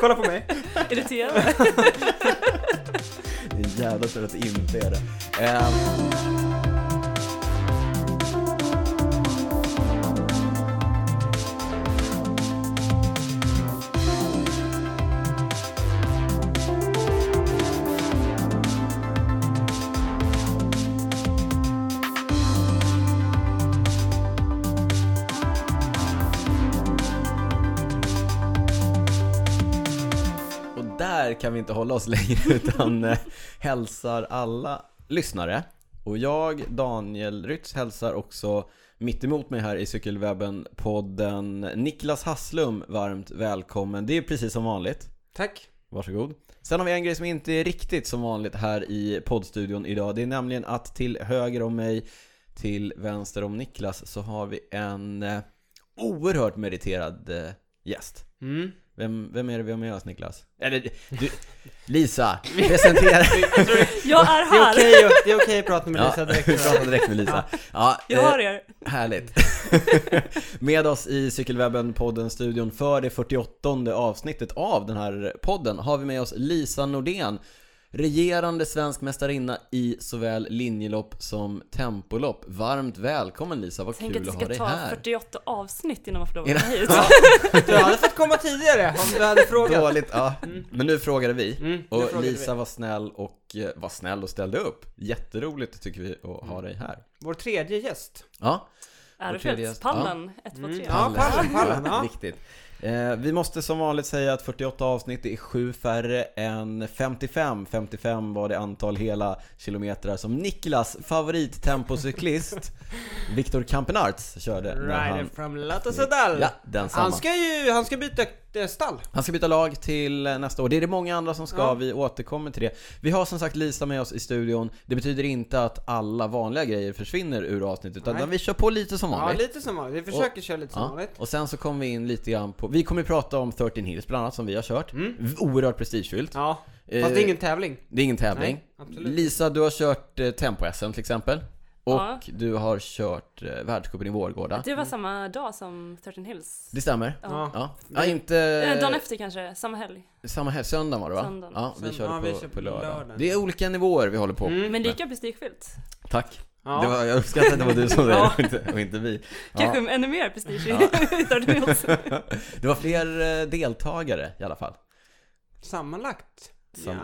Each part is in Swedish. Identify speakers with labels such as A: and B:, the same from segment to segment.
A: Kolla på mig.
B: Irriterande.
C: Det är jävla tur att det inte är det. Eh, Och där kan vi inte hålla oss längre utan eh, hälsar alla lyssnare. Och jag, Daniel Rytz, hälsar också mitt emot mig här i Cykelwebben-podden Niklas Hasslum varmt välkommen. Det är precis som vanligt.
A: Tack.
C: Varsågod. Sen har vi en grej som inte är riktigt som vanligt här i poddstudion idag. Det är nämligen att till höger om mig, till vänster om Niklas, så har vi en eh, oerhört meriterad eh, gäst.
A: Mm.
C: Vem, vem är det vi har med oss Niklas? Eller du, Lisa, presentera!
B: Jag är
A: Det är
B: här.
A: okej att- det är okej att prata med
C: Ja,
A: Lisa
C: vi
A: direkt.
C: pratar direkt med Lisa. Ja,
B: Jag
C: eh,
B: har er.
C: Härligt. Med oss i Cykelwebben-podden-studion för det 48 avsnittet av den här podden har vi med oss Lisa Nordén, regerande svensk mästarinna i såväl linjelopp som tempolopp. Varmt välkommen Lisa, vad
B: Tänk att
C: kul
B: det
C: att ha
B: ska
C: dig
B: ta
C: här.
B: 48 avsnitt innan man får lov att komma hit.
A: Du hade fått komma tidigare om du hade frågat.
C: Dåligt, ja. Men nu frågade vi.
A: Mm, nu
C: och
A: frågade
C: Lisa var snäll och eh, var snäll och ställde upp. Jätteroligt tycker vi att
A: Mm.
C: ha dig här.
A: Vår tredje gäst.
C: Ja.
B: Ärofjällspallen 1, 2, 3.
A: Ja, pallen, pallen, ja.
C: Viktigt. Eh, vi måste som vanligt säga att 48 avsnitt är sju färre än 55. 55 var det antal hela kilometrar som Niklas favorittempocyklist Viktor Campenarts körde. när
A: Rider
C: han,
A: from La Tosadal.
C: ja, den
A: han ska ju, han ska byta eh, stall.
C: Han ska byta lag till nästa år. Det är det många andra som ska. Vi återkommer till det. Vi har som sagt Lisa med oss i studion. Det betyder inte att alla vanliga grejer försvinner ur avsnittet utan
A: Nej.
C: vi kör på lite som
A: Ja,
C: vanligt.
A: lite som vanligt. Vi försöker köra lite som
C: Ja.
A: vanligt.
C: Och sen så kommer vi in lite grann på, vi kommer ju prata om 13 Hills bland annat som vi har kört. Oerhört prestigefyllt.
A: Mm. Ja,
C: Eh,
A: fast det är ingen tävling.
C: Det är ingen tävling.
A: Nej, absolut.
C: Lisa, du har kört eh, Tempo-SM till exempel. Och
B: Ja.
C: du har kört eh, världscupen i Vårgårda.
B: Det var samma dag som 13 Hills.
C: Det stämmer. Ja.
A: Ja.
C: Ja. inte...
B: Eh, Dagen efter kanske, samma helg.
C: Samma helg, söndagen var det va?
B: Söndagen.
C: Ja, vi
A: Söndag-
C: körde
A: ja,
C: på,
A: vi kör
C: på
A: på
C: lördag.
A: lördagen.
C: Det är olika nivåer vi håller på.
B: Men lika prestigefyllt.
C: Tack.
A: Mm. Ja.
C: Det var, jag uppskattar att det var du som sa det och inte, och inte vi.
B: Kanske
C: Ja.
B: ännu mer prestige i 13 Hills.
C: Det var fler eh, deltagare i alla fall.
A: Sammanlagt?
C: Sam-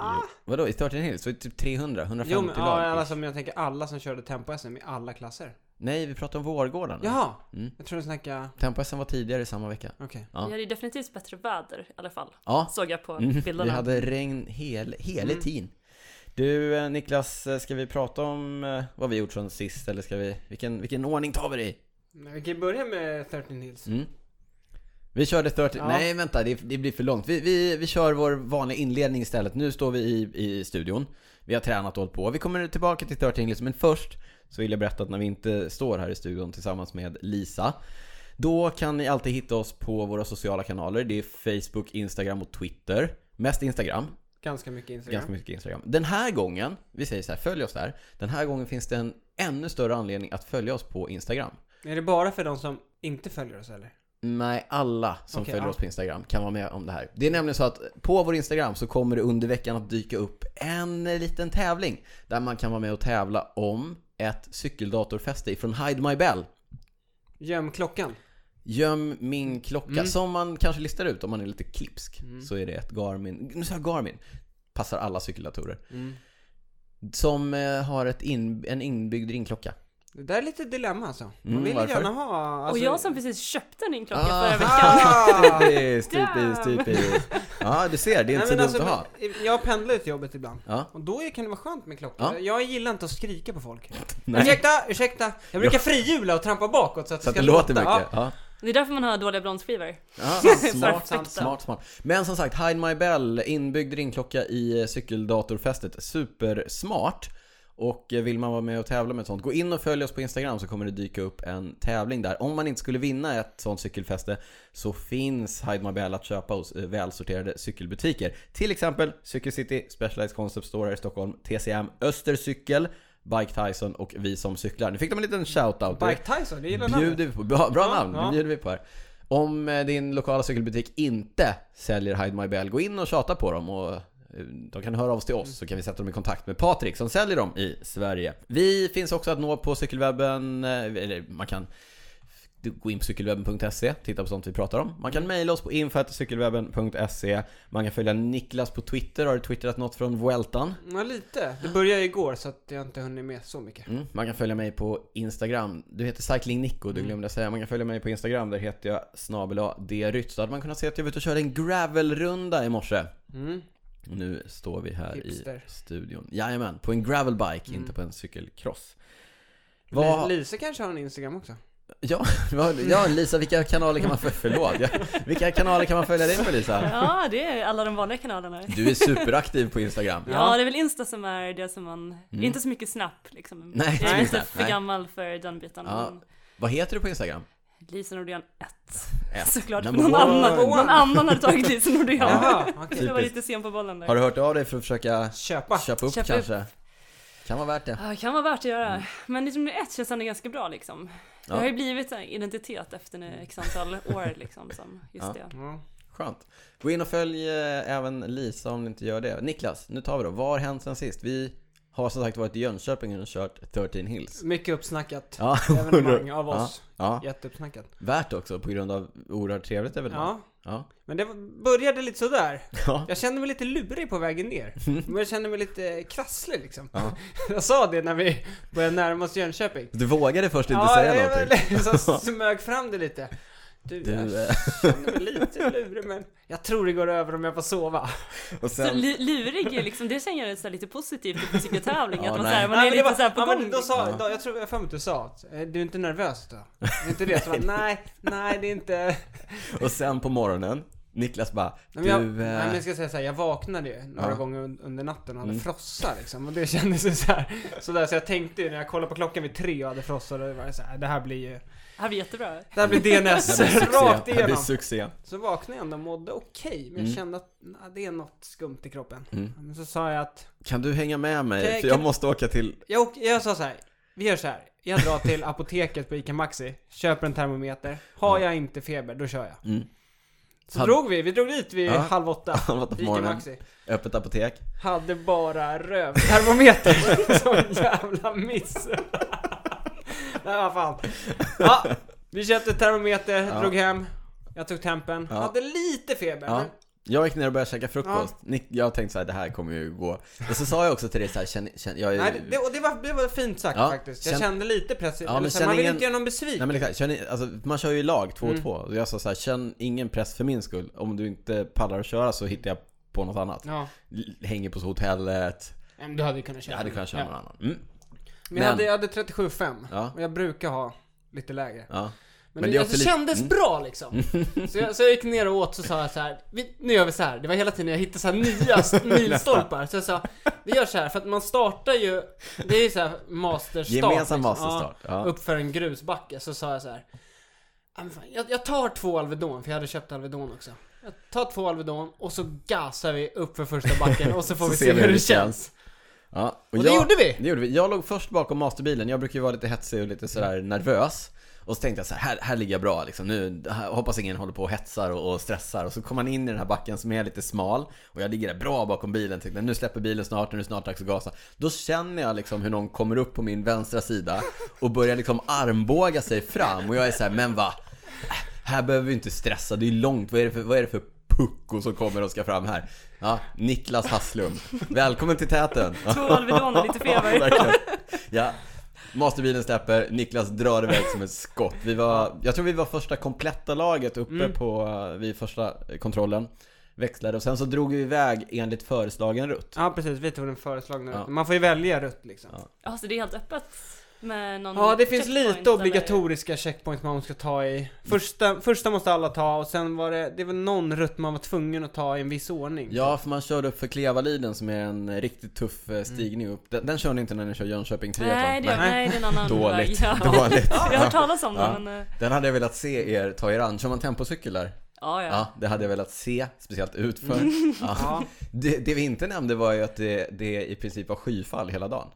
A: ja.
C: Vadå, i 13 Hills? Var det typ 300? 150
A: Ah. Jo men
C: lag?
A: ja, alla som, jag tänker alla som körde Tempo-SM i alla klasser.
C: Nej, vi pratar om Vårgårda nu.
A: Jaha!
C: Mm.
A: Jag tror du snackade...
C: Tempo-SM var tidigare i samma vecka.
A: Okej.
C: Ja.
B: Vi hade ju definitivt bättre väder i alla fall.
C: Ja,
B: Såg jag på
C: mm. vi
B: bilderna.
C: hade regn hel, hela
A: Mm.
C: tiden. Du eh, Niklas, eh, ska vi prata om eh, vad vi gjort sen sist eller ska vi, vilken, vilken ordning tar vi det i?
A: Men Vi kan börja med 13 Hills.
C: Mm. Vi körde 30,
A: Ja.
C: nej vänta det, det blir för långt. Vi, vi, vi kör vår vanliga inledning istället. Nu står vi i, i studion. Vi har tränat och hållit på. Vi kommer tillbaka till 30 English, men först så vill jag berätta att när vi inte står här i studion tillsammans med Lisa då kan ni alltid hitta oss på våra sociala kanaler. Det är Facebook, Instagram och Twitter. Mest Instagram.
A: Ganska mycket Instagram.
C: Ganska mycket Instagram. Den här gången, vi säger så här, följ oss där. Den här gången finns det en ännu större anledning att följa oss på Instagram.
A: Är det bara för de som inte följer oss eller?
C: Nej, alla som
A: Okej,
C: följer
A: ja.
C: oss på Instagram kan vara med om det här. Det är nämligen så att på vår Instagram så kommer det under veckan att dyka upp en liten tävling där man kan vara med och tävla om ett cykeldatorfäste från Hide My Bell.
A: Göm klockan.
C: Göm min klocka,
A: Mm.
C: som man kanske listar ut om man är lite klipsk. Så är det ett Garmin, nu sa jag Garmin, passar alla cykeldatorer.
A: Mm.
C: Som eh, har ett in, en inbyggd ringklocka.
A: Det där är lite dilemma alltså. Man
C: Mm,
A: vill ju
C: varför?
A: gärna ha... Alltså...
B: Och jag som precis köpte en inklocka
C: Ah.
B: förra veckan.
A: Ah!
C: Typiskt, typiskt,
B: Damn.
C: typiskt. Ja, du ser, det är inte så dumt att ha.
A: men eh, jag pendlar ju till jobbet ibland.
C: Ja.
A: Och då kan det vara skönt med klocka.
C: Ja.
A: Jag gillar inte att skrika på folk.
C: Nej.
A: Ursäkta, ursäkta. Jag brukar frihjula och trampa bakåt så att
C: Så att
A: ska
C: det låter
A: låta.
C: mycket. Ja.
B: Det är därför man har dåliga bronsskivor.
C: Ja, smart,
B: Perfekta.
C: smart, smart, smart. Men som sagt, Hide My Bell, inbyggd ringklocka i eh, cykeldatorfästet. Supersmart. Och eh, vill man vara med och tävla med ett sånt, gå in och följ oss på Instagram så kommer det dyka upp en tävling där. Om man inte skulle vinna ett sånt cykelfäste så finns Hide My Bell att köpa hos eh, välsorterade cykelbutiker. Till exempel Cykelcity, Specialized Concept Store här i Stockholm, TCM, Östercykel, Bike Tyson och vi som cyklar. Nu fick de en liten shout-out. Det
A: Bike Tyson, det gillar namnet.
C: bjuder vi på. Bra, bra
A: Ja,
C: namn, det
A: ja.
C: bjuder vi på här. Om eh, din lokala cykelbutik inte säljer Hide My Bell, gå in och tjata på dem och eh, de kan höra av sig till oss så kan vi sätta dem i kontakt med Patrik som säljer dem i Sverige. Vi finns också att nå på cykelwebben, eh, eller man kan du- gå in på cykelwebben.se, E, titta på sånt vi pratar om. Man kan mejla oss på info.cykelwebben.se. E. Man kan följa Niklas på Twitter. Har du twittrat något från Vueltan?
A: Ja, lite. Det började igår så att jag inte hunnit med så mycket.
C: Mm. Man kan följa mig på Instagram. Du heter Cycling Nico, du glömde säga. Man kan följa mig på Instagram, där heter jag snabel Rytz. Då hade man kunnat se att jag var ute och körde en gravelrunda i morse.
A: Mm.
C: Nu står vi här
A: Hipster.
C: i studion. Jajamän, på en gravelbike, inte på en cykelcross.
A: Vad...
C: Vad-
A: Lisa kanske har en Instagram också?
C: Ja, vad- ja, Lisa, vilka kanaler kan man följa? Förlåt, ja, vilka kanaler kan man följa dig på Lisa?
B: Ja, det är alla de vanliga kanalerna.
C: Du är superaktiv på Instagram.
B: Ja, det är väl Insta som är det som man... Inte så mycket Snap liksom.
C: Mm. Nej,
B: jag är
C: inte
B: lite
C: Snap,
B: för
C: nej.
B: gammal för den biten.
C: Ja.
B: Men
C: Vad heter du på Instagram?
B: Lisa Nordén 1.
C: Ett.
B: Såklart.
C: Number
B: Någon
C: one.
B: annan, någon annan hade tagit Lisa Nordén.
A: Jaha, okej.
B: Jag var
C: Typiskt.
B: lite sen på bollen där.
C: Har du hört av dig för att försöka
A: Köpa.
C: köpa upp
B: Köpa upp.
C: kanske? Kan vara värt det.
B: Ja, det kan vara värt att göra. Men liksom det ett känns ändå ganska bra liksom.
C: Mm. Ja.
B: Det har ju blivit en identitet efter en x antal år liksom som just
C: Ja.
B: det.
A: Ja.
C: Skönt. Gå in och följ eh, även Lisa om ni inte gör det. Niklas, nu tar vi då. Vad har hänt sen sist? Vi har som sagt varit i Jönköping och kört 13 Hills.
A: Mycket uppsnackat.
C: Ja,
A: Evenemang av oss.
C: ja.
A: Jätteuppsnackat.
C: Värt också på grund av oerhört trevligt evenemang.
A: Ja.
C: Ja.
A: Men det var- började lite sådär.
C: Ja.
A: Jag kände mig lite lurig på vägen ner. Men jag kände mig lite krasslig liksom.
C: Ja.
A: Jag sa det när vi började närma oss Jönköping.
C: Du vågade först inte
A: ja,
C: säga
A: jag
C: någonting.
A: var- så smög fram det lite. Du,
C: Du,
A: jag
C: eh,
A: känner mig lite lurig men jag tror det går över om jag får sova.
C: och
B: Så
C: sen,
B: li- lurig är liksom, det känner jag är så här lite positivt typ på cykeltävling.
C: Ja,
B: att man, så
C: nej.
B: här, man
A: Nej,
B: är
A: men det
B: lite
A: var-
B: så här på
A: ja,
B: gång.
A: men då sa,
C: Ja.
A: då, jag tror, jag har för mig att du sa att eh, du är inte nervös då? Är inte det? Så bara, nej, nej det är inte...
C: och sen på morgonen, Niklas bara,
A: Men jag,
C: du...
A: nej, men
C: Eh,
A: jag ska säga så här, jag vaknade ju några
C: Ja.
A: gånger un- under natten och hade
C: Mm.
A: frossa liksom. Och det kändes ju så här, så där så jag tänkte ju när jag kollade på klockan vid tre och hade frossa, då var det så här, det här blir ju...
B: Det här blir jättebra.
A: Det här blir DNS rakt
C: Det här blir
A: igenom.
C: succé.
A: Så vaknade jag ändå och mådde okej, men
C: Mm.
A: jag kände att nej, det är något skumt i kroppen.
C: Mm.
A: Men så sa jag att,
C: Kan du hänga med
A: Kan
C: mig?
A: jag-
C: För jag
A: kan-
C: måste åka till...
A: jag, åker- jag sa så här, vi gör så här. Jag drar till apoteket på ICA Maxi, köper en termometer. Har jag inte feber, då kör jag.
C: Mm.
A: Så
C: Hade-
A: drog vi, vi drog dit vid
C: Ja.
A: halv åtta.
C: Han var på
A: ICA
C: morgonen,
A: Maxi.
C: öppet apotek.
A: Hade bara rövtermometer. Sån jävla miss. Nej vad fan. Ja, vi köpte termometer,
C: Ja.
A: drog hem. Jag tog tempen.
C: Ja.
A: Hade lite feber.
C: Ja.
A: men-
C: Jag gick ner och började käka frukost. Nick, jag tänkte så här, det här kommer ju gå. Och så sa jag också till dig så här, känn, känn, jag är,
A: Nej, det, och det var, det var fint sagt
C: Eh, Ja,
A: faktiskt. Jag
C: känn-
A: kände lite press.
C: men
A: eller så här,
C: känn
A: man vill
C: ingen-
A: inte göra någon besviken.
C: Nej men exakt, känn, alltså, man kör ju i lag två
A: Mm.
C: och två. Och jag sa så här, känn ingen press för min skull. Om du inte pallar att köra så hittar jag på något annat.
A: Ja.
C: L- Hänger på hotellet.
A: Nej, Men du hade ju kunnat köra.
C: Jag hade kunnat köra någon annan. Mm.
A: Men jag hade, jag hade 37,5.
C: Ja.
A: Och jag brukar ha lite lägre.
C: Ja.
A: Men,
C: Men
A: det,
C: det är
A: alltså,
C: också lite- Mm.
A: kändes bra liksom. Så jag, så jag gick ner och åt så sa jag så här, vi, nu gör vi så här. Det var hela tiden jag hittade så här nya st- milstolpar. Så jag sa, vi gör så här för att man startar ju, det är ju så här masterstart. liksom.
C: Gemensam masterstart, ja.
A: Ja, upp för en grusbacke. Så sa jag så här, "Ah, men fan, jag, jag tar två Alvedon, för jag hade köpt Alvedon också. Jag tar två Alvedon och så gasar vi upp för första backen och så får
C: Så
A: vi se hur det känns.
C: Ja.
A: Och det
C: jag,
A: gjorde vi!
C: Det gjorde vi. Jag låg först bakom masterbilen. Jag brukar ju vara lite hetsig och lite sådär nervös. Och så tänkte jag så här, här, här ligger jag bra liksom. Nu här, hoppas ingen håller på och hetsar och, och stressar. Och så kom man in i den här backen som är lite smal. Och jag ligger där bra bakom bilen. Tänkte nu släpper bilen snart, nu är det snart dags att gasa. Då känner jag liksom hur någon kommer upp på min vänstra sida och börjar liksom armbåga sig fram. Och jag är så här, men va? Äh, Här behöver vi inte stressa, det är långt. Vad är det för, vad är det för pucko som kommer och ska fram här? Ja, Niklas Hasslum. Välkommen till täten.
B: Två Alvedon och lite
C: Ja,
B: feber.
C: verkligen. Ja. Masterbilen släpper, Niklas drar iväg som ett skott. Vi var, jag tror vi var första kompletta laget uppe på, eh, vid första kontrollen. Växlade och sen så drog vi iväg enligt föreslagen rutt.
A: Ja precis, vi tog den föreslagna
C: Ja.
A: rutten. Man får ju välja rutt liksom.
C: Ja.
B: Ja, så det är helt öppet med någon
A: Ja, det finns
B: checkpoint,
A: lite
B: eller-
A: obligatoriska checkpoints man ska ta i. Första, första måste alla ta och sen var det, det var någon rutt man var tvungen att ta i en viss ordning.
C: Ja, för man körde upp för Klevaliden som är en eh, riktigt tuff eh, stigning upp. Den, den kör ni inte när ni kör Jönköping triathlon.
B: Nej, det, nej, det är en annan
C: Dåligt,
B: väg. Ja.
C: dåligt.
B: Jag har hört talas om
C: Ja.
B: det, men... eh,
C: Den hade jag velat se er ta er an. Kör man tempocykel där?
B: Ja, ja.
C: Ja, det hade jag velat se, speciellt utför. Ja. Det, det vi inte nämnde var ju att det, det i princip var skyfall hela dagen.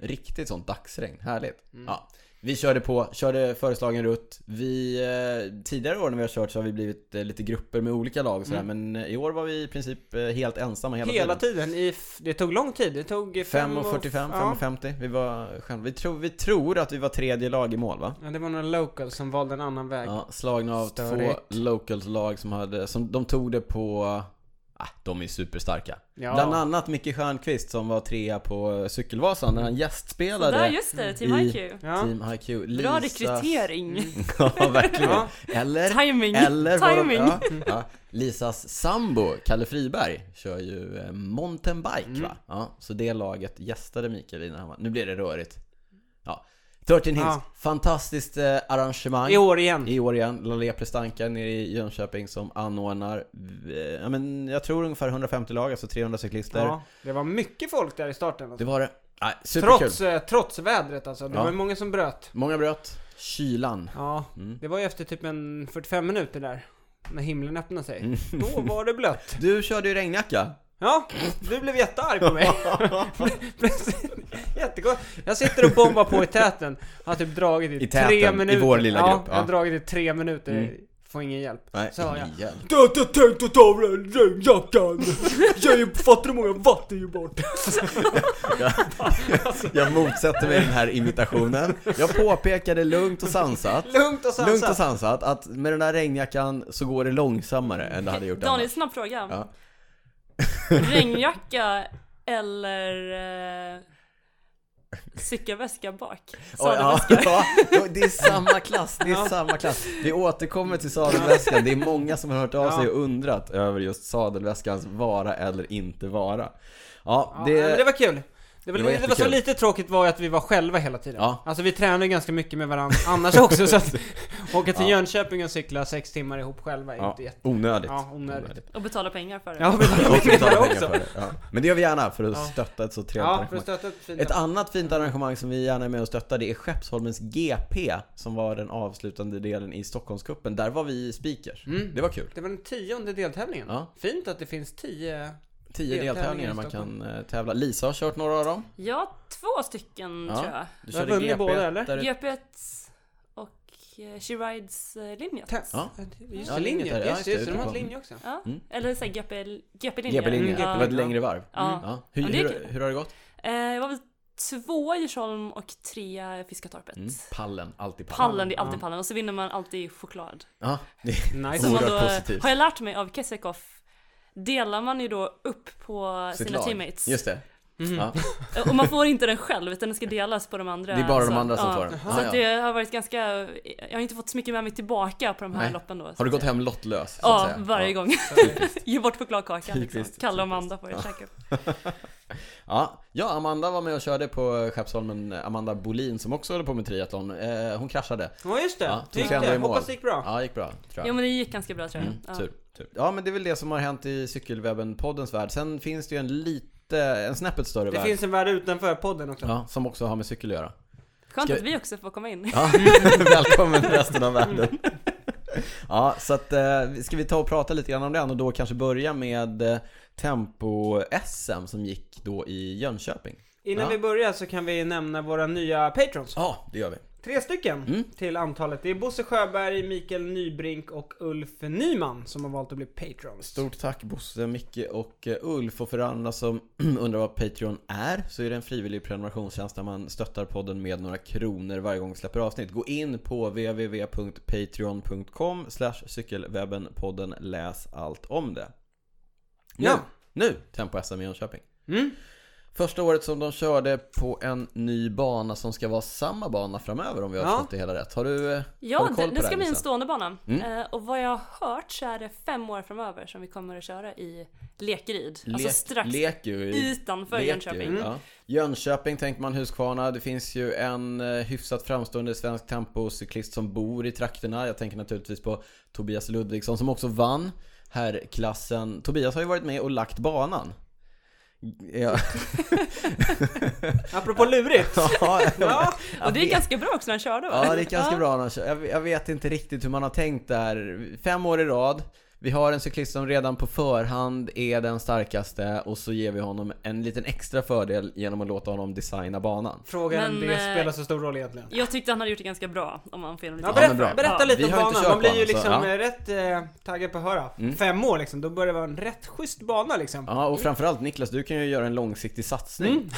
C: Riktigt sånt dagsregn, härligt. Ja. Vi körde på, körde föreslagen rutt. Vi, eh, tidigare år när vi har kört så har vi blivit eh, lite grupper med olika lag och sådär, men i år var vi i princip eh, helt ensamma hela,
A: Hela tiden. I f- det tog lång tid. Det tog
C: 5
A: fem
C: och 45, 5 och 50. Vi var själva. Vi, tror, vi tror att vi var tredje lag i mål va?
A: Ja, det var några locals som valde en annan väg.
C: Ja, slagna av
A: Störigt.
C: två locals-lag som hade, som de tog det på, ah, de är superstarka.
A: Ja.
C: Bland annat Micke Stjernqvist som var trea på eh, Cykelvasan när han gästspelade
B: Där, just det. Team
C: i-
B: IQ.
A: Ja.
C: Team HiQ.
B: Bra
C: Lisa-
B: rekrytering.
C: ja, verkligen.
A: Ja.
C: Eller,
B: Timing.
C: eller var de,
B: Timing.
C: ja, ja. Lisas sambo, Kalle Friberg, kör ju eh, mountainbike
A: Mm.
C: va? Ja, så det laget gästade Mikael innan han var, nu blir det rörigt. Ja. 13 Hills,
A: Ja.
C: fantastiskt eh, arrangemang.
A: I år igen.
C: I år igen, Laleh Prestanka nere i Jönköping som anordnar, eh, ja men jag tror ungefär 150 lag, alltså 300 cyklister.
A: Ja, det var mycket folk där i starten.
C: Det
A: Alltså.
C: var det. Nej, superkul.
A: Trots, eh, trots vädret alltså. Det
C: Ja.
A: var ju många som bröt.
C: Många bröt, kylan.
A: Ja,
C: Mm.
A: det var ju efter typ en 45 minuter där. När himlen öppnade sig.
C: Mm.
A: Då var det blött.
C: Du körde ju regnjacka.
A: Ja, du blev jättearg på mig. Jättegott. Jag sitter och bombar på i täten. Har typ dragit i,
C: I täten,
A: tre
C: i
A: minuter.
C: vår lilla
A: ja,
C: grupp, ja. Mm.
A: Jag har dragit i tre minuter. Får ingen hjälp.
C: Nej,
A: Så har jag.
C: igen.
A: Du har inte tänkt att ta av dig regnjackan. Jag är ju- fattar hur många vatten jag bort.
C: Jag motsätter mig den här imitationen. Jag påpekade lugnt och sansat.
A: Lugnt och
C: Lugnt och
A: sansat.
C: sansat att med den där regnjackan så går det långsammare än det hade gjort
B: Daniel,
C: annars.
B: snabb fråga.
C: Ja.
B: Regnjacka eller eh, cykelväska bak?
C: Oj, ja,
B: Sadelväska.
C: ja, det är samma klass, det är
A: Ja.
C: samma klass. Vi återkommer till sadelväskan. Det är många som har hört av
A: Ja.
C: sig och undrat över just sadelväskans vara eller inte vara. Ja,
A: Ja,
C: det...
A: men det var kul. Det var,
C: Det
A: det
C: var
A: var, så
C: jättekul.
A: lite tråkigt var ju att vi var själva hela tiden.
C: Ja.
A: Alltså vi tränade ju ganska mycket med varandra annars också så att åka till Jönköping och cykla sex timmar ihop själva är
C: ja,
A: inte jätte...
C: onödigt.
A: Ja, onödigt.
B: Och betala pengar för det.
A: Ja, men
C: Och vi
A: det
C: betalar pengar
A: också.
C: för det. Ja. Men det gör vi gärna för att
A: Ja.
C: stötta ett så trevligt
A: Ja, för
C: arrangemang.
A: att stötta upp fina...
C: Ett annat fint arrangemang som vi gärna är med och stöttar det är Skeppsholmens GP som var den avslutande delen i Stockholmscupen. Där var vi speakers. Det var kul.
A: Det var den tionde deltävlingen.
C: Ja.
A: Fint att det finns tio...
C: Tio
A: Deltävlingar
C: deltävlingar
A: i
C: man
A: Stockholm.
C: kan eh, tävla. Lisa har kört några av dem.
B: Ja, två stycken
C: Ja.
B: tror jag.
C: Du
A: Där vann ni båda, eller?
C: där-
B: GP1 och eh, She Rides eh, linjen.
A: Te-
C: Ja.
A: Just
C: Ja,
A: det,
C: linjet
A: linjer.
C: där, ja,
A: Just,
C: just det,
A: just, det, de har ett
C: utanpå.
A: linje också.
B: Ja.
C: Mm.
B: Eller såhär GP, GP-linjen.
C: GP-linjen.
A: Mm,
C: Det var ett
B: Ja.
C: längre varv.
B: Ja.
C: Ja. Hur,
B: Ja, det är
C: hur,
B: kul.
C: hur har det gått?
B: Eh, Jag var väl två i Djursholm och trea i Fiskatorpet.
C: Mm. Pallen, alltid pallen.
B: Mm. Pallen, det är alltid pallen. Och så vinner man alltid choklad.
C: Ja, det
A: Nice.
B: Som man
C: Oerhört
B: då,
C: positivt.
B: har jag lärt mig av Kessekoff, delar man ju då upp på
C: sitt
B: sina
C: lag.
B: teammates. Eh,
C: Just det. Ja.
B: Och man får inte den själv utan den ska delas på de andra.
C: Det är bara de
B: Så-
C: andra som
B: ja.
C: får den.
B: Så
C: Ah,
B: att
C: ja.
B: det har varit ganska, jag har inte fått så mycket med mig tillbaka på de här
C: Nej.
B: loppen då.
C: Har du gått hem lottlös? så att
B: Ja,
C: säga?
B: varje
C: Ja.
B: gång. Ge bort chokladkakan liksom.
C: Typiskt,
B: Kalle och Amanda får jag käka upp.
C: Ja. ja, Amanda var med och körde på Skeppsholmen, Amanda Bolin som också håller på med triathlon. Eh, hon kraschade.
A: Ja, just det.
C: Ja,
A: Ja,
C: tog
A: gick
C: sig ändå i
A: det.
C: mål.
A: Hoppas det gick bra.
C: Ja, det gick bra tror
B: Jo
C: jag.
B: men det gick ganska bra tror jag. Ja.
C: Tur, tur. Ja, men det är väl det som har hänt i cykelwebben, poddens värld. Sen finns det ju en lite, en snäppet större
A: Det
C: värld.
A: finns en värld utanför podden också.
C: Ja, som också har med cykel att göra.
B: Skönt
C: Ska-
B: att vi också får komma in.
C: Ja, välkommen resten av världen. Ja, så att eh, ska vi ta och prata lite grann om den och då kanske börja med eh, Tempo-SM som gick då i Jönköping.
A: Innan
C: Ja.
A: vi börjar så kan vi nämna våra nya patrons.
C: Ja, det gör vi.
A: Tre stycken
C: Mm.
A: till antalet. Det är Bosse Sjöberg, Mikael Nybrink och Ulf Nyman som har valt att bli patrons.
C: Stort tack Bosse, Micke och eh, Ulf och för andra som undrar vad Patreon är så är det en frivillig prenumerationstjänst där man stöttar podden med några kronor varje gång vi släpper avsnitt. Gå in på www.patreon.com cykelwebbenpodden läs allt om det. Nu,
A: Ja.
C: nu Tempo-SM i Jönköping.
A: Mm.
C: Första året som de körde på en ny bana som ska vara samma bana framöver om vi har
A: Ja.
C: förstått det hela rätt. Har du, eh, har
B: Ja,
C: du koll
B: det,
C: på
B: det ska bli
C: Lisa?
B: en
C: Mm.
B: stående bana. Eh, och vad jag har hört så är det fem år framöver som vi kommer att köra i Lekeryd. alltså
C: Lek-
B: strax
C: leker ju i-
B: utanför
C: Leker,
B: Jönköping.
C: Ja. Jönköping tänker man Huskvarna. Det finns ju en eh, hyfsat framstående svensk tempocyklist som bor i trakterna. Jag tänker naturligtvis på Tobias Ludvigsson som också vann herrklassen. Tobias har ju varit med och lagt banan. Ja,
A: Apropå lurigt.
C: ja,
A: Ja,
B: Och det är ganska bra också när han körde va?
C: ja det är ganska bra. Anders. Jag, jag vet inte riktigt hur man har tänkt där. Fem år i rad. Vi har en cyklist som redan på förhand är den starkaste och så ger vi honom en liten extra fördel genom att låta honom designa banan.
A: Frågan om
B: Men,
A: det
B: eh,
A: spelar så stor roll egentligen.
B: Jag tyckte han hade gjort det ganska bra om han får igenom
A: Ja,
C: men
A: berätta,
C: bra.
A: berätta
B: Ja.
A: lite
C: Vi
A: om
C: har ju inte
A: banan.
C: kört
A: Man blir ju
C: banan, så,
A: liksom
C: ja.
A: eh, rätt eh, taggad på att höra.
C: Mm.
A: Fem år liksom, då börjar det vara en rätt schysst bana liksom.
C: Ja, och framförallt Niklas, du kan ju göra en långsiktig satsning.
A: Mm.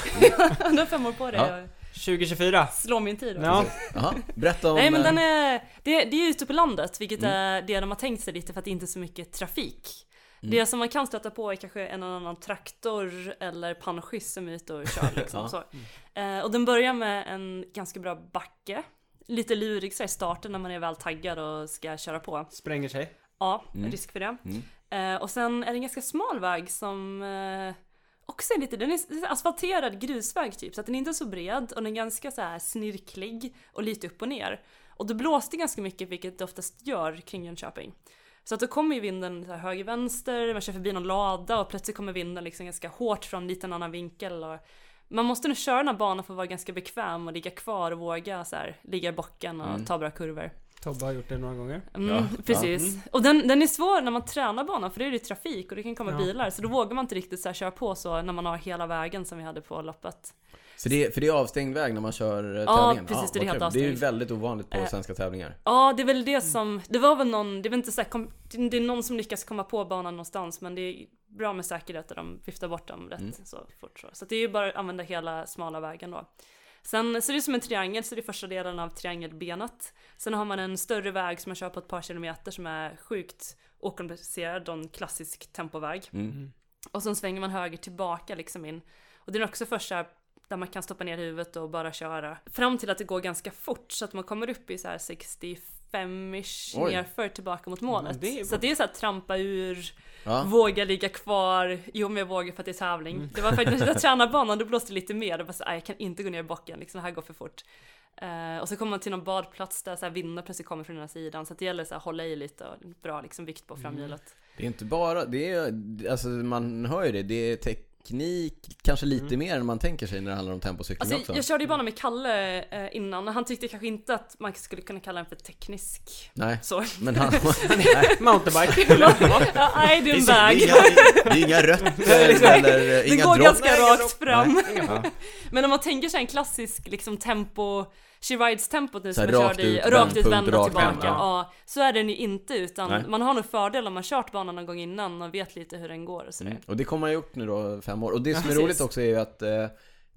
B: Du har fem år på dig
C: Ja.
B: att
A: Tjugohuvudtjugofyra.
B: slå min tid. då.
A: Ja.
C: Jaha, berätta om... Mm.
B: Nej men den
C: eh,
B: är, det, det är ute på landet, vilket är det de har tänkt sig lite för att det inte är så mycket trafik.
C: Mm.
B: Det som man kan stöta på är kanske en eller annan traktor eller panschyss som är ute och kör liksom.
C: Ja. Mm.
B: så. Eh, och den börjar med en ganska bra backe. Lite lurig så här, i starten när man är väl taggad och ska köra på.
A: Spränger sig.
B: Ja, risk för det. Eh, och sen är det en ganska smal väg som eh, också är lite, den är asfalterad grusväg typ. Så att den är inte så bred och den är ganska så här snirklig och lite upp och ner. Och det blåste ganska mycket, vilket det oftast gör kring Jönköping. Så att då kommer ju vinden så här höger, vänster, man kör förbi någon lada och plötsligt kommer vinden liksom ganska hårt från en liten annan vinkel. Och man måste nog köra den här banan för att vara ganska bekväm och ligga kvar och våga så här, ligga i bocken och ta bra kurvor.
A: Tobbe har gjort det några gånger.
B: Mm,
C: Ja,
B: precis. Och den, den är svår när man tränar banan för det är det trafik och det kan komma
A: Ja.
B: bilar så då vågar man inte riktigt så här köra på så när man har hela vägen som vi hade på loppet.
C: Så det är, för det är avstängd väg när man kör eh,
B: Ja,
C: tävlingen?
B: precis, det är
C: vad
B: helt Eh.
C: kul. Det är ju
B: avstängt.
C: väldigt ovanligt på svenska tävlingar.
B: Ja, det är väl det som, det var väl någon, det är väl inte så här, kom, det är någon som lyckas komma på banan någonstans men det är bra med säkerhet att de viftar bort dem rätt så fort så. Så det är ju bara att använda hela smala vägen då. Sen ser det ut som en triangel, så det är första delen av triangelbenet. Sen har man en större väg som man kör på ett par kilometer som är sjukt okomplicerad och en klassisk tempoväg.
A: Mm.
B: Och sen svänger man höger tillbaka liksom in. Och det är också först så här där man kan stoppa ner huvudet och bara köra. Fram till att det går ganska fort så att man kommer upp i så här 65-ish
C: Oj.
B: nerför tillbaka mot målet.
A: Ja, det är
B: så att det är så här trampa ur,
C: Ja.
B: våga ligga kvar, jo men jag vågar för att det är tävling.
C: Mm.
B: Det var faktiskt när jag tränade banan då blåste det lite mer, det var så här, "Aj, jag kan inte gå ner i bocken, liksom, det här går för fort. Eh, och så kommer man till någon badplats där så här, vindar plötsligt kommer från den här sidan så att det gäller så här, hålla i lite och bra liksom, vikt på framhjulet.
C: Mm. Det är inte bara, det är, alltså man hör ju det, det är teknik kanske lite mer än man tänker sig när det handlar om tempocykling
B: Mm. Alltså,
C: också.
B: jag körde ju banan med Kalle eh, innan och han tyckte kanske inte att man skulle kunna kalla den för teknisk.
C: Nej,
B: Så.
C: men han...
A: Mountainbike.
B: ja, nej, det är en
C: Det är
B: väg. Liksom,
C: inga, det är inga rötter eller eh,
B: Det
C: inga
B: går
C: dropp.
B: ganska rakt fram.
C: Ja.
B: Men om man tänker sig en klassisk liksom tempo, she rides tempot nu
C: Så
B: som
C: här
B: jag
C: rakt
B: körde i,
C: ut,
B: rakt
C: vändpunkt,
B: ut, vända
C: rakt
B: tillbaka.
A: vända,
B: ja.
A: ja.
B: så är den ju inte utan
C: Nej.
B: man har nog fördel om man kört banan någon gång innan och vet lite hur den går och sådär.
C: Mm. Och det kommer man ju gjort nu då, fem år. Och det som är
B: Precis.
C: roligt också är ju att eh,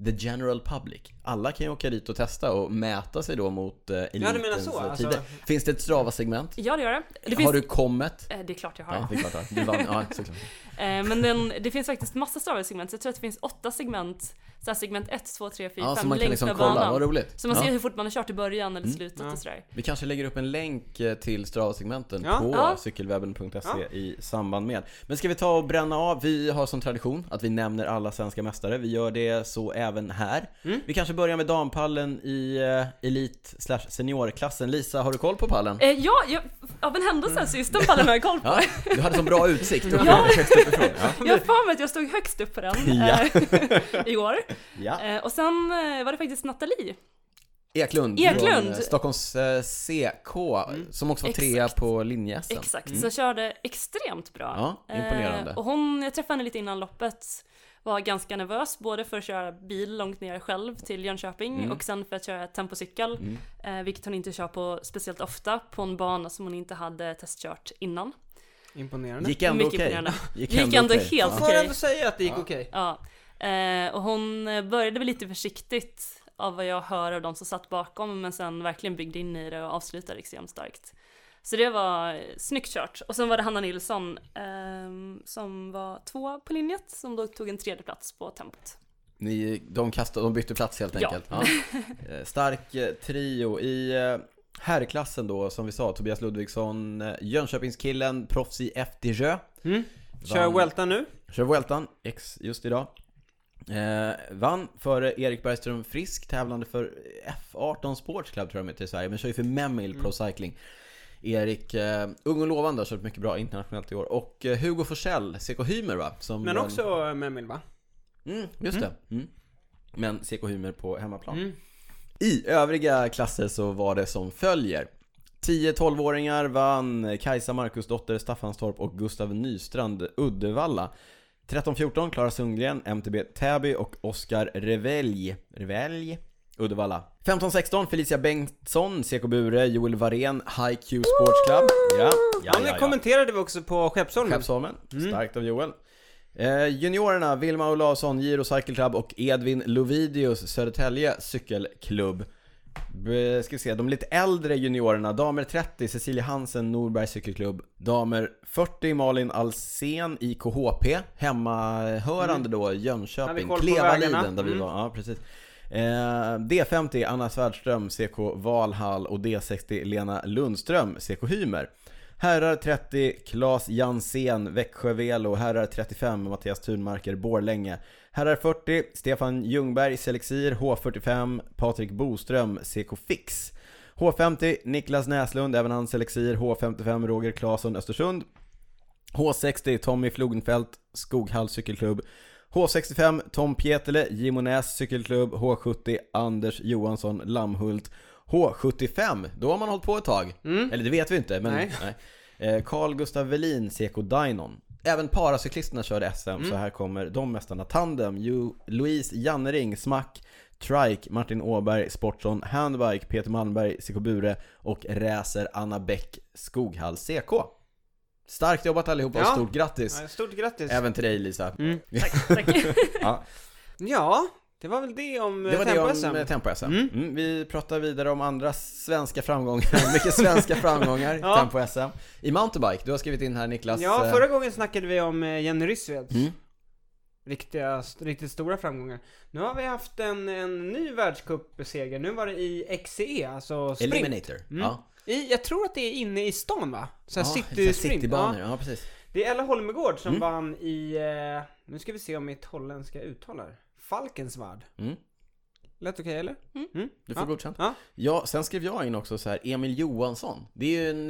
C: the general public, alla kan ju åka dit och testa och mäta sig då mot eh,
A: menar
C: elitens
A: så,
C: eh,
A: alltså.
C: tider. Finns det ett Strava-segment?
B: Ja, det gör det. Det,
C: Har
B: finns,
C: du kommet?
B: eh, det är klart jag har.
C: Ja, det är klart. ja. Du vann, ja, såklart.
B: Eh, men den, det finns faktiskt massa Strava-segment, så jag tror att det finns åtta segment. Så här segment 1, 2, 3, 4,
C: Ja,
B: 5
C: så man kan
B: längs
C: liksom
B: med
C: kolla, vad
B: banan.
C: roligt.
B: Så man
C: ja. Mm.
B: ser hur fort man har kört i början eller slutet
A: Ja.
B: och sådär.
C: Vi kanske lägger upp en länk eh, till Strava-segmenten
A: Ja.
C: på
B: Ja.
C: cykelwebben.se
A: Ja.
C: i samband med. Men ska vi ta och bränna av? Vi har som tradition att vi nämner alla svenska mästare. Vi gör det så även här.
B: Mm.
C: Vi kanske börjar med dampallen i eh, elit slash seniorklassen. Lisa, har du koll på pallen?
B: Eh, ja, jag, av en händelse så just den
C: Mm.
B: pallen har jag koll på.
C: Ja, du hade så bra utsikt. Du
B: Ja.
C: kom högst uppifrån. Ja.
B: Jag har för mig att jag stod högst upp på den
C: Ja.
B: eh, igår.
C: Ja.
B: Eh, och sen eh, var det faktiskt Nathalie.
C: Eklund,
B: Eklund. Mm.
C: från eh, Stockholms eh, CK, som också var
B: Exakt.
C: trea på linjeSM.
B: Exakt, som körde extremt bra.
C: Mm. Ja, imponerande.
B: Eh, och hon, jag träffade henne lite innan loppet, var ganska nervös både för att köra bil långt ner själv till Jönköping
C: Mm.
B: och sen för att köra tempocykel, eh, vilket hon inte kör på speciellt ofta, på en bana som hon inte hade testkört innan.
A: Imponerande.
C: Gick ändå
B: Mycket
C: okej.
B: imponerande. Gick ändå
C: okej.
B: helt
A: Jag
C: Ja.
A: alltså. får
B: Okej.
A: ändå säga att det gick okej.
B: Ja. Eh, och hon eh, började väl lite försiktigt av vad jag hör av de som satt bakom men sen verkligen byggde in i det och avslutade extremt starkt. Så det var eh, snyggt kört. Och sen var det Hanna Nilsson ehm, som var två på linjet som då tog en tredje plats på tempot.
C: Ni, de, kastade, de bytte plats helt
B: Ja.
C: enkelt. Ja. Eh, Stark eh, trio i eh, herrklassen då, som vi sa, Tobias Ludvigsson, eh, Jönköpingskillen, proffs i FDJ.
A: Mm. Kör
C: Vann-
A: Welta nu.
C: Kör Vueltan, ex just idag. Eh, vann före Erik Bergström Frisk, tävlande för F18 Sports Club tror jag de heter i Sverige, men kör ju för Memil
A: Mm.
C: Pro Cycling. Erik, eh, ung och lovande, har kört mycket bra internationellt i år. Och eh, Hugo Forsell, CK Hymer va? Som
A: Men
C: vann-
A: också Memil va?
C: Mm, just det. Mm. Men CK Hymer på hemmaplan.
A: Mm.
C: I övriga klasser så var det som följer. 10-12-åringar vann Kajsa Markusdotter Staffanstorp och Gustav Nystrand Uddevalla. 13-14 Klara Sundgren, MTB Täby och Oskar Revelj. Revelj? Uddevalla. 15-16 Felicia Bengtsson, CK Bure, Joel Varén, HiQ Sports Club. Ja, ja,
A: Han
C: ja, ja.
A: kommenterade vi också på Skeppsholmen.
C: Skeppsholmen.
A: Mm.
C: Starkt av Joel. Eh, juniorerna Vilma Olausson, Giro Cycle Club och Edvin Lovidius, Södertälje Cykelklubb. B- ska vi se, de lite äldre juniorerna, damer 30, Cecilia Hansen, Norberg Cykelklubb. Damer 40, Malin Alsen i KHP. Hemmahörande då,
A: Har Mm. vi
C: Jönköping.
A: koll på
C: Klevaliden
A: vägarna?
C: där vi
A: Mm.
C: var. Ja, precis. Eh, D50, Anna Svärdström, CK Valhall och D60, Lena Lundström, CK Hymer. Herrar 30, Claes Jansén, Växjö Velo. Herrar 35, Mattias Thunmarker, Borlänge. Herrar 40, Stefan Ljungberg, Selexir. H45, Patrik Boström, CK Fix. H50, Niklas Näslund, även han Selexir. H55, Roger Claesson, Östersund. H60, Tommy Flogenfeldt, Skoghall cykelklubb. H65, Tom Pietele, Jimmo Näs cykelklubb. H70, Anders Johansson, Lammhult. H75, då har man hållit på ett tag. Eller det vet vi inte, men nej.
A: Nej.
C: Eh, Carl Gustav Welin, Seko Dynon. Även paracyklisterna körde SM, så här kommer de mästarna. Tandem, Ju- Louise Jannering, Smack, Trike, Martin Åberg, Sportson, Handbike, Peter Malmberg, Seko Bure och Räser Anna Bäck, Skoghall CK. Starkt jobbat allihopa och
A: Ja.
C: stort grattis!
A: Ja, Stort grattis.
C: Även till dig Lisa.
B: Tack.
C: Ja,
A: Ja, det var väl det om
C: det var det
A: tempo-SM.
C: om eh, Tempo-SM. Mm. vi pratar vidare om andra svenska framgångar, mycket svenska framgångar i
A: Ja.
C: Tempo-SM. I mountainbike, du har skrivit in här Niklas.
A: Ja,
C: eh,
A: förra gången snackade vi om eh, Jenny Rysveds
C: Mm.
A: riktiga, riktigt stora framgångar. Nu har vi haft en, en ny världscupseger. Nu var det i XCE, alltså sprint.
C: Eliminator.
A: Mm.
C: Ja.
A: I, jag tror att det är inne i stan va? Så här
C: Ja,
A: city
C: så här
A: sprint.
C: Citybanor, Mm.
A: Ja.
C: ja. precis.
A: Det är Ella Holmegård som vann i, eh, nu ska vi se om mitt holländska uttal här. Falkensvard.
C: Mm.
A: Lät okej eller? Mm.
C: Du får
A: Ja.
C: godkänt.
A: Ja.
C: Ja, sen skrev jag in också så här, Emil Johansson. Det är ju en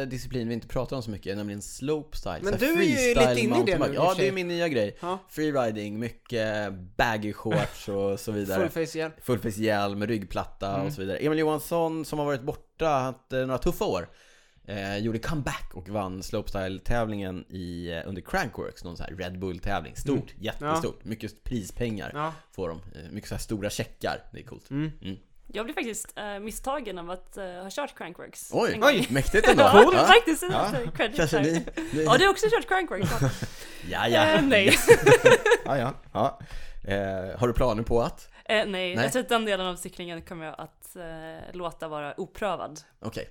C: eh, disciplin vi inte pratar om så mycket, nämligen slopestyle.
A: Men
C: så här
A: du är ju
C: freestyle
A: lite inne i det nu,
C: mountainbike.
A: i och
C: Ja,
A: för
C: det
A: sig.
C: är min nya grej.
A: Ja.
C: Freeriding, mycket baggy shorts och så vidare.
A: Full Mm. face igen.
C: Fullfejshjälm, ryggplatta och så vidare. Emil Johansson som har varit borta, haft eh, några tuffa år, eh, gjorde comeback och vann Slopestyle-tävlingen i, eh, under Crankworks, någon sån här Red Bull-tävling. Stort, jättestort. Mycket prispengar
A: Mm. Ja.
C: får de. Eh, Mycket så här stora checkar. Det är coolt.
B: Jag blev faktiskt eh, misstagen av att eh, ha kört Crankworks.
C: Oj,
B: en gång.
A: oj,
C: mäktigt ändå.
B: Ja,
C: Ja.
B: faktiskt.
C: Ja.
B: Ja. Credit
C: Kanske ni,
B: där.
C: ni...
B: Ja, du har också kört Crankworks? va?
C: Ja, ja.
B: Eh, nej.
C: ja, ja. ja. Eh, har du planer på att?
B: Eh, nej,
C: Nej.
B: jag tror att den delen av cyklingen kommer jag att eh, låta vara oprövad.
C: Okej.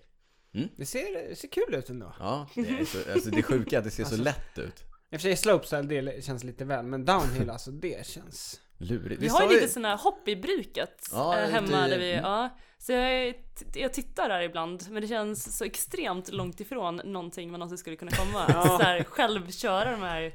A: Det ser, det ser kul ut ändå.
C: Ja, det är, så, alltså, det är sjuka är att det ser så
A: Alltså-
C: lätt ut.
A: I och för sig slopestyle det känns lite väl, men downhill alltså det känns...
C: Lurigt.
B: Vi
C: Visst
B: har ju lite sådana här hopp i bruket
C: Ja,
B: eh,
C: ute
B: hemma
C: i-
B: där vi,
C: mm.
B: ja. Så jag, är- t- jag tittar där ibland, men det känns så extremt långt ifrån någonting man någonsin skulle kunna komma. Att så här, själv köra de här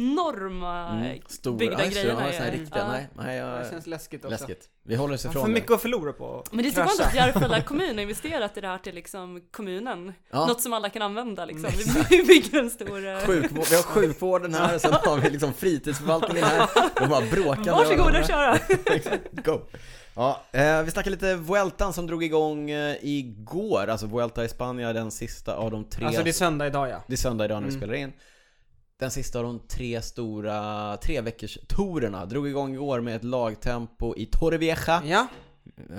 B: enorma
C: Mm, Stora,
B: byggda
C: just det,
B: grejerna.
C: Ja, såna här
B: ju.
C: riktiga, nej, nej jag,
A: Det känns läskigt också.
C: Eh, läskigt. Vi håller oss
A: Man
C: ifrån
A: har för mycket att förlora på att
B: Men det är så
A: krascha.
B: skönt att Järfälla kommun har investerat i det här till liksom kommunen.
C: Ja. Mm.
B: Något som alla kan använda liksom. Vi bygger en stor... eh,
C: det. Sjukvård, vi har sjukvården här, sen har vi liksom fritidsförvaltningen här. De bara bråkar med
B: Varsågod
C: varandra.
B: och köra!
C: Exakt. Go! Ja, eh, vi snackar lite Vueltan som drog igång eh, igår, alltså Vuelta i Spanien, den sista av de tre...
A: Alltså det är söndag idag ja.
C: Det är söndag idag när vi
A: Mm.
C: spelar in. Den sista av de tre stora tre veckors torerna drog igång igår med ett lagtempo i Torrevieja.
A: Ja.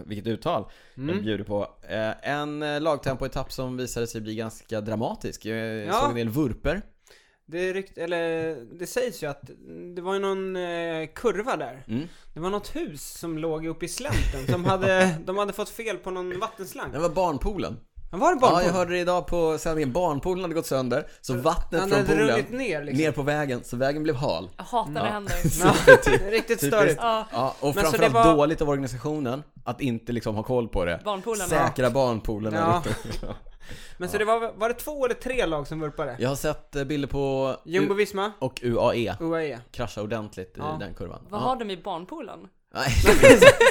C: Vilket uttal jag
A: Mm.
C: bjuder på. Eh, En eh, lagtempoetapp som visade sig bli ganska dramatisk. Jag
A: Ja.
C: såg en del vurper.
A: Det, rykt, eller, det sägs ju att det var ju någon eh, kurva där.
C: Mm.
A: Det var något hus som låg uppe i slänten. Som hade, de hade fått fel på någon vattenslang.
C: Det var barnpoolen.
A: Var det
C: Ja,
A: barnpool?
C: jag hörde det idag på sändningen. Barnpoolen hade gått sönder, så vattnet
A: Han
C: från
A: hade
C: poolen
A: runnit ner liksom.
C: ner på vägen, så vägen blev hal.
B: Jag hatar när det händer.
A: Ja,
C: Typ-
A: riktigt
C: typiskt.
A: störigt.
B: Ja,
C: Ja, och
A: Men så det
C: framförallt
A: var-
C: dåligt av organisationen att inte liksom ha koll på det.
B: barnpoolen. ja.
C: Säkra barnpoolen.
A: Ja.
C: Ja.
A: Men så det var, var det två eller tre lag som vurpade?
C: Jag har sett eh, bilder på
A: Jumbo
C: U-
A: Visma,
C: och UAE
A: UAE.
C: krascha ordentligt
A: Ja.
C: i den kurvan.
B: Vad
C: Ja.
B: har de i barnpoolen?
C: Nej,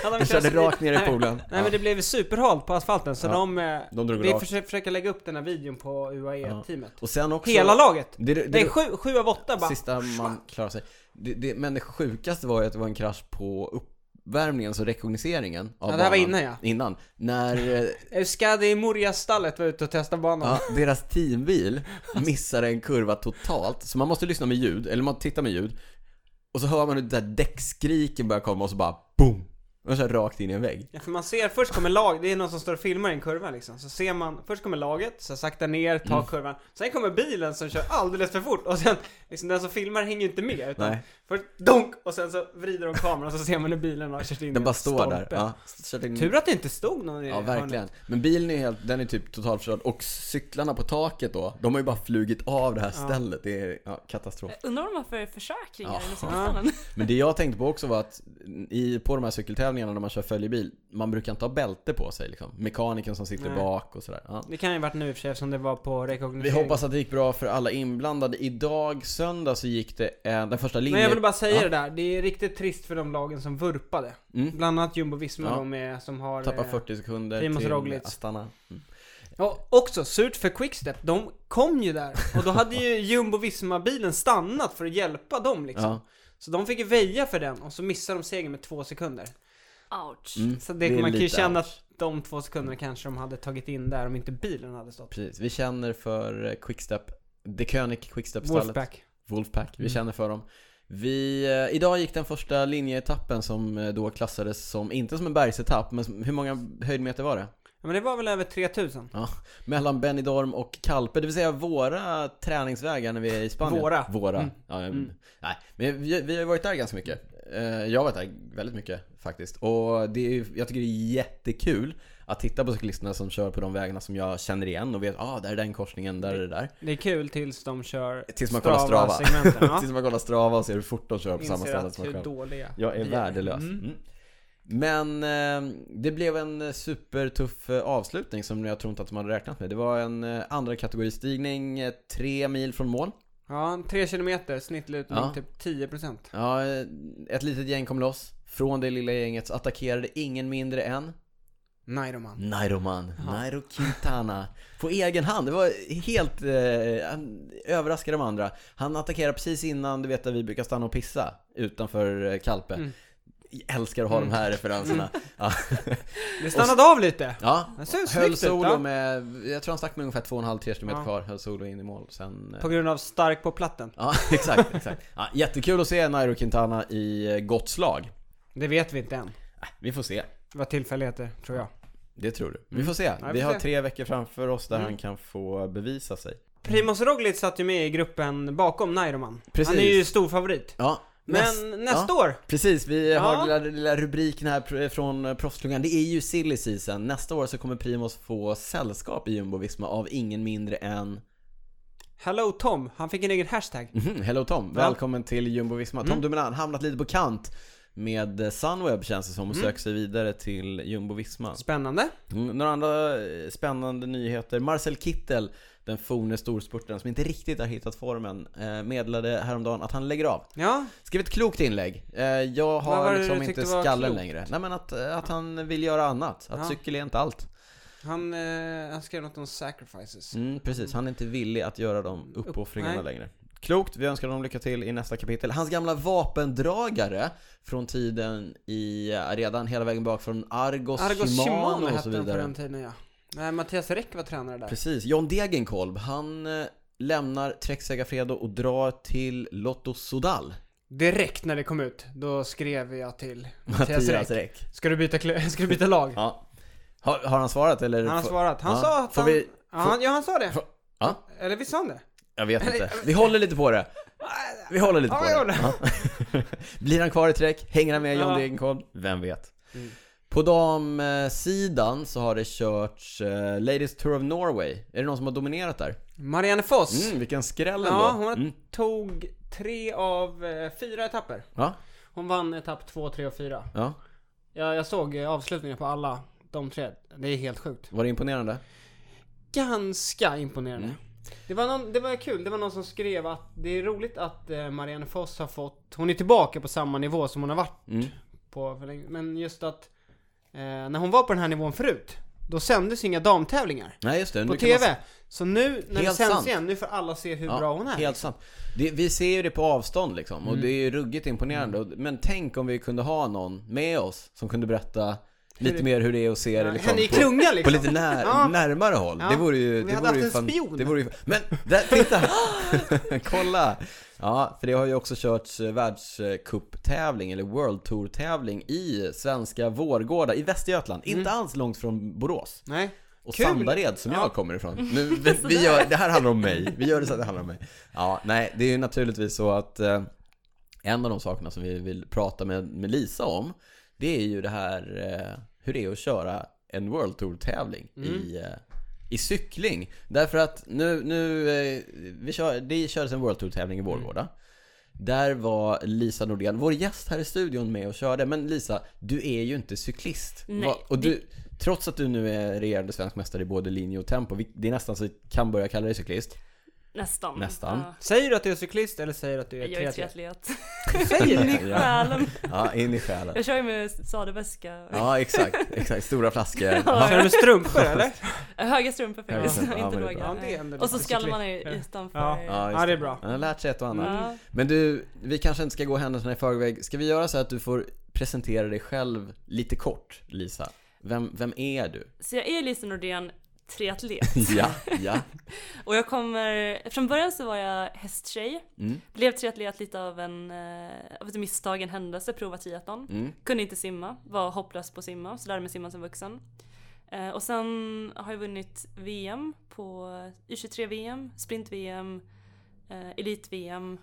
A: Hade de
C: de körde
A: kört-
C: rakt ner i
A: Nej.
C: poolen.
A: Nej men det blev superhalt på asfalten så
C: Ja.
A: de... eh,
C: De drog
A: vi
C: rakt.
A: försöker, försöker lägga upp den här videon på UAE-teamet.
C: Och sen också...
A: Hela laget!
C: Det, det,
A: Nej, sju, sju av åtta bara.
C: sista man klarar sig. Det, det, men det sjukaste var ju att det var en krasch på upp, uppvärmningen, så rekognoseringen av
A: Ja, det här var
C: banan-
A: innan, ja.
C: Innan. När eh,
A: Euskadi i Murjastallet var ute och testade banan.
C: ja, deras teambil missar en kurva totalt, så man måste lyssna med ljud, eller man tittar med ljud. Och så hör man hur det där däckskriken börjar komma och så bara boom! Och så här rakt in i en vägg.
A: Ja, för man ser, först kommer lag, det är någon som står och filmar i en kurva liksom. Så ser man, först kommer laget, så sakta ner, tar
C: Mm.
A: kurvan. Sen kommer bilen som kör alldeles för fort och sen, liksom den som filmar hänger inte med utan
C: Nej.
A: först dunk och sen så vrider de kameran så ser man hur bilen har kört in i
C: Den
A: en
C: bara står där.
A: stolpe.
C: Ja, Kört in-
A: Tur att det inte stod någon i
C: Ja,
A: hörnet.
C: verkligen. Men bilen är helt, den är typ totalförstörd och cyklarna på taket då, de har ju bara flugit av det här stället. Det är ja, katastrof.
B: Eh, Undrar om de har för försäkringar
C: Ja.
B: eller sånt.
C: Men det jag tänkte på också var att i, på de här cykeltävlingarna när man kör följebil, man brukar inte ha bälte på sig liksom. Mekanikern som sitter
A: Nej.
C: bak och sådär. Ja.
A: Det kan ju varit nu i och för sig eftersom det var på
C: Vi
A: rekognosering.
C: hoppas att det gick bra för alla inblandade. Idag söndag så gick det en, den första linjen...
A: Men jag vill bara säga
C: Ja.
A: det där, det är riktigt trist för de lagen som vurpade.
C: Mm.
A: Bland annat Jumbo-Visma
C: Ja.
A: då med, som har...
C: Tappar
A: eh,
C: 40 sekunder
A: Primoz
C: till
A: Roglic.
C: Astana. Mm.
A: Ja, också surt för Quickstep. De kom ju där och då hade ju Jumbo-Visma-bilen stannat för att hjälpa dem liksom.
C: Ja.
A: Så de fick ju väja för den och så missade de segern med två sekunder.
B: Ouch.
C: Mm.
A: Så det,
C: är
A: man kan ju
C: lite
A: känna
C: ouch.
A: att de två sekunderna kanske de hade tagit in där om inte bilen hade stått.
C: Precis, vi känner för eh, Quickstep, The König Quickstep-stallet.
A: Wolfpack.
C: Wolfpack, vi
A: Mm.
C: känner för dem. Vi, eh, idag gick den första linjeetappen som eh, då klassades som, inte som en bergsetapp, men som, hur många höjdmeter var det?
A: Ja, men det var väl över 3000?
C: Mellan Benidorm och Kalpe, det vill säga våra träningsvägar när vi är i Spanien.
A: Våra.
C: Våra.
A: Mm.
C: Ja, eh,
A: Mm.
C: Nej, men vi, vi har ju varit där ganska mycket. Eh, Jag har varit där väldigt mycket faktiskt. Och det är, ju- jag tycker det är jättekul att titta på cyklisterna som kör på de vägarna som jag känner igen och vet, ah, där är den korsningen, där är det där.
A: Det är kul tills de kör
C: Tills man kollar Strava.
A: Strava-segmenten. Ja.
C: Tills man kollar Strava och ser hur fort de kör på samma
A: Inser
C: ställe
A: att
C: som man
A: hur
C: själv.
A: dåliga
C: Jag är
A: vi
C: värdelös.
A: Mm.
C: Mm. Men eh, det blev en eh, supertuff eh, avslutning som jag tror inte att de hade räknat med. Det var en eh, andra kategoristigning, eh, tre mil från mål.
A: Ja, 3 kilometer, snittlutning
C: Ja.
A: typ 10%.
C: Ja, eh, ett litet gäng kom loss. Från det lilla gänget så attackerade ingen mindre än
A: Nej då man.
C: Nairoman,
A: Ja.
C: Nairo Quintana. På egen hand. Det var helt... Eh, han överraskade de andra. Han attackerade precis innan, du vet där vi brukar stanna och pissa utanför eh, Kalpe.
A: Mm.
C: Jag älskar att ha de här referenserna. Ja.
A: Det stannade av lite.
C: ja.
A: Det ser
C: Höll
A: snyggt ut.
C: solo
A: ja.
C: med, jag tror han stack med ungefär 2,5-3 km
A: Ja.
C: kvar. Höll solo in i mål sen. eh,
A: På grund av stark på platten.
C: Ja, exakt, exakt. Ja, jättekul att se Nairo Quintana i eh, gott slag.
A: Det vet vi inte än.
C: Äh, Vi får se.
A: Det var tillfälligheter, tror jag.
C: Det tror du. Vi får se.
A: Mm. vi
C: Vi
A: får
C: har
A: se.
C: tre veckor framför oss där
A: Mm.
C: han kan få bevisa sig.
A: Primoz Roglic satt ju med i gruppen bakom Nairoman.
C: Precis.
A: Han är ju stor favorit.
C: Ja,
A: Men
C: näst-
A: nästa år,
C: Precis, vi
A: Ja.
C: har lilla, lilla rubriken här pr- från eh, proffsklungan. Det är ju silly season. Nästa år så kommer Primoz få sällskap i Jumbo-Visma av ingen mindre än
A: Hello Tom, han fick en egen hashtag.
C: Mhm, Hello Tom,
A: Ja.
C: välkommen till Jumbo-Visma. Tom
A: Mm.
C: Dumoulin, hamnat lite på kant med eh, Sunweb känns det som och
A: Mm.
C: söker sig vidare till Jumbo-Visma.
A: Spännande.
C: Mm, Några andra eh, spännande nyheter. Marcel Kittel, den forne storspurtaren som inte riktigt har hittat formen, eh, meddelade häromdagen att han lägger av.
A: Ja,
C: Skrev ett klokt inlägg. Eh, Jag
A: Vad var
C: har
A: det
C: liksom
A: du tyckte
C: inte
A: var
C: skallen
A: klokt?
C: längre. Nej men att, eh, att han vill göra annat. Att
A: Ja.
C: cykel är inte allt.
A: han, eh, han skrev något om sacrifices.
C: Mm, precis, han är inte villig att göra de uppoffringarna
A: Nej.
C: längre. Klokt, vi önskar honom lycka till i nästa kapitel. Hans gamla vapendragare från tiden i, eh, redan hela vägen bak från Argos,
A: Argos Shimano
C: och så
A: hette han på den
C: vidare.
A: tiden ja. Nej, Mattias Räck var tränare där.
C: Precis, John Degenkolb, han eh, lämnar Trek Segafredo och drar till Lotto Sodal.
A: Direkt när det kom ut, då skrev jag till Mattias
C: Mattias
A: Räck.
C: Räck.
A: Ska du byta, klö- ska du byta lag?
C: Ja. Har, har han svarat eller?
A: Han har
C: får-
A: svarat. Han
C: Ja.
A: sa att
C: Får
A: han...
C: vi-
A: ja, han, ja, han sa det.
C: Får- Ja.
A: Eller visst sa han det?
C: Jag vet inte. Vi håller lite på det. Vi håller lite
A: Ja,
C: på
A: vi
C: det. Ja. Blir han kvar i Trek? Hänger han med John
A: Ja.
C: Degenkolb? Vem vet?
A: Mm.
C: På damsidan så har det körts eh, Ladies Tour of Norway. Är det någon som har dominerat där?
A: Marianne Foss.
C: Mm, vilken skräll ändå.
A: Ja, hon
C: Mm.
A: tog tre av eh, fyra etapper.
C: Ja,
A: Hon vann etapp två, tre och fyra.
C: ja.
A: Ja, jag såg eh, avslutningen på alla de tre. Det är helt sjukt.
C: Var det imponerande?
A: Ganska imponerande.
C: Mm.
A: Det, var någon, det var kul, det var någon som skrev att det är roligt att eh, Marianne Foss har fått... Hon är tillbaka på samma nivå som hon har varit
C: Mm.
A: på för länge. Men just att eh, när hon var på den här nivån förut, då sändes inga damtävlingar
C: Nej just det.
A: på
C: nu kan man-
A: TV. Så nu när det
C: Helt
A: sänds
C: sant.
A: igen, nu får alla se hur
C: Ja,
A: bra hon är. liksom. Mm.
C: Helt sant. Det, vi ser ju det på avstånd liksom och det är ju ruggigt imponerande. Och- Men tänk om vi kunde ha någon med oss som kunde berätta lite
A: det-
C: mer hur det är att se det
A: Ja,
C: liksom,
A: henne i
C: på,
A: klunga, liksom.
C: på lite när,
A: Ja.
C: närmare håll.
A: Ja.
C: Det vore ju...
A: Vi
C: Det
A: hade
C: vore
A: haft
C: ju
A: en spion.
C: Det vore ju, men där, titta! Kolla! Ja, för det har ju också körts eh, världscuptävling eller World Tour-tävling i svenska Vårgårda i Västergötland. Inte alls långt från Borås.
A: Nej.
C: Och
A: Mm. Kul!
C: Sandared som
A: Ja.
C: jag kommer ifrån. Nu, vi, vi gör, det här handlar om mig. Vi gör det så att det handlar om mig. Ja, nej, det är ju naturligtvis så att eh, en av de sakerna som vi vill prata med, med Lisa om, det är ju det här eh, hur det är att köra en World Tour-tävling i, eh, i cykling. Därför att nu, nu eh, vi kör, det kördes en World Tour-tävling i Vårgårda. Där var Lisa Nordén, vår gäst här i studion med och körde. Men Lisa, du är ju inte cyklist.
B: Nej,
C: Va- och du, Trots att du nu är regerande svensk mästare i både linje och tempo, vi- det är nästan så vi kan börja kalla dig cyklist.
B: Nästan.
C: Nästan.
B: Ja.
A: Säger du att du är cyklist eller säger du att du är
B: Jag är
A: triatlet?
B: triatlet.
A: Säger du?
C: Ja,
B: Själen.
C: ja in i själen.
B: Jag kör ju med sadelväska.
C: Ja, exakt. exakt. Stora flaskor.
A: Kör du med strumpor eller?
B: Eh, Höga strumpor faktiskt,
C: Ja,
B: inte
C: men det är
B: låga.
A: bra. Ja, det är ändå
B: och så
A: lite
B: skalvarna
A: cykli-
B: är utanför.
A: Ja.
C: Ja,
A: Ja, det är bra.
C: Jag har lärt sig ett och annat.
B: Ja.
C: Men du, vi kanske inte ska gå händelserna i förväg. Ska vi göra så att du får presentera dig själv lite kort, Lisa? Vem, vem är du?
B: Så jag är Lisa Nordén, triatlet.
C: Ja, ja.
B: Och jag kommer, från början så var jag hästtjej.
C: Mm.
B: Blev triatlet lite av en, eh, av ett misstag, en händelse, prova triathlon.
C: Mm.
B: Kunde inte simma, var hopplös på att simma, så lärde mig simma som vuxen. Eh, och sen har jag vunnit VM på U23-VM, sprint-VM, eh, elit-VM.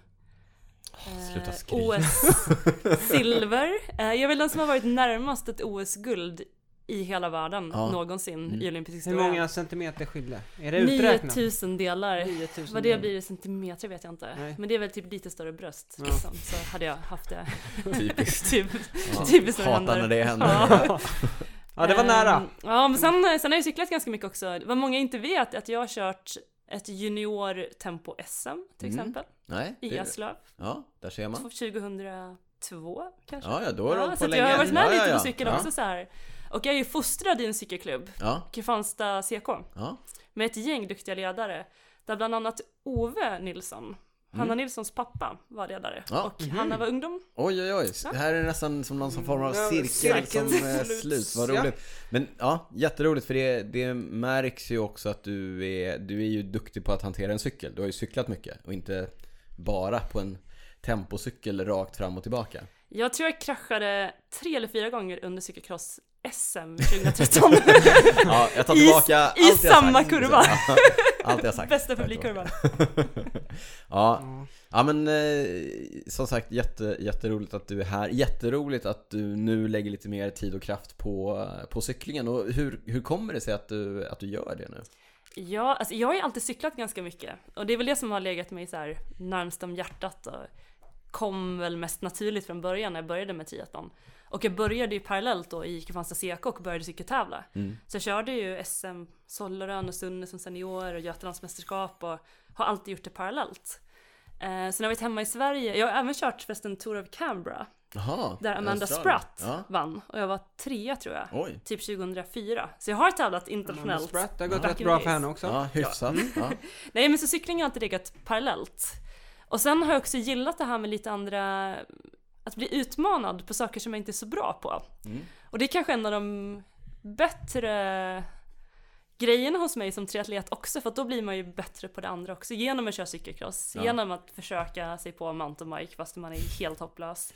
B: eh,
C: sluta skryta.
B: OS-silver. Eh, jag är väl den som har varit närmast ett OS-guld i hela världen
C: Ja. Mm.
B: någonsin i olympisk
A: Hur
B: historia.
A: många centimeter skilde? Är det uträknat?
B: 9000 delar.
A: 9000
B: Vad det blir i centimeter vet jag inte.
A: Nej.
B: Men det är väl typ lite större bröst.
A: Ja.
B: Liksom, så hade jag haft det.
C: Typiskt.
B: typ,
C: Ja.
B: Typiskt när det
C: Hatar
B: händer.
C: när det händer.
B: Ja.
A: Ja, det var nära.
B: Ehm, Ja, men sen, sen har jag cyklat ganska mycket också. Vad många inte vet är att jag har kört ett junior tempo SM till
C: Mm.
B: exempel.
C: Nej,
B: I
C: det,
B: Eslöv.
C: ja, där ser man.
B: 2002 kanske.
C: Ja, ja, då har du
B: Ja,
C: hållit
B: så
C: på
B: att jag har
C: länge.
B: varit med
C: Ja,
B: lite
C: ja, ja.
B: på cykel
C: Ja.
B: också så här. Och jag är ju fostrad i en cykelklubb,
C: Ja,
B: Kristianstad CK.
C: ja.
B: med ett gäng duktiga ledare. Där bland annat Ove Nilsson, Hanna Nilssons pappa, var ledare.
C: Mm. Ja, mhm.
B: Och Hanna var ungdom.
C: Oj, oj, oj. Det här är nästan som någon som form
B: Mm,
C: av
A: Ja,
C: cirkel som
A: cirkeln
C: eh,
A: sluts,
C: sluts. Vad
A: ja.
C: roligt. Men ja, jätteroligt för det, det märks ju också att du är, du är ju duktig på att hantera en cykel. Du har ju cyklat mycket och inte bara på en tempocykel rakt fram och tillbaka.
B: Jag tror jag kraschade tre eller fyra gånger under cykelcross-SM 2013.
C: Ja, jag tar
B: I-
C: tillbaka
B: i
C: allt jag
B: samma
C: sagt.
B: kurva.
C: Ja, allt jag sagt.
B: Bästa
C: Tack.
B: publikkurvan.
C: Ja, ja men eh, som sagt jätte, jätteroligt att du är här. Jätteroligt att du nu lägger lite mer tid och kraft på, på cyklingen. Och hur, hur kommer det sig att du, att du gör det nu?
B: Ja, alltså jag har ju alltid cyklat ganska mycket. Och det är väl det som har legat mig så här närmst om hjärtat. Och kom väl mest naturligt från början när jag började med triathlon. Och jag började ju parallellt då i Kristianstad CK och började cykeltävla. Så jag körde ju SM Sollerön och Sunne som senior och Götalandsmästerskap och har alltid gjort det parallellt. Eh, sen har jag varit hemma i Sverige, jag har även kört förresten Tour of Canberra
C: Jaha,
B: där Amanda
C: Australien.
B: Spratt
C: Ja.
B: vann och jag var trea tror jag.
C: Oj.
B: Typ 2004. Så jag har tävlat
A: Amanda
B: internationellt.
A: Spratt, det har gått
B: Ja.
A: rätt bra för henne också.
C: Ja, hyfsat. Ja.
B: Nej men så cykling har alltid legat parallellt. Och sen har jag också gillat det här med lite andra, att bli utmanad på saker som jag inte är så bra på. Och det är kanske en av de bättre grejerna hos mig som triatlet också för att då blir man ju bättre på det andra också genom att köra cykelcross,
C: Ja.
B: genom att försöka sig på mountainbike fast man är helt hopplös.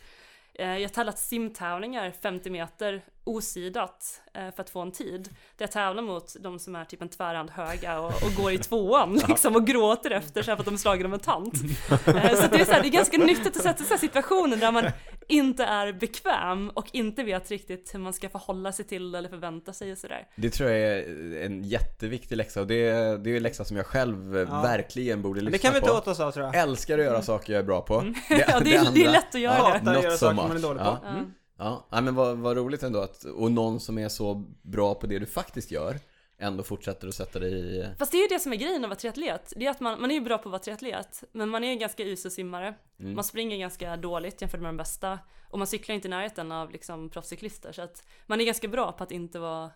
B: Eh, Jag har tävlat simtävlingar 50 meter osidat eh, för att få en tid. Där jag tävlar mot de som är typ en tvärhand höga och, och går i tvåan liksom och gråter efter så här för att de är slagna av en tant. Eh, Så att det, är så här, det är ganska nyttigt att sätta sig i situationen där man inte är bekväm och inte vet riktigt hur man ska förhålla sig till eller förvänta sig och sådär.
C: Det tror jag är en jätteviktig läxa och det, det är en läxa som jag själv eh,
A: Ja.
C: verkligen borde lyssna
A: Det kan vi
C: på.
A: inte åt oss av tror jag.
C: Älskar att göra saker jag är bra på.
B: Mm. Ja, det är- det är
C: andra-
B: lätt att göra Mm.
C: ja,
A: det. Hatar att
C: Not
A: göra
C: so
A: saker man är
C: much.
A: dålig på.
C: Ja.
B: Ja.
C: Ja, nej, men vad, vad roligt ändå att, och någon som är så bra på det du faktiskt gör, ändå fortsätter att sätta dig i...
B: Fast det är ju det som är grejen att vara triatlet. Det är att man, man är ju bra på att vara triatlet, men man är en ganska usel simmare.
C: Mm.
B: Man springer ganska dåligt jämfört med de bästa. Och man cyklar inte i närheten av liksom proffscyklister. Så att man är ganska bra på att inte vara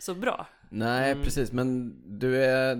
B: så bra.
C: Nej,
A: Mm.
C: precis. Men du är,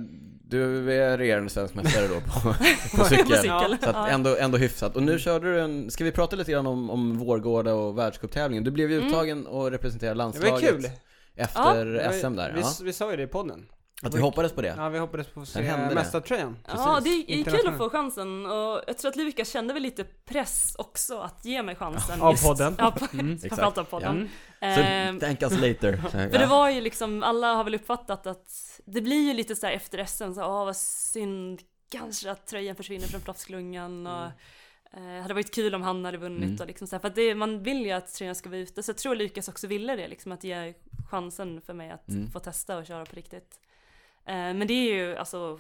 C: du är regerande svensk mästare då på, på
B: På
C: cykel.
B: cykel.
C: Så
B: Ja.
C: att ändå, ändå hyfsat. Och nu körde du en, ska vi prata lite grann om, om Vårgårda och världscuptävlingen? Du blev ju
B: Mm.
C: uttagen och representerade
A: Det var
C: landslaget
A: kul!
C: efter
A: Det var ju-
C: SM där.
A: Vi,
C: Ja.
A: vi sa ju det i podden.
C: Att vi hoppades på det.
A: Ja, vi hoppades på att se
C: hände det.
A: mästartröjan.
B: Ja, det är, är kul att
A: Internationellt.
B: få chansen och jag tror att Livika kände väl lite press också att ge mig chansen.
A: Av
B: just-
A: podden. Mm.
B: Ja, på,
C: Mm, Exakt.
B: framförallt av podden.
C: Så
B: Ehm,
C: thank us later.
B: För det var ju liksom, alla har väl uppfattat att det blir ju lite så här efter SM, så ah vad synd, kanske att tröjan försvinner från proffsklungan och eh, hade varit kul om han hade vunnit
C: Mm.
B: och liksom så här, för att det, man vill ju att tröjan ska vara ute, så jag tror Lukas också ville det liksom, att ge chansen för mig att
C: Mm.
B: få testa och köra på riktigt. Eh, men det är ju alltså,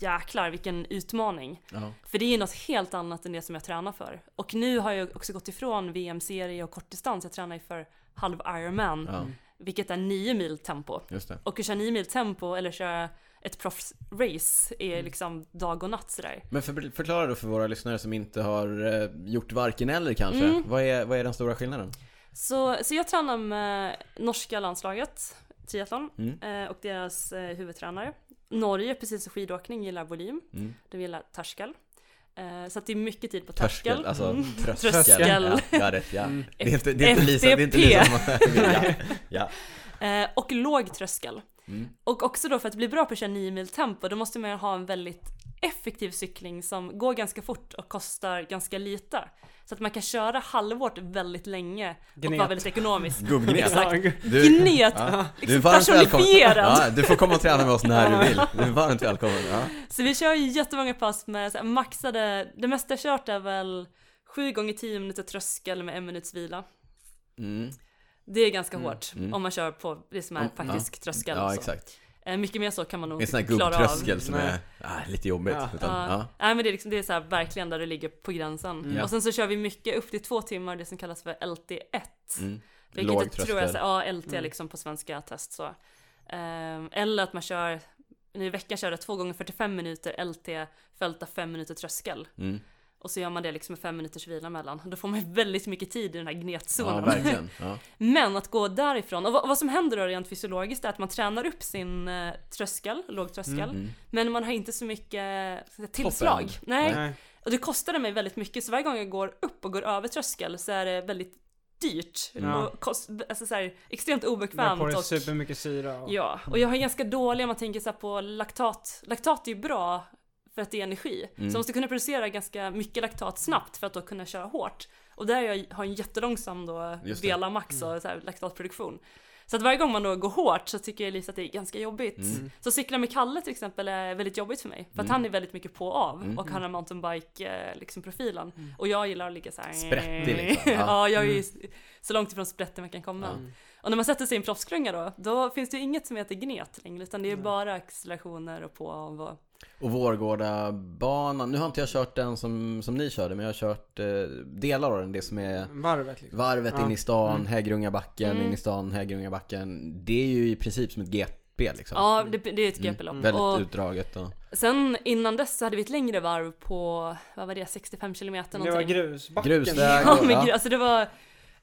B: jäklar vilken utmaning.
C: Ja.
B: För det är ju något helt annat än det som jag tränar för. Och nu har jag också gått ifrån VM-serie och kortdistans. Jag tränar ju för halv Ironman,
C: ja,
A: Mm.
B: vilket är 9 mil tempo.
C: just det.
B: Och att köra 9 mil tempo eller köra ett proffsrace är liksom dag och natt sådär.
C: Men för, förklara då för våra lyssnare som inte har eh, gjort varken eller kanske.
B: Mm.
C: Vad, är, vad är den stora skillnaden?
B: Så, så jag tränar med norska landslaget, triathlon,
C: Mm.
B: eh, och deras eh, huvudtränare. Norge, precis som skidåkning, gillar volym.
C: Mm.
B: De gillar törskel. Eh, så att det är mycket tid på törskel.
C: Törskel, alltså
B: Mm.
C: tröskel.
B: Tröskel.
C: Ja, ja, det, ja.
A: Mm.
C: Det är inte, det är inte Lisa, det är inte
B: FTP.
C: Lisa som ja, ja.
B: Eh, och låg tröskel.
C: Mm.
B: Och också då för att bli bra på att köra 9 mil tempo, då måste man ju ha en väldigt effektiv cykling som går ganska fort och kostar ganska lite. Så att man kan köra halvårt väldigt länge och
A: Gnet.
B: vara väldigt ekonomisk.
C: Gubbgnet.
B: Exakt.
A: Ja,
C: Du,
B: Gnet!
C: ja, du är
B: liksom
C: varmt välkommen.
B: personifierad.
C: Ja, du får komma och träna med oss när du vill. Du är varmt välkommen. Ja.
B: Så vi kör ju jättemånga pass med så här, maxade, det mesta jag kört är väl 7 gånger 10 minuter tröskel med en minuts vila.
C: Mm.
B: Det är ganska hårt
C: mm.
B: om man kör på det som är
C: Mm,
B: faktisk tröskel.
C: Ja,
B: så.
C: exakt.
B: Eh, Mycket mer så kan man nog
C: En sån här
B: inte klara av.
C: gubbtröskel som är
A: Nej.
C: ah, lite jobbigt.
A: Ja.
C: Utan, ja. Mm.
B: Nej men det är, liksom, det är så här verkligen där det ligger på gränsen.
C: Ja.
B: Och sen så kör vi mycket upp till två timmar, det som kallas för LT1.
C: Mm.
B: Vilket
C: Låg
B: jag tror är så,
C: tröskel.
B: här, ja LT liksom på svenska test så. Ehm, eller att man kör, nu i veckan körde jag två gånger 45 minuter LT följt av fem minuter tröskel.
C: Mm.
B: Och så gör man det liksom med fem minuters vila mellan. Då får man ju väldigt mycket tid i den här
C: Ja,
B: gnetzonen.
C: verkligen. Ja.
B: Men att gå därifrån, och vad, vad som händer då rent fysiologiskt är att man tränar upp sin eh, tröskel, låg tröskel. Men man har inte så mycket eh, tillslag.
C: Toppen.
B: Nej.
A: Nej.
B: Och det kostade mig väldigt mycket, så varje gång jag går upp och går över tröskel så är det väldigt dyrt.
A: Ja.
B: Och kost, alltså så här, extremt
A: Drar
B: obekvämt.
A: på dig
B: Och,
A: supermycket syra och...
B: ja, och jag har ganska dålig, om man tänker så här på laktat. Laktat är ju bra för att det är energi.
C: Mm.
B: Så man måste kunna producera ganska mycket laktat snabbt för att då kunna köra hårt. Och där jag har en jättelångsam då
C: Just det. Mm.
B: vela max och så här, laktatproduktion. Så att varje gång man då går hårt så tycker jag Elisa att det är ganska jobbigt.
C: Mm.
B: Så cykla med Kalle till exempel är väldigt jobbigt för mig. För att han är väldigt mycket på och av
C: Mm.
B: och han har mountainbike-profilen. Liksom, profilen.
A: Mm.
B: Och jag gillar att ligga så här. eh,
C: Sprättig liksom.
B: Ja,
C: Ja.
B: jag är ju så långt ifrån sprätten man kan komma. Och när man sätter sig i en proffsklunga då, då finns det ju inget som heter gnet längre. Utan det är bara accelerationer och på och av. Och...
C: Och Vårgårdabanan, nu har inte jag kört den som, som ni körde men jag har kört eh, delar av den, det som är
A: Varvet liksom.
C: varvet
A: Ja.
C: in i stan,
B: Mm.
C: Häggrungabacken, in i stan, Häggrungabacken. Det är ju i princip som ett GP liksom.
B: Ja, det, det är ett GP-lopp.
C: Väldigt
B: Och
C: utdraget och...
B: sen innan dess så hade vi ett längre varv på, vad var det, 65 kilometer
A: Det var
B: någonting.
A: grusbacken. Mm.
C: Grusväg.
B: Ja, men
C: Ja.
B: gru- alltså det var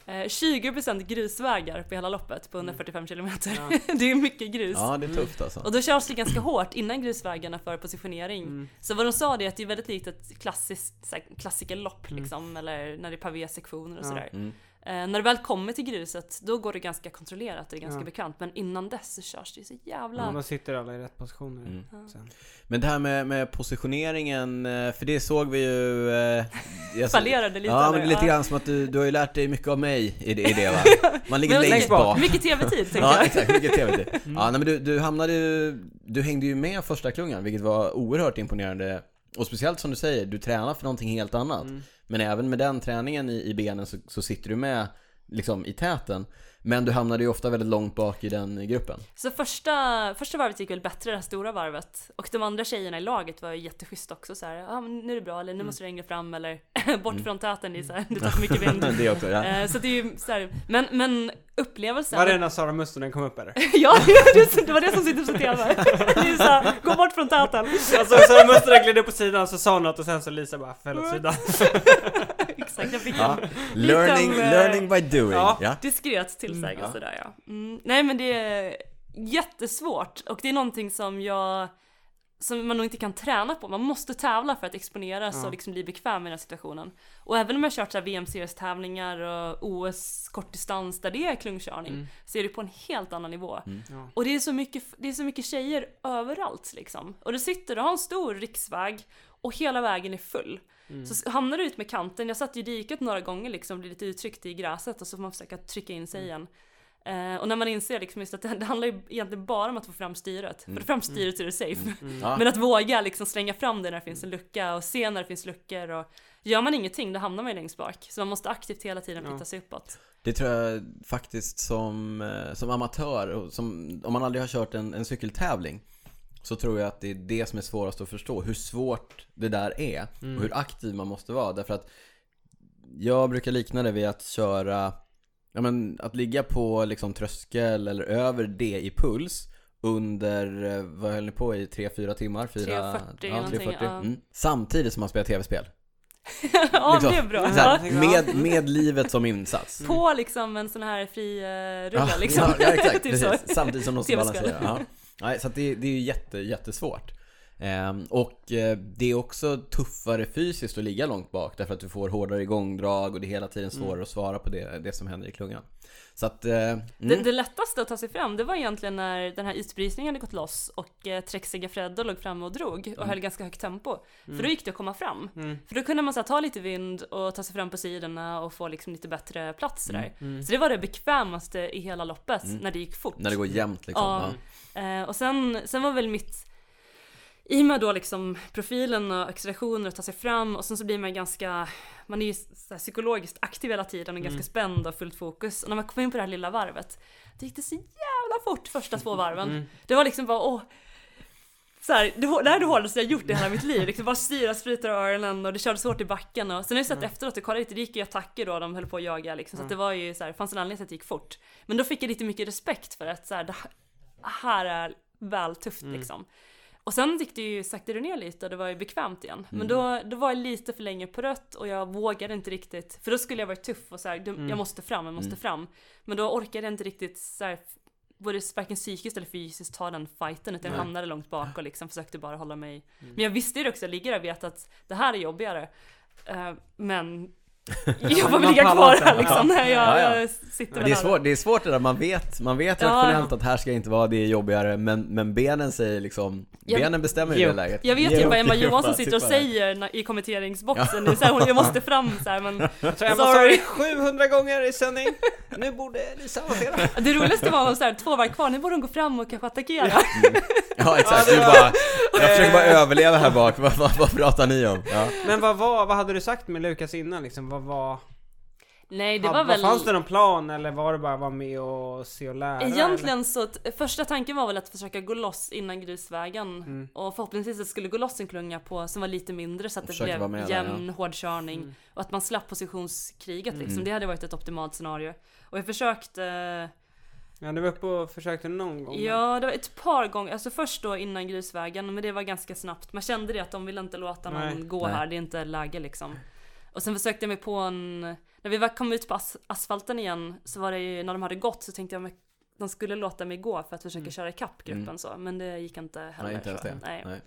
B: eh, 20% grusvägar på hela loppet på 145 kilometer. det är mycket grus.
C: Ja, det är tufft alltså.
B: Och då körs det ganska hårt innan grusvägarna för positionering.
C: Mm.
A: Mm.
B: Så vad de sa det är att det är väldigt likt ett klassiskt så här, klassikerlopp
C: Mm.
B: liksom, eller när det är pavésektioner och
A: Ja.
B: sådär. Eh, när det väl kommer till gruset, då går det ganska kontrollerat och det är ganska
A: Ja.
B: bekant. Men innan dess så körs det ju så jävla...
A: Ja, de sitter alla i rätt positioner.
C: Mm.
A: Sen.
C: Men det här med, med positioneringen, eh, för det såg vi ju... eh, jag-
B: Fallerade lite,
C: Ja,
B: eller?
C: men lite
B: Ja.
C: grann som att du, du har ju lärt dig mycket av mig i det, i det va? Man ligger
B: Men
C: längst,
B: mycket-
C: bak.
B: Mycket tv-tid tänkte
C: Ja,
B: jag. Mm.
C: exakt. Vilket trevligt. Ja, nej, men du, du hamnade ju, du hängde ju med första klungan, vilket var oerhört imponerande. Och speciellt som du säger, du tränar för någonting helt annat.
B: Mm.
C: Men även med den träningen i, i benen så, så sitter du med liksom i täten. Men du hamnade ju ofta väldigt långt bak i den gruppen.
B: Så första, första varvet gick väl bättre, det här stora varvet. Och de andra tjejerna i laget var ju jätteschyssta också så här, ja ah, men nu är det bra, eller
A: Mm.
B: nu måste du längre fram, eller bort från täten, det, är så här, det tar för mycket vind.
C: det också, ja.
B: Eh, så det är ju så här, men, men upplevelsen...
A: Var det när Sara Mustonen kom upp eller?
B: ja, det, är så- det var det som sitter på TV. Det är så här, gå bort från täten.
A: Alltså Sara Mustonen gled upp på sidan så sa hon något och sen så Lisa bara föll åt sidan.
B: Exakt, jag fick en
C: Ja. Learning,
B: Lite om, eh,
C: learning by doing.
A: ja.
C: Ja.
B: diskret tillsägelse där ja. Mm. Nej men det är jättesvårt och det är någonting som jag som man nog inte kan träna på. Man måste tävla för att exponeras och liksom bli bekväm i den här situationen. Och även om jag har kört så här VM-seriestävlingar och OS kortdistans där det är klungkörning så är det på en helt annan nivå.
A: Ja.
B: Och det är, så mycket, det är så mycket tjejer överallt liksom. Och du sitter och har en stor riksväg och hela vägen är full. Så hamnar du ut med kanten, jag satt i diket några gånger liksom, blev lite uttryckt i gräset och så får man försöka trycka in sig igen. Eh, och när man inser liksom just att det, det handlar ju egentligen bara om att få fram styret.
C: Mm.
B: För fram styret så är det safe.
C: Ja.
B: Men att våga liksom slänga fram det när det finns en lucka och se när det finns luckor och gör man ingenting då hamnar man ju längst bak. Så man måste aktivt hela tiden flytta sig uppåt.
C: Det tror jag faktiskt som, eh, som amatör, och som, om man aldrig har kört en, en cykeltävling så tror jag att det är det som är svårast att förstå. Hur svårt det där är och hur aktiv man måste vara. Därför att jag brukar likna det vid att köra, ja men att ligga på liksom tröskel eller över det i puls under, eh, vad höll ni på i, 3-4 timmar? 4,
B: 3.40
C: ja,
B: någonting,
C: 3.40.
B: ja.
C: Mm. Samtidigt som man spelar tv-spel.
B: ja
C: Liksom,
B: det är bra.
C: så
B: Ja.
C: här, med, med livet som insats.
B: På liksom en sån här fri eh, rulla
C: Ja,
B: liksom.
C: Ja, ja exakt,
B: Typ så.
C: precis. Samtidigt som de ska
B: TV-spel.
C: balansera. Ja. Nej, så att det, det är ju jätte, jättesvårt. Ehm, och eh, det är också tuffare fysiskt att ligga långt bak därför att du får hårdare igångdrag och det är hela tiden svårare att svara på det, det som händer i klungan. Så att... eh, mm,
B: Mm. Det, det lättaste att ta sig fram det var egentligen när den här isbrytningen hade gått loss och eh, Trexiga Freddo låg framme och drog och
C: Mm.
B: höll ganska högt tempo. För då gick det att komma fram. För då kunde man så här, ta lite vind och ta sig fram på sidorna och få liksom lite bättre plats
C: Mm.
B: där. Så det var det bekvämaste i hela loppet när det gick fort.
C: När det går jämnt liksom.
B: Ja.
C: Ja.
B: Eh, och sen, sen var väl mitt i och med då liksom profilen och accelerationer och ta sig fram och sen så blir man ganska Man är ju så här psykologiskt aktiv hela tiden och ganska spänd och fullt fokus och när man kom in på det här lilla varvet Då gick det så jävla fort första två varven Det var liksom bara åh så här, det, hå- det här är det hårdaste jag gjort i hela mitt liv. Liksom bara styra, sprita öronen och det kördes hårt i backen. Och, sen har jag sett efteråt och kollat lite, det gick ju attacker då, de höll på att jaga liksom. Så att det var ju så här, fanns en anledning till att det gick fort. Men då fick jag lite mycket respekt för att så här, det här- här är väl tufft
C: Mm.
B: liksom. Och sen gick det ju saktade ner lite och det var ju bekvämt igen.
C: Mm.
B: Men då, då var jag lite för länge på rött och jag vågade inte riktigt. För då skulle jag varit tuff och så här, du,
C: Mm.
B: jag måste fram, jag måste fram. Men då orkade jag inte riktigt så här, både varken psykiskt eller fysiskt ta den fighten utan jag hamnade långt bak och liksom försökte bara hålla mig.
C: Mm.
B: Men jag visste ju också, jag ligger där och vet att det här är jobbigare. Eh, men jag får
A: Man
B: väl ligga
A: pallar
B: kvar
A: inte.
B: här liksom. när Jag,
C: Ja, ja.
B: jag sitter
C: Men
B: väl
C: det, är
B: här.
C: svårt, det är svårt det där, man vet, man vet
B: Ja.
C: rationellt att här ska jag inte vara, det är jobbigare men, men benen säger liksom,
B: Jag-
C: benen bestämmer i
A: Ge
C: det
A: upp.
C: läget.
B: Jag vet
C: Ge
B: ju
C: upp,
B: vad Emma
C: ge upp,
B: Johansson
C: bara,
B: sitter och
C: sitt bara.
B: säger när- i kommenteringsboxen. Det är så här, hon- jag måste fram så här, men
A: Så Emma sa
B: Sorry.
A: det 700 gånger i sändning. Nu borde Lisa avancera.
B: det roligaste var så här, två varv kvar, nu borde hon gå fram och kanske attackera.
C: Ja exakt, du bara, jag försöker bara
B: Eh.
C: överleva här bak, vad, vad, vad pratar ni om? Ja.
A: Men vad var, vad hade du sagt med Lukas innan liksom? Vad var...
B: Nej, det
A: ha-
B: var
A: vad-
B: väl...
A: Fanns det någon plan eller var det bara att vara med och se och lära? eller?
B: Egentligen så, att, första tanken var väl att försöka gå loss innan grusvägen.
C: Mm.
B: Och förhoppningsvis att det skulle gå loss en klunga på, som var lite mindre så att det
C: Försöka vara med
B: blev
C: där, Mm.
B: jämn, hård körning. Och att man slapp positionskriget liksom. Det hade varit ett optimalt scenario. Och jag försökte eh,
A: Ja, du var uppe och försökte någon gång.
B: Ja, det var ett par gånger. Alltså först då innan grusvägen, men det var ganska snabbt. Man kände det att de ville inte låta någon
A: Nej.
B: gå
C: Nej.
B: här, det är inte läge liksom. Och sen försökte jag mig på en... När vi var- kom ut på as- asfalten igen så var det ju, när de hade gått så tänkte jag att de skulle låta mig gå för att försöka köra ikapp gruppen så. Men det gick inte heller.
C: Mm. Nej, inte ens
B: så.
C: det.
B: Nej.
C: Nej.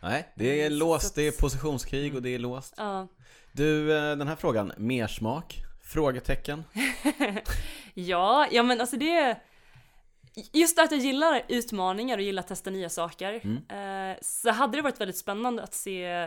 C: Nej, det är
B: Så
C: låst,
B: att-
C: det är positionskrig och det är låst.
B: Ja.
C: Du, eh, den här frågan, mersmak? Frågetecken?
B: Ja, ja men alltså det... Just att jag gillar utmaningar och gillar att testa nya saker.
C: Mm.
B: Eh, så hade det varit väldigt spännande att se...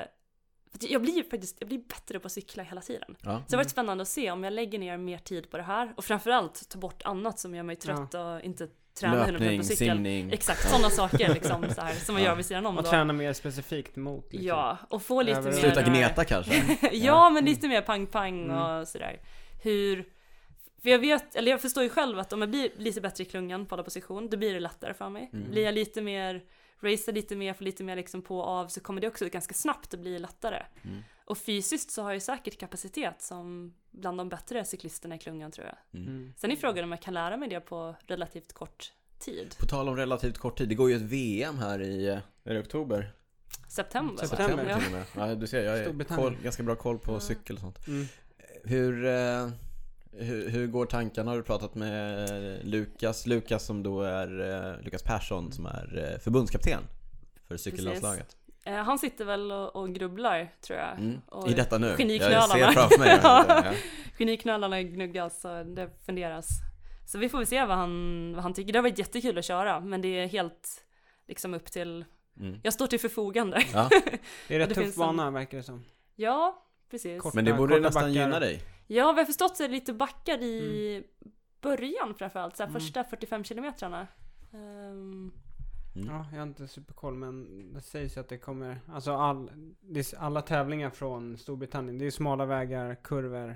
B: för att Jag blir ju faktiskt jag blir bättre på att cykla hela tiden.
C: Ja.
B: Så det har varit spännande att se om jag lägger ner mer tid på det här. Och framförallt ta bort annat som gör mig trött och inte träna 100%
C: Löpning,
B: på cykel.
C: simning.
B: Exakt, sådana saker liksom så här, som man gör vid sidan om
A: Och
B: då.
A: träna mer specifikt mot liksom.
B: Ja, och få lite mer...
A: Över-
C: Sluta gneta kanske?
B: ja, men lite mer pang-pang och sådär. Hur... För jag vet, eller jag förstår ju själv att om jag blir lite bättre i klungan på alla position, då blir det lättare för mig. Blir jag lite mer, racear lite mer, får lite mer liksom på och av, så kommer det också ganska snabbt att bli lättare. Och fysiskt så har jag säkert kapacitet som bland de bättre cyklisterna i klungan tror jag.
A: Mm.
C: Mm.
B: Sen är frågan om jag kan lära mig det på relativt kort tid.
C: På tal om relativt kort tid, det går ju ett VM här i... eh, Är det oktober?
B: September. va?
A: September.
B: Ja.
C: till och med. Ja, du ser, jag har
A: Storbritannien. Mm.
C: koll, ganska bra koll på cykel och sånt. Hur... eh, Hur, hur går tankarna? Har du pratat med eh, Lukas? Lukas som då är eh, Lukas Persson som är eh, förbundskapten för cykellandslaget.
B: Eh, han sitter väl och, och grubblar tror jag.
C: Mm.
B: Och
C: I detta nu. Jag ser
B: Ah, geniknölarna.
C: framför mig.
B: Ja.
C: ja.
B: Geniknölarna gnuggas och det funderas. Så vi får väl se vad han, vad han tycker. Det har varit jättekul att köra men det är helt liksom upp till...
C: Mm.
B: Jag står till förfogande.
C: Ja.
A: Det är rätt
B: Det
A: tuff
B: finns en-
A: bana verkar det som.
B: Ja, precis.
A: Kort.
C: Men det borde
A: Korta
C: nästan
A: backar.
C: gynna dig.
B: Ja, vad jag förstått så är det lite backar i
C: Mm.
B: början framförallt. Så här första 45 kilometrarna. Ehm,
A: Ja, jag har inte superkoll men det sägs ju att det kommer, alltså all, det är s- alla tävlingar från Storbritannien, det är ju smala vägar, kurvor.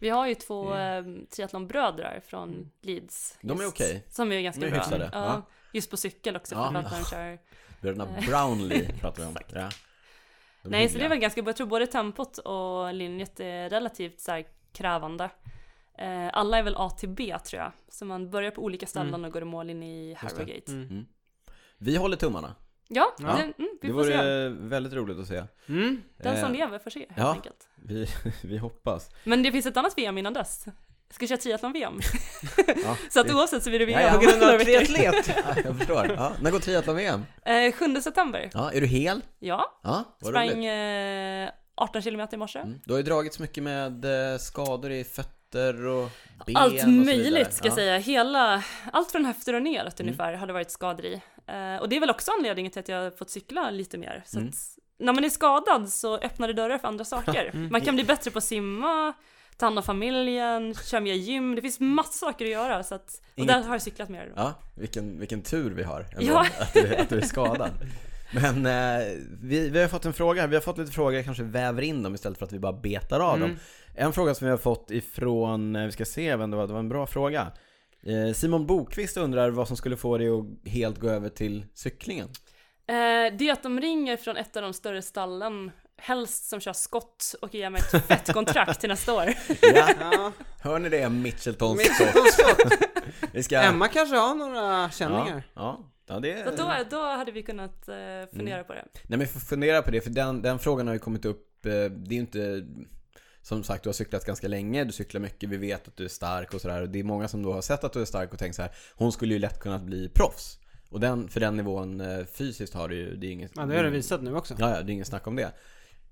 B: vi har ju två ehm, triathlonbrödrar från Leeds.
C: De är
B: just,
C: okej.
B: Som är ganska
C: Mm. De är
B: bra.
C: hyfsade,
B: Ja,
C: ja.
B: Just på cykel också
C: Ja.
B: för att de kör.
C: Bröderna Brownlee pratar vi om.
B: Exakt.
C: Ja. De
B: Nej, så det
C: hyggliga.
B: är väl ganska bra. Jag tror både tempot och linjet är relativt så här, krävande. Eh, alla är väl A till B tror jag. Så man börjar på olika ställen
C: Mm.
B: och går i mål in i Harrogate.
A: Mm.
C: Vi håller tummarna.
B: Ja,
A: Ja.
B: Det, mm, vi
C: Det
B: får se.
C: vore väldigt roligt att se.
A: Mm.
B: Den som
C: Eh,
B: lever får se helt
C: ja.
B: enkelt.
C: Vi, vi hoppas.
B: Men det finns ett annat VM innan dess. Jag ska köra triathlon-VM.
C: Ja,
B: så att
C: det-
B: oavsett så blir det VM
C: Ja, ja.
B: om några veckor.
A: triatlet!
C: Ja, jag förstår. Ja, när går triathlon-VM?
B: Eh, 7 september.
C: Ja, är du hel?
B: Ja,
C: Ja, vad
B: sprang
C: roligt.
B: eh, 18 kilometer i morse.
C: Mm. Du har ju dragits mycket med eh, skador i fötter och ben och
B: Allt
C: så vidare.
B: möjligt ska
C: Ja. Mm.
B: jag säga. Hela, allt från höfter och neråt ungefär har det varit skador i. Eh, och det är väl också anledningen till att jag har fått cykla lite mer. Så
C: Mm.
B: att, när man är skadad så öppnar det dörrar för andra saker.
C: Mm.
B: Man kan bli bättre på att simma, ta hand om familjen, köra mer gym. Det finns massor saker att göra. Så att, och
C: Inget-
B: där har jag cyklat mer.
C: Ja, vilken, vilken tur vi har ändå,
B: Ja.
C: att, du, att du är skadad. Men eh, vi, vi har fått en fråga här, vi har fått lite frågor, jag kanske väver in dem istället för att vi bara betar av
B: Mm.
C: dem. En fråga som vi har fått ifrån, eh, vi ska se vem det var, det var en bra fråga. Eh, Simon Bokvist undrar vad som skulle få dig att helt gå över till cyklingen.
B: Eh, det är att de ringer från ett av de större stallen, helst som kör skott och ger mig ett fett kontrakt till nästa år.
C: Ja,
A: Ja,
C: hör ni det Mitcheltons skott?
A: Mitcheltons skott.
C: Vi ska...
A: Emma kanske har några
C: ja,
A: känningar.
C: ja, ja, det
B: Så att då, då hade vi kunnat eh, fundera
C: Mm.
B: på det.
C: Nej men får fundera på det, för den, den frågan har ju kommit upp. eh, Det är ju inte... Som sagt, du har cyklat ganska länge, du cyklar mycket, vi vet att du är stark och sådär. Och det är många som då har sett att du är stark och tänkt så här, hon skulle ju lätt kunnat bli proffs. Och den, för den nivån eh, fysiskt har du ju, det är inget...
A: Mm. Ja, det har du visat nu också.
C: Ja, ja, det är ingen snack om det.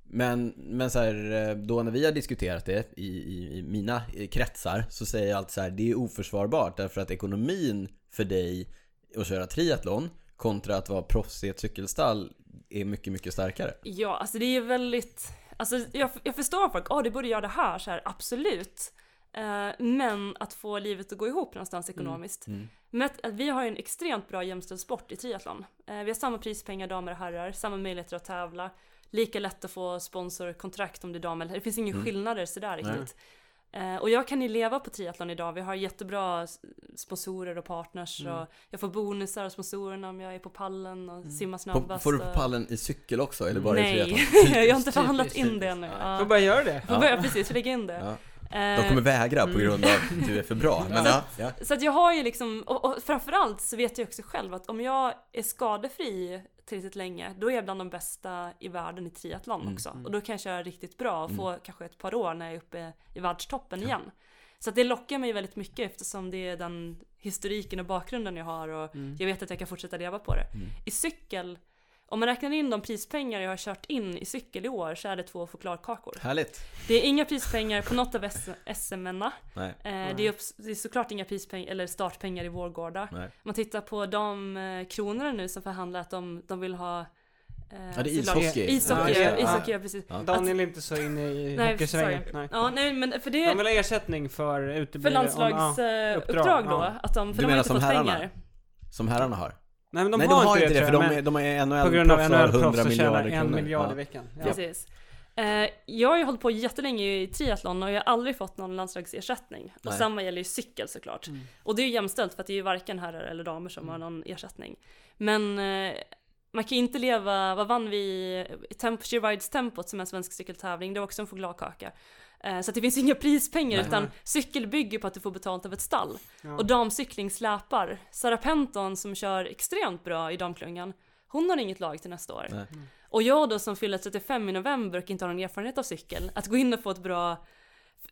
C: Men, men så här, eh, då när vi har diskuterat det i, i, i mina eh, kretsar så säger jag alltid så här, det är oförsvarbart därför att ekonomin för dig att köra triathlon kontra att vara proffs i ett cykelstall är mycket, mycket starkare.
B: Ja, alltså det är väldigt... Alltså jag, jag förstår folk, ja du borde göra det här, så här absolut. Eh, men att få livet att gå ihop
C: Mm,
B: någonstans ekonomiskt. Men att, att vi har ju en extremt bra jämställd sport i triathlon. Eh, vi har samma prispengar damer och herrar, samma möjligheter att tävla. Lika lätt att få sponsorkontrakt om det är dam eller Det finns
C: Mm.
B: inga skillnader sådär riktigt. Eh, och jag kan ju leva på triathlon idag. Vi har jättebra s- sponsorer och partners.
C: Mm.
B: Och jag får bonusar av sponsorerna om jag är på pallen och simmar
C: På,
B: snabbast.
C: får du på
B: och-
C: pallen i cykel också eller bara i triathlon?
B: Nej, jag har inte förhandlat in det ännu.
A: Får
B: Ja.
A: bara göra det.
B: Får börja precis lägga in det.
C: Ja. De
B: Eh,
C: kommer vägra på grund av att du är för bra. Men, ja, ja.
B: Så att jag har ju liksom, och, och framförallt så vet jag också själv att om jag är skadefri tillräckligt länge, då är jag bland de bästa i världen i triathlon
C: Mm,
B: också. Och då kan jag köra riktigt bra och få kanske ett par år när jag är uppe i världstoppen igen. Så att det lockar mig väldigt mycket eftersom det är den historiken och bakgrunden jag har och
C: Mm.
B: jag vet att jag kan fortsätta leva på det. I cykel, om man räknar in de prispengar jag har kört in i cykel i år så är det två chokladkakor.
C: Härligt.
B: Det är inga prispengar på något av SM-erna.
C: Nej.
B: Eh, det, är upp, det är såklart inga prispengar eller startpengar i Vårgårda.
C: Nej.
B: Man tittar på de eh, kronorna nu som förhandlar att de, de vill ha eh,
C: Ja, det är
B: såklart-
C: ishockey.
B: Ishockey,
A: Ja,
B: ja,
A: ja.
B: ishockey, ja, precis.
A: Daniel är inte så inne i
B: Nej, sorry.
A: hockeysvängen. Nej.
B: Ja, nej, men för
A: De vill
B: det
A: ha ersättning för
B: för
A: uteblivna...
B: landslagsuppdrag
A: uppdrag,
B: uppdrag då,
A: ja.
B: att de, för
C: Du menar
B: de har inte
C: som
B: fått
C: herrarna?
B: pengar.
C: Som herrarna har.
A: Nej men de,
C: Nej,
A: har, inte det,
C: för
A: tror
C: de
A: jag,
C: är, de är
A: men på grund av
C: NHL-proffs och har
A: NHL-proffs
C: 100
A: så tjänar
C: miljarder
A: en
C: kronor.
A: miljard i
C: Ja.
A: veckan. Ja.
B: Precis. Eh, jag har ju hållit på jättelänge i triathlon och jag har aldrig fått någon landslagsersättning. Och
C: Nej.
B: samma gäller ju cykel såklart. Och det är ju jämställt för att det är ju varken herrar eller damer som har någon ersättning. Men eh, man kan ju inte leva, vad vann vi? Temp, She Rides Tempot som är en svensk cykeltävling, det var också en chokladkaka. Eh, Så att det finns inga prispengar utan cykel bygger på att du får betalt av ett stall. Och damcykling släpar. Sarah Penton som kör extremt bra i damklungan, hon har inget lag till nästa år.
C: Nej.
B: Och jag då som fyller 35 i november och inte har någon erfarenhet av cykel, att gå in och få ett bra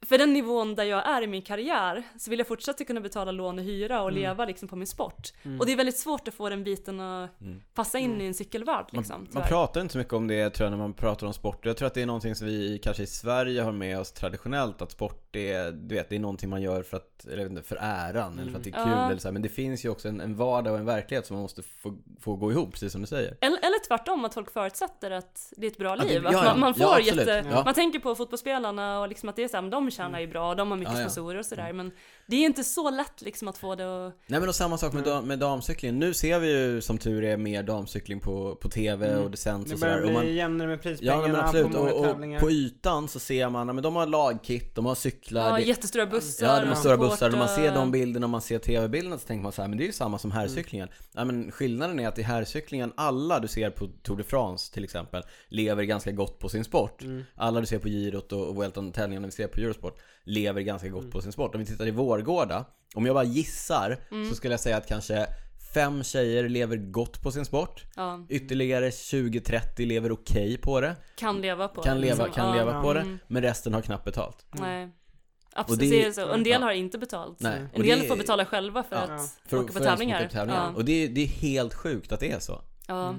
B: för den nivån där jag är i min karriär så vill jag fortsätta kunna betala lån och hyra
C: Mm.
B: och leva liksom på min sport. Och det är väldigt svårt att få den biten att passa in i en cykelvärld liksom.
C: Mm. Man
B: tyvärr.
C: pratar inte så mycket om det tror jag när man pratar om sport. Jag tror att det är någonting som vi kanske i Sverige har med oss traditionellt. Att sport är, du vet, det är någonting man gör för att, eller jag vet inte, för äran eller för att det
A: Mm.
C: är kul.
B: Ja.
C: Eller så här. Men det finns ju också en, en vardag och en verklighet som man måste få, få gå ihop, precis som du säger.
B: Eller, eller tvärtom, att folk förutsätter att det är ett bra
C: det-
B: liv.
C: ja,
B: att
C: ja.
B: man, man,
C: Ja,
B: får
C: absolut.
B: jätte,
C: Ja. Mm.
B: man tänker på fotbollsspelarna och liksom att det är så här, men de tjänar ju bra, de har mycket
C: Ja, Mm. ja.
B: sponsorer och sådär. Men det är inte så lätt liksom att få det att...
C: Nej men och samma sak med,
A: Mm.
C: dam, med damcykling. Nu ser vi ju som tur är mer damcykling på, på TV och det sänds
A: Det
C: och sådär.
A: Mm. börjar
C: Och man-
A: bli jämnare med
C: Ja
A: prispengarna
C: nej, men absolut,
A: på många
C: och, och
A: tävlingar.
C: på ytan så ser man, ja, men de har lagkit, de har cyklar,
B: Ja,
C: det-
B: jättestora bussar.
C: Ja, de har
B: och eh,
C: stora bussar. När man
B: supportrar.
C: ser de bilderna och man ser tv-bilderna så tänker man så här, men det är ju samma som herrcyklingen.
B: Mm.
C: Ja, men skillnaden är att i herrcyklingen, alla du ser på Tour de France till exempel, lever ganska gott på sin sport.
B: Mm.
C: Alla du ser på girot och, och Vueltan tävlingarna vi ser på Eurosport, lever ganska
B: Mm.
C: gott på sin sport. Om vi tittar i Vårgårda, om jag bara gissar
B: Mm.
C: så skulle jag säga att kanske fem tjejer lever gott på sin sport.
B: Ja,
C: Ytterligare 20-30 lever okej på det.
B: kan leva på
C: Kan
B: det,
C: leva,
B: liksom.
C: kan
B: ja,
C: leva på det. Men resten har knappt betalt.
B: Nej.
C: Och
B: Absolut,
C: det-
B: det, är så. Och En del
C: Ja.
B: har inte betalt.
C: Nej.
B: En
C: Och
B: del
C: det-
B: får betala själva för
C: Ja.
B: att
C: För,
B: åka på
C: för ens
B: tävlingar.
C: åka på tävlingar.
B: Ja.
C: Och det är, det är helt sjukt att det är så.
B: Ja.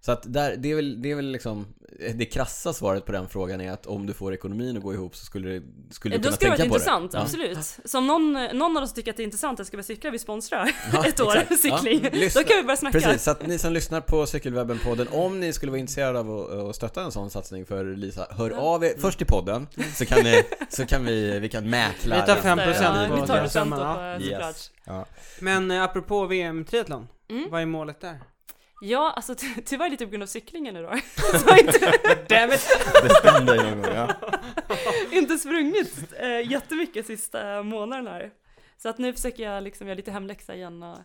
C: Så att där, det, är väl, det är väl liksom Det krassa svaret på den frågan är att om du får ekonomin att gå ihop så skulle, det- skulle du
B: Då
C: kunna
B: skulle det
C: tänka
B: varit
C: på
B: intressant,
C: det. Ja.
B: absolut. Så om någon, någon av oss tycker att det är intressant att ska börja cykla, vi sponsrar
C: Ja,
B: ett år
C: exakt. Ja.
B: cykling.
C: Lyssna.
B: Då kan vi börja snacka.
C: Precis, så att ni som lyssnar på Cykelwebben-podden, om ni skulle vara intresserade av att, att stötta en sån satsning för Lisa, hör av
B: Mm.
C: er först till podden så kan, ni, så kan vi, vi kan mäkla.
A: Vi tar
C: den.
A: 5%
B: Ja,
A: på
B: vi tar
A: den
B: det sen då
A: summan,
B: på, eh,
C: ja.
B: såklart.
C: Yes. Ja.
A: Men eh, apropå VM-triathlon,
B: Mm.
A: vad är målet där?
B: Ja, alltså ty- tyvärr lite på grund av cyklingen nu då. Så jag har inte,
A: Damn it!
C: Bestäm dig någon gång. Ja.
B: inte sprungit eh, jättemycket sista månaden här. Så att nu försöker jag liksom göra lite hemläxa igen. Och,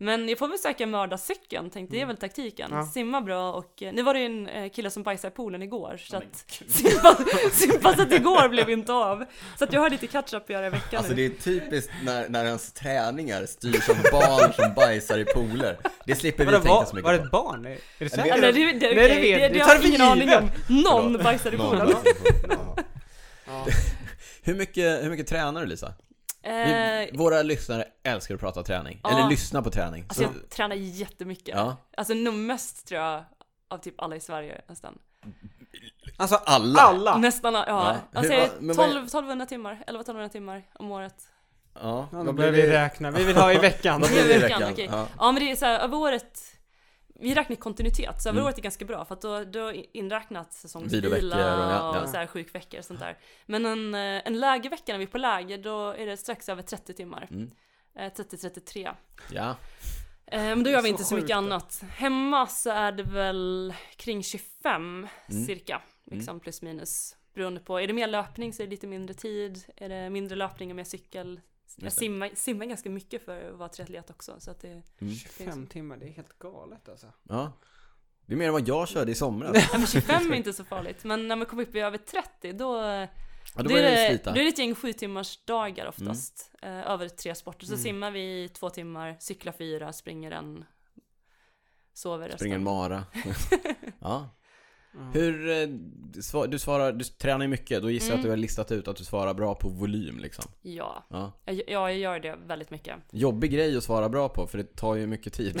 B: men jag får väl söka mörda cykeln, tänkte
C: Mm.
B: det är väl taktiken.
A: Ja.
B: Simma bra och eh, nu var det ju en eh, kille som bajsade i poolen igår så att simpa- simpasset igår blev inte av. Så att jag har lite catch-up att göra i veckan
C: Alltså
B: nu.
C: det är typiskt när, när ens träningar styrs av barn som bajsar i pooler. Det slipper vi
A: Vadå,
C: tänka så
A: var, var det
C: mycket
A: ett barn? Är är du
C: det-
A: säker?
B: Eller det, det,
A: Nej,
B: okej,
A: det vet-
B: det,
A: det
B: det
A: tar
B: har jag
A: vi
B: ingen aning om. Någon
C: Förlåt.
B: bajsade i
C: Någon
B: poolen.
C: bajsar i poolen. Ja.
A: Ja.
C: Hur mycket, hur mycket tränar du Lisa?
B: Eh,
C: Vi, våra lyssnare älskar att prata träning,
B: Ja.
C: eller lyssna på träning. Så,
B: Alltså jag tränar jättemycket.
C: ja.
B: Alltså nog mest tror jag av typ alla i Sverige nästan.
A: Alltså
C: Alla.
A: alla!
B: Nästan, ja.
C: Ja.
B: Alltså
C: Hur-
B: jag-
C: ja, men vad är-
B: 12, 1200 timmar, 1100 timmar om året.
C: Ja,
A: Ja, då
C: vad
A: börjar
C: blir
A: vi
C: det?
A: räkna, vi vill ha i veckan.
C: Vad blir det i
B: I veckan,
C: veckan?
B: okej.
C: Ja.
B: Ja men det är så här, över året vi räknar kontinuitet, så över
C: Mm.
B: året är ganska bra för att då, då har inräknat säsongsvila
C: Viloveckor och- ja, ja.
B: och så här sjukveckor och sånt där. Men en, eh, en lägervecka när vi är på läger, då är det strax över 30 timmar.
C: Mm.
B: Eh, 30-33.
C: Ja.
B: Eh, Men då gör vi
A: Så
B: inte så mycket
A: sjukt.
B: annat. Hemma så är det väl kring 25
C: Mm.
B: cirka, liksom plus minus. Beroende på, är det mer löpning så är det lite mindre tid. Är det mindre löpning och mer cykel? Jag
C: Just det.
B: simmar, simmar ganska mycket för att vara triatlet också. Så att det,
C: Mm.
A: 25 timmar, det är helt galet alltså.
C: ja. Det är mer än vad jag körde i somras.
B: ja, men 25 är inte så farligt. Men när man kommer upp i över 30 då,
C: Ja, då
B: då, är,
C: började det
B: det, då
C: slita. Mm.
B: är det ett gäng sju timmars dagar oftast. Eh, över tre sporter. Så simmar vi i två timmar, cyklar fyra, springer en, sover resten.
C: Springer en mara. ja.
A: Ja.
C: Hur, eh, du svar- du svarar, du tränar ju mycket, då gissar
B: Mm.
C: jag att du har listat ut att du svarar bra på volym liksom.
B: Ja,
C: Ja.
B: jag, jag gör det väldigt mycket.
C: Jobbig grej att svara bra på, för det tar ju mycket tid.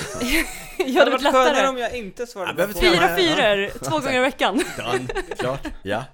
B: Jag hade varit
A: skönare
B: lättare.
A: om jag inte svarade
C: Ja, behöver
A: på
C: inte göra
A: frågan.
B: Fyra fyror, två gånger i veckan.
C: Done. Klart. Ja.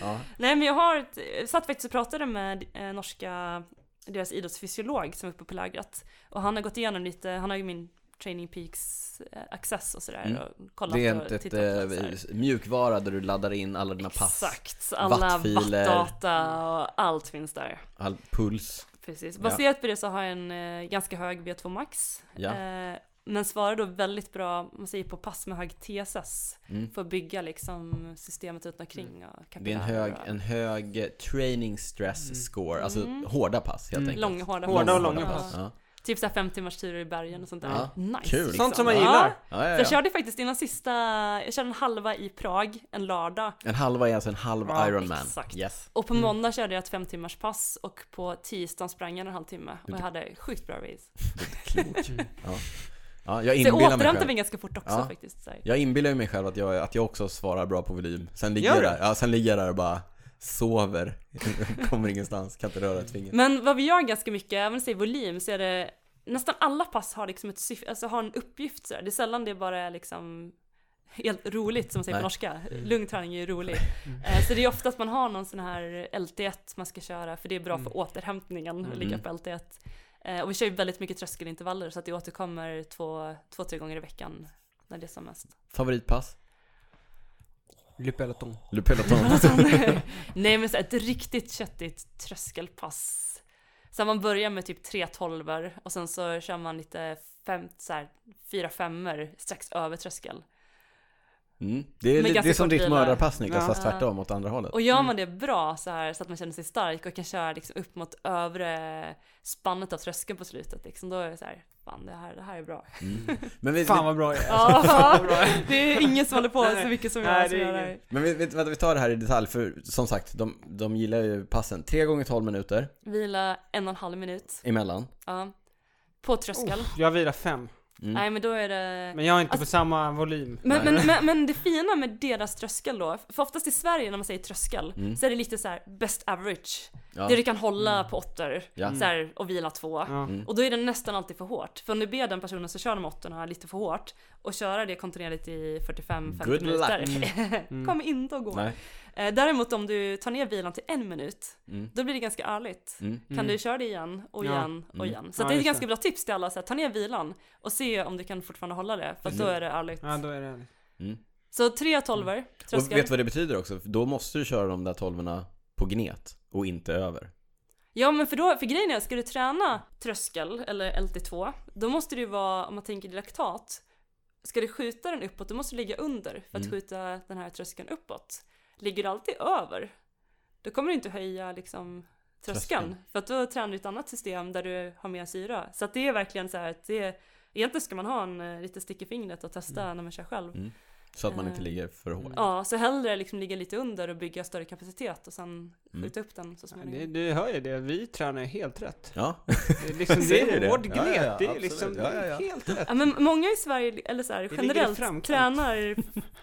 C: ja.
B: Nej men jag har, ett- eh, satt faktiskt och pratade med eh, norska, deras idrottsfysiolog som är uppe på lägret. Och han har gått igenom lite, han har ju min Training Peaks eh, access och sådär
C: Mm.
B: och kollat
C: Det är
B: och
C: inte ett
B: tittat på det så här.
C: eh, mjukvara där du laddar in alla dina pass,
B: Exakt, så alla
C: wattfiler.
B: wattdata och allt finns där.
C: all puls.
B: Precis.
C: Ja.
B: Baserat på det så har jag en eh, ganska hög VO2 max.
C: Ja.
B: Eh, men svarar då väldigt bra, om man säger på pass med hög TSS.
C: Mm.
B: För att bygga liksom systemet runt omkring och
C: Det är en hög,
B: kapillärer och-
C: en hög eh, training stress score, alltså hårda pass helt
A: Mm.
C: enkelt.
B: Långa, hårda,
A: Hårda och långa
B: Ja.
A: pass.
C: Ja.
B: Typ såhär fem timmars turer i bergen och sånt där.
C: Ja.
B: Nice.
C: Kul.
A: Sånt som man gillar.
C: Ja,
B: Ja. Så
C: ja,
B: jag
C: ja.
B: körde faktiskt innan sista, jag körde en halva i Prag en lördag.
C: En halva är alltså en halv
A: Ja,
C: Ironman.
B: exakt.
C: Yes.
B: Och på måndag körde jag ett fem timmars pass och på tisdagen sprang jag en halvtimme. Och jag hade sjukt bra race.
C: Klok. Ja. Ja, jag
B: Så jag
C: inbillar mig
B: återhämtade
C: själv.
B: mig ganska fort också
C: Ja.
B: faktiskt. Så här.
C: Jag inbillar ju mig själv att jag, att jag också svarar bra på volym. Sen ligger
A: Gör
C: jag
A: du?
C: där, ja, sen ligger jag där och bara sover, kommer ingenstans, kan inte röra ett finger.
B: Men vad vi gör ganska mycket, även i volym, så är det nästan alla pass har liksom ett syfte, alltså har en uppgift så där. Det är sällan det bara är liksom helt roligt som man säger
C: Nej.
B: på norska. Lugn träning är ju rolig. Eh, Så det är ofta att man har någon sån här LT1 man ska köra för det är bra för återhämtningen att ligga på LT1. Eh, Och vi kör ju väldigt mycket tröskelintervaller så att det återkommer två, två tre gånger i veckan när det är som mest.
C: Favoritpass?
A: Le peloton.
C: Le peloton.
B: Alltså, Nej men så ett riktigt köttigt tröskelpass. Så man börjar med typ tre tolvor och sen så kör man lite fem, så här, fyra femmor strax över tröskel.
C: Mm. Det är,
B: Med
C: li- det är
B: ganska
C: som
B: kort
C: ditt
B: vila.
C: mördarpass Niklas,
A: Ja.
C: fast tvärtom åt andra hållet.
B: Och gör man det bra så här så att man känner sig stark och kan köra liksom upp mot övre spannet av tröskeln på slutet liksom, då är det så här, fan det här, det här är bra.
C: Mm. Men, vi,
A: Fan vad bra jag är.
B: Ja, det är ingen som håller på
A: Nej,
B: så mycket som
A: nej,
B: jag som
A: det är
B: gör det
A: ingen.
B: här.
C: men vi, vi, vänta, vi tar det här i detalj, för som sagt, de, de gillar ju passen. 3 gånger 12 minuter
B: Vila en och en halv minut.
C: emellan.
B: Ja. På tröskel.
A: Jag vilar fem.
B: Nej men då är det
A: Men jag är inte
B: Alltså-
A: på samma volym.
B: Men, men, men, men det fina med deras tröskel då, för oftast i Sverige när man säger tröskel så är det lite så här best average.
C: Mm. Ja. Mm.
B: Det du kan hålla på åttor
C: Ja. Mm.
B: så här, och vila två. Och då är det nästan alltid för hårt. För om du ber den personen så kör de åttorna lite för hårt och köra det kontinuerligt i 45-50
C: Good Mm.
B: minuter. kommer inte att gå.
C: Nej.
B: Eh, Däremot om du tar ner vilan till en minut,
C: Mm.
B: då blir det ganska ärligt.
A: Mm.
B: Kan du köra det igen och
A: Ja.
B: igen
C: Mm.
B: och igen. Så
A: Ja,
B: att det är
A: just
B: ett ganska
A: det.
B: bra tips till alla, så här, ta ner vilan och se om du kan fortfarande hålla det. För att då är det ärligt.
A: Ja, då är det...
B: Så tre tolvor,
C: Mm. Och
B: tröskel.
C: vet du vad det betyder också? Då måste du köra de där tolvorna på gnet och inte över.
B: Ja men för då, för grejen är, ska du träna tröskel eller LT2, då måste det ju vara, om man tänker laktat, ska du skjuta den uppåt, då måste du ligga under för att
C: Mm.
B: skjuta den här tröskeln uppåt. Ligger du alltid över, då kommer du inte höja liksom tröskeln,
C: Tröskeln.
B: för att då tränar du ett annat system där du har mer syra. Så att det är verkligen så här att det är, egentligen ska man ha en eh, lite stick i fingret och testa
C: Mm.
B: när man kör själv.
C: Så att man inte ligger för hårt.
B: Eh. Ja, så hellre liksom ligga lite under och bygga större kapacitet och sen
C: Mm.
B: skjuta upp den så småningom.
A: Du, du hör ju det, vi tränar ju helt rätt.
C: Ja.
A: Det är, liksom, det
C: Ser du
A: är
C: det?
A: hård
C: Ja, ja,
A: gnet, det är
C: absolut.
A: liksom
C: Ja, ja, ja.
A: helt rätt.
B: Ja, men många i Sverige, eller så här,
A: ligger i
B: generellt,
A: framkant.
B: tränar,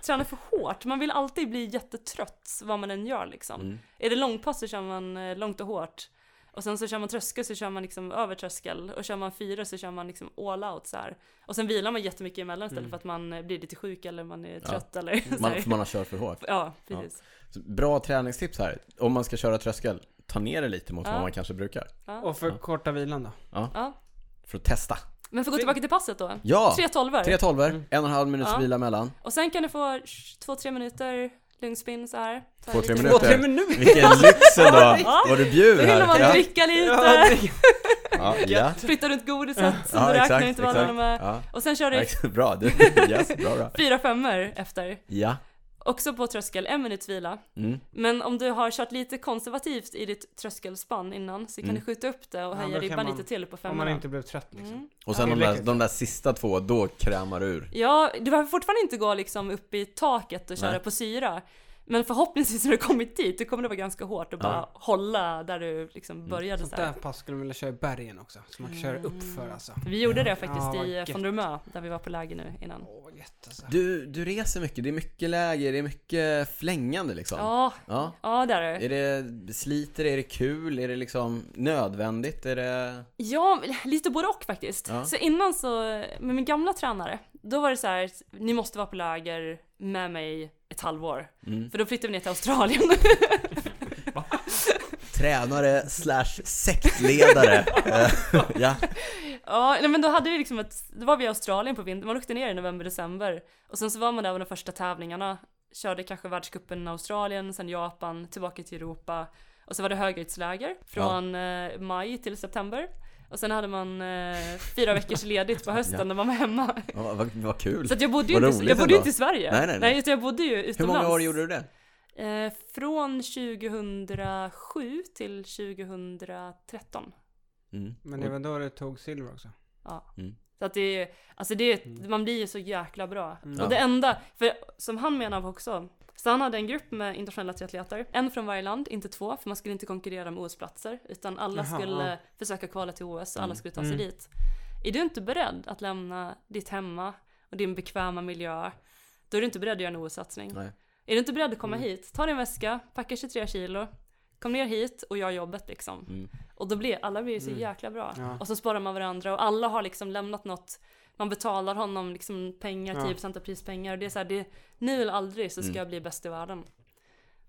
B: tränar för hårt. Man vill alltid bli jättetrött vad man än gör liksom.
C: Mm.
B: Är det långpass så kör man eh, långt och hårt. Och sen så kör man tröskel så kör man liksom över tröskel. Och kör man fyra så kör man liksom all out så här. Och sen vilar man jättemycket emellan istället för att man eh, blir lite sjuk eller man är trött eller så
C: Man,
B: här.
C: för man har kört för hårt.
B: Ja, precis.
C: Så Bra träningstips här. Om man ska köra tröskel, ta ner det lite mot vad man kanske brukar.
A: Och för korta vilan då.
B: Ja.
C: För att testa.
B: Men för att gå tillbaka till passet då.
C: Ja!
B: Tre tolvor.
C: Tre tolvor, en och en halv minuts
B: Mm. Ja.
C: vila mellan.
B: Och sen kan du få sh- två, tre minuter lugn spinn så här. Ta
C: Två,
B: lite-
C: tre
A: Två, tre
C: minuter.
A: minuter!
C: Vilken lyx ändå!
B: Ja.
C: Vad du bjuder
B: Då hinner man
C: här.
B: dricka lite.
A: Ja, det-
C: Ja, ja.
B: Flytta runt godiset som
C: Ja,
B: du
C: exakt,
B: räknar inte vad alla
C: exakt.
B: de är.
C: Ja.
B: Och sen kör du
C: Ja, Bra, du. Yes, bra, bra.
B: fyra femmor efter.
C: Ja.
B: Också på tröskel, en minuts vila.
C: Mm.
B: Men om du har kört lite konservativt i ditt tröskelspann innan så kan
C: Mm.
B: du skjuta upp det och
A: Ja,
B: höja
A: då kan
B: ribban
A: man-
B: lite till på
A: Om man
B: femmorna.
A: inte blev trött liksom.
B: Mm,
C: Och sen
A: Ja.
C: de, där, de där sista två, då krämar du ur.
B: Ja, du behöver fortfarande inte gå liksom upp i taket och köra
C: Nej.
B: på syra. Men förhoppningsvis när du kommit dit, då kommer det vara ganska hårt och bara hålla där du
C: Mm.
B: liksom började.
A: Sånt
B: Så här.
A: där pass skulle man vilja köra i bergen också. Så man kan köra uppför
B: Mm.
A: alltså.
B: Vi gjorde det faktiskt
A: Ja, vad
B: i
A: gött.
B: Van Rumö, där vi var på läger nu innan.
A: Åh, vad gött alltså.
C: Du, du reser mycket, det är mycket läger, det är mycket flängande liksom.
B: Ja,
C: Ja.
B: ja där är det.
C: Är det sliter, är det kul, är det liksom nödvändigt, är det...
B: Ja, lite både och faktiskt.
C: Ja.
B: Så innan så, med min gamla tränare, då var det så här, ni måste vara på läger med mig ett halvår.
C: Mm.
B: För då flyttade vi ner till Australien.
C: Tränare slash sektledare. Eh, ja.
B: ja, nej, men då hade vi liksom ett, då var vi i Australien på vintern, man åkte ner i november, december. Och sen så var man där på de första tävlingarna, körde kanske världscupen i Australien, sen Japan, tillbaka till Europa. Och så var det höghöjdsläger från eh, maj till september. Och sen hade man eh, fyra veckors ledigt på hösten när man var hemma.
C: Ja, Vad, vad, vad kul.
B: Så att jag bodde ju
C: Typ. Vad
B: inte,
C: roligt
B: jag bodde ju
C: ändå.
B: inte i Sverige.
C: Nej, nej, nej.
B: utan jag bodde ju utomlands.
C: Hur många år gjorde du det?
B: Eh, från 2007 till 2013.
C: Mm.
A: Men det var då du tog silver också.
B: Ja.
C: Mm.
B: Så att det är, alltså det är,
A: Mm.
B: man blir ju så jäkla bra.
C: Ja.
B: Och det enda, för som han menar också, så han hade en grupp med internationella triatleter, en från varje land, inte två, för man skulle inte konkurrera om OS-platser, utan alla
A: Jaha,
B: skulle
A: ja. Mm.
B: försöka kvala till OS och alla skulle ta sig dit. Är du inte beredd att lämna ditt hemma och din bekväma miljö, då är du inte beredd att göra en OS-satsning.
C: Nej.
B: Är du inte beredd att komma
A: Mm.
B: hit, ta din väska, packa 23 kilo, kom ner hit och gör jobbet liksom.
C: Mm.
B: Och då blir alla blir så
A: Mm.
B: jäkla bra.
A: Ja.
B: Och så sparar man varandra och alla har liksom lämnat något. Man betalar honom liksom pengar,
A: Ja.
B: 10% av prispengar. Och det är så här, det är nu eller aldrig så ska
C: Mm.
B: jag bli bäst i världen.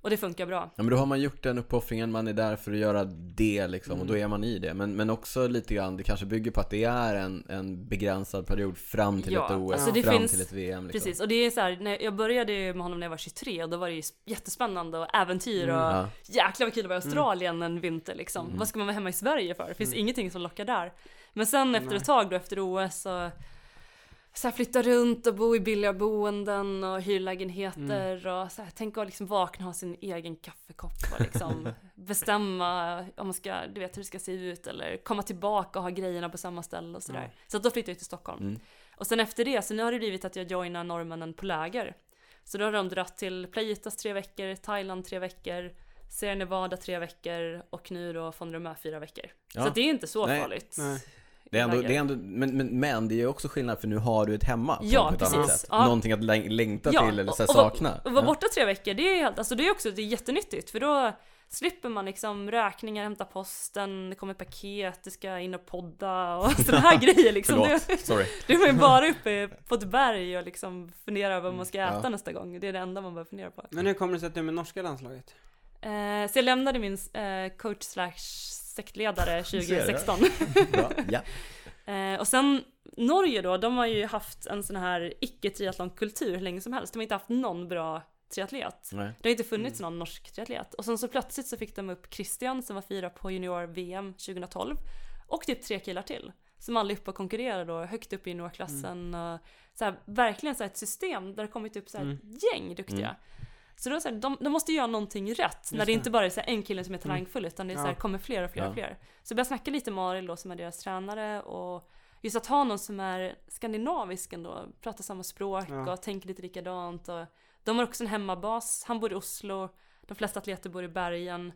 B: Och det funkar bra.
C: Ja men då har man gjort den uppoffringen, man är där för att göra det liksom och då
B: Mm.
C: är man i det. Men, men också lite grann, det kanske bygger på att det är en, en begränsad period fram till
B: Ja,
C: ett OS,
B: alltså det
C: fram
B: finns-
C: till ett VM liksom.
B: Precis, och det är så här, när jag började ju med honom när jag var 23 och då var det ju jättespännande och äventyr och
C: Mm, Ja.
B: jäklar vad kul det var i Australien en vinter liksom. Vad ska man vara hemma i Sverige för? Det finns ingenting som lockar där. Men sen efter ett tag då efter OS så, så här, flytta runt och bo i billiga boenden och hyrlägenheter och så här, tänk att liksom vakna och ha sin egen kaffekopp och liksom bestämma om man ska, du vet hur det ska se ut eller komma tillbaka och ha grejerna på samma ställe och sådär.
A: Mm.
B: Så att då flyttade jag till Stockholm. Och sen efter det, så nu har det blivit att jag joinar norrmännen på läger. Så då har de dratt till Playitas tre veckor, Thailand tre veckor, Sierra Nevada tre veckor och nu då von Rumä fyra veckor.
C: Ja.
B: Så det är inte så
C: Nej.
B: farligt.
A: Nej.
C: Det är ändå,
B: läger.
C: det är ändå men, men, men det är ju också skillnad för nu har du ett hemma på
B: Ja,
C: ett annat
B: precis.
C: sätt.
B: Ja.
C: Någonting att läng- längta till eller så här,
B: och- och vara-
C: sakna.
B: Och vara
C: Ja.
B: borta tre veckor, det är, helt- alltså det är också det är jättenyttigt för då slipper man liksom räkningar, hämta posten, det kommer paket, det ska in och podda och sådana här grejer liksom.
C: Förlåt,
B: Det-
C: sorry.
B: Då är man ju bara uppe på ett berg och liksom funderar på vad man ska äta
C: Mm. Ja.
B: nästa gång. Det är det enda man behöver fundera på.
A: Men hur kommer det sig att du är med norska landslaget?
B: Eh, så jag lämnade min eh, coach slash sektledare
C: ser jag.
B: 2016.
C: Bra. Ja.
B: eh, och sen Norge då, de har ju haft en sån här icke-triathlonkultur hur länge som helst. De har inte haft någon bra triatlet.
C: Nej.
B: Det har inte funnits någon norsk triatlet. Och sen så plötsligt så fick de upp Christian som var fyra på junior-VM 2012. Och typ tre killar till. Som alla är uppe och konkurrerar då, högt upp i juniorklassen. och Så här, verkligen så här ett system där det kommit upp så här ett gäng duktiga. Så då så här, de, de måste göra någonting rätt. när det, inte bara är så här en kille som är talangfull utan det är så här,
A: Ja.
B: kommer fler och fler
C: Ja.
B: och fler. Så jag började snacka lite med Aril då som är deras tränare och just att ha någon som är skandinavisk ändå, pratar samma språk
A: Ja.
B: och tänker lite likadant. Och de har också en hemmabas, han bor i Oslo, de flesta atleter bor i bergen,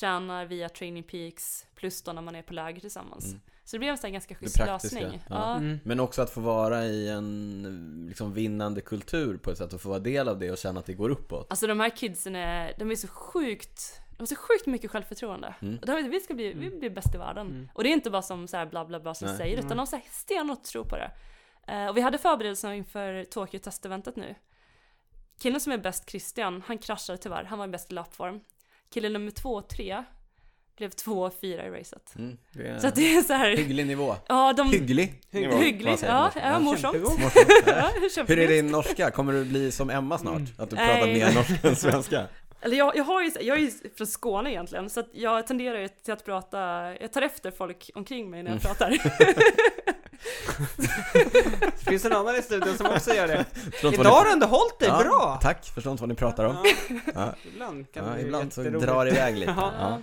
B: tränar via Training Peaks plus då när man är på läger tillsammans. Så det blev en sån här ganska schysst
C: praktiska,
B: lösning.
C: ja.
B: Ja.
A: Mm.
C: Men också att få vara i en liksom, vinnande kultur på ett sätt och få vara del av det och känna att det går uppåt.
B: Alltså de här kidsen är, de är så sjukt, de har så sjukt mycket självförtroende.
C: Mm.
B: Och de vet att vi ska bli, vi blir bäst i världen. Och det är inte bara som så här bla bla bla som
C: Nej.
B: säger, utan de säger stenhårt tror på det. Eh, och vi hade förberedelser inför Tokyo testentet nu. Killen som är bäst, Christian, han kraschade tyvärr, han var bäst i löpform. Kille nummer två och tre blev två och fyra i racet.
C: Mm. Det är
B: Så att det är så här,
C: hygglig nivå.
B: ja de...
C: Hygglig nivå. vad
B: Hyggligt,
C: säger
B: ja,
C: man?
B: ja, morsomt.
A: Kämpegod.
B: Ja,
C: Hur är
B: kämpegott.
C: det i norska? Kommer du bli som Emma snart? Att du pratar
B: Nej.
C: mer norska än svenska?
B: Eller jag, jag, har ju, jag är ju från Skåne egentligen, så att jag tenderar ju till att prata, jag tar efter folk omkring mig när jag
C: Mm.
B: pratar.
A: Finns det någon annan i studion som också gör det?
C: Förstår inte vad
A: Idag har
C: ni-
A: du ändå hållit dig
C: Ja,
A: bra!
C: Tack, förstår inte vad ni pratar om. Ja.
A: Ja, ibland kan
C: Ja,
A: det
C: ibland så
A: bli
C: drar det iväg lite.
A: Ja.
C: Ja.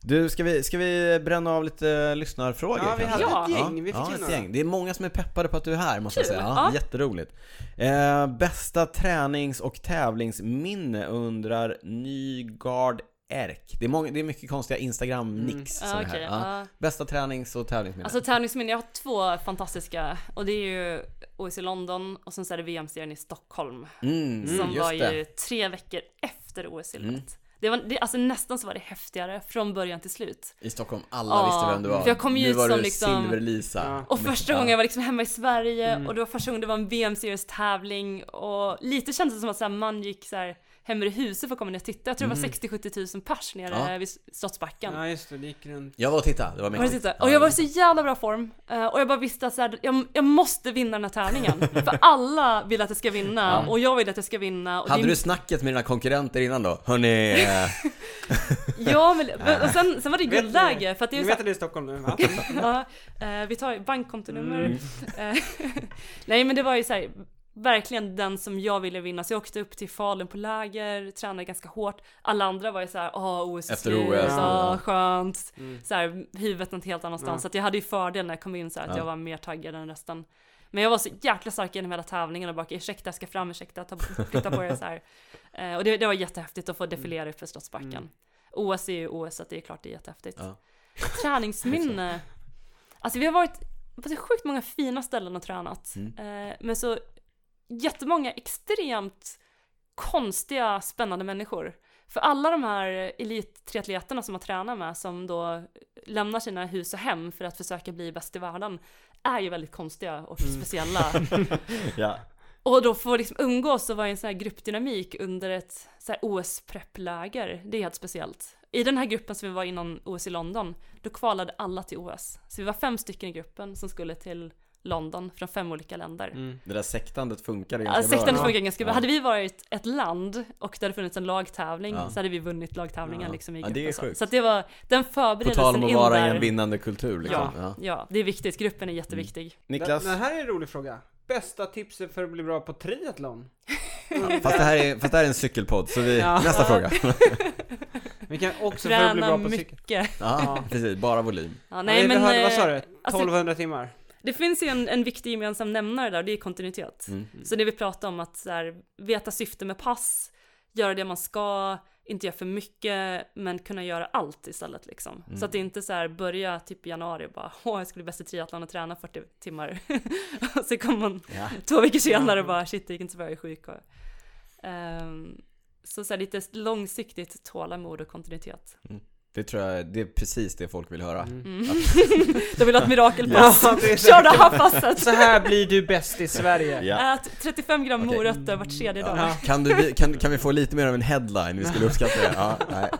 C: Du, ska vi, ska vi bränna av lite lyssnarfrågor?
A: Ja, vi hade
C: kanske?
B: ett
A: gäng. Vi fick
C: ja,
A: in
C: ett
A: några.
C: gäng. Det är många som är peppade på att du är här, måste jag
B: Kul.
C: säga. Ja,
B: Ja.
C: Jätteroligt. Eh, bästa tränings och tävlingsminne undrar Nygard Erk. Det är, många, det är mycket konstiga Instagram-nicks som
B: Ja,
C: är här.
B: okej,
C: Ja.
B: ja.
C: Bästa tränings och tävlingsminne.
B: Alltså tävlingsminne, jag har två fantastiska och det är ju OS i London och sen så är det VM-serien i Stockholm
C: mm,
B: som
C: just
B: var
C: det. Mm.
B: ju tre veckor efter OS-silvret. Det var, det, alltså nästan så var det häftigare från början till slut.
C: I Stockholm, alla
B: Ja,
C: visste vem du var.
B: för jag kom ju
C: nu
B: ut
C: var
B: som
C: du
B: liksom-
C: Silver-Lisa.
A: Ja.
B: Och första gången jag var liksom hemma i Sverige
C: Mm.
B: och det var första gången det var en VM-seriestävling och lite kändes det som att så här, man gick så här hem i huset för att komma ner och titta. Jag tror det var 60-70 000 pers nere
C: Mm. Ja.
B: vid Slottsbacken.
A: Ja just det, det gick runt.
C: Jag var och tittade, det var
B: Och, jag
C: mäktigt.
B: tittade. och jag var i så jävla bra form eh, och jag bara visste att så här, jag, jag måste vinna den här tävlingen. För alla vill att jag ska vinna och jag vill att jag ska vinna. Och
C: Hade
B: det,
C: du snacket med dina konkurrenter innan då? Hörni, eh,
B: Ja, men, men och sen, sen var det
A: Vet ni-
B: guldläge för att det är
A: Ni
B: ju så här,
A: vet att det är i Stockholm nu va?
B: ja, eh, vi tar bankkontonummer.
C: Mm.
B: Eh, Nej men det var ju så här, verkligen den som jag ville vinna. Så jag åkte upp till Falun på läger, tränade ganska hårt. Alla andra var ju så här, ah OS är
C: Efter
B: slut,
C: OS,
B: ah,
C: ja.
B: skönt.
A: Mm.
B: Så här, huvudet något helt annanstans.
A: Ja.
B: Så att jag hade ju fördel när jag kom in så här, att
C: Ja.
B: jag var mer taggad än resten. Men jag var så jäkla stark genom hela tävlingen och bara ursäkta, jag ska fram, ursäkta, ta, flytta på det så här. Eh, och det, det var jättehäftigt att få defilera upp för Slottsbacken.
C: Mm.
B: OS är ju OS, så att det är klart det är jättehäftigt.
C: Ja.
B: Träningsminne. Alltså vi har varit på så sjukt många fina ställen och tränat. Eh, men så jättemånga extremt konstiga, spännande människor. För alla de här elittriatleterna som man tränar med, som då lämnar sina hus och hem för att försöka bli bäst i världen, är ju väldigt konstiga och speciella.
C: Ja.
B: Och då få liksom umgås och vara i en sån här gruppdynamik under ett så här OS-preppläger, det är helt speciellt. I den här gruppen som vi var innan OS i London, då kvalade alla till OS. Så vi var fem stycken i gruppen som skulle till London från fem olika länder.
C: Det där sektandet funkar Mm, ganska
B: Ja, sekten
C: bra.
B: funkar ganska bra.
C: Ja.
B: Hade vi varit ett land och det hade funnits en lagtävling
C: Ja.
B: så hade vi vunnit lagtävlingen
C: Ja.
B: liksom i
C: Ja,
B: gruppen.
C: det är
B: så.
C: sjukt.
B: så att det var den
C: På tal om
B: förberedelsen
C: att
B: in
C: vara i
B: där.
C: en vinnande kultur liksom.
B: Ja.
C: Ja.
B: Ja, det är viktigt. Gruppen är jätteviktig.
C: Mm. Niklas,
A: Den, den här är en rolig fråga. Bästa tipset för att bli bra på triathlon?
C: fast, det här är, fast det här är en cykelpodd så vi,
A: Ja.
C: nästa fråga.
A: Vi kan också för att bli
B: Träna
A: bra på cykel.
B: mycket.
C: Ja, precis, bara volym.
B: Ja,
A: Ja,
B: nej,
A: det-
B: men,
A: det hörde- vad sa
B: eh,
A: du? 1200 timmar?
B: Det finns ju en, en viktig gemensam nämnare där och det är kontinuitet.
C: Mm.
A: Mm.
B: Så det vi pratar om att så här, veta syfte med pass, göra det man ska, inte göra för mycket men kunna göra allt istället liksom. Så
A: Mm.
B: att det inte så här börja typ i januari och bara åh jag skulle bli bäst i triathlon och träna 40 timmar. och så kommer man
C: Ja.
B: två veckor senare och bara shit det gick inte så bra, jag är sjuk. Och, ehm, så, så här, lite långsiktigt tålamod och kontinuitet.
C: Det tror jag, det är precis det folk vill höra.
B: De vill ha ett mirakelpass.
A: Ja, det är
B: Kör det här passet!
A: Så här blir du bäst i Sverige.
C: Ja.
B: Ät 35 gram
C: Okej.
B: morötter var tredje dag.
C: Ja. Kan, du, kan, kan vi få lite mer av en headline? Vi skulle uppskatta det. Ja, nej.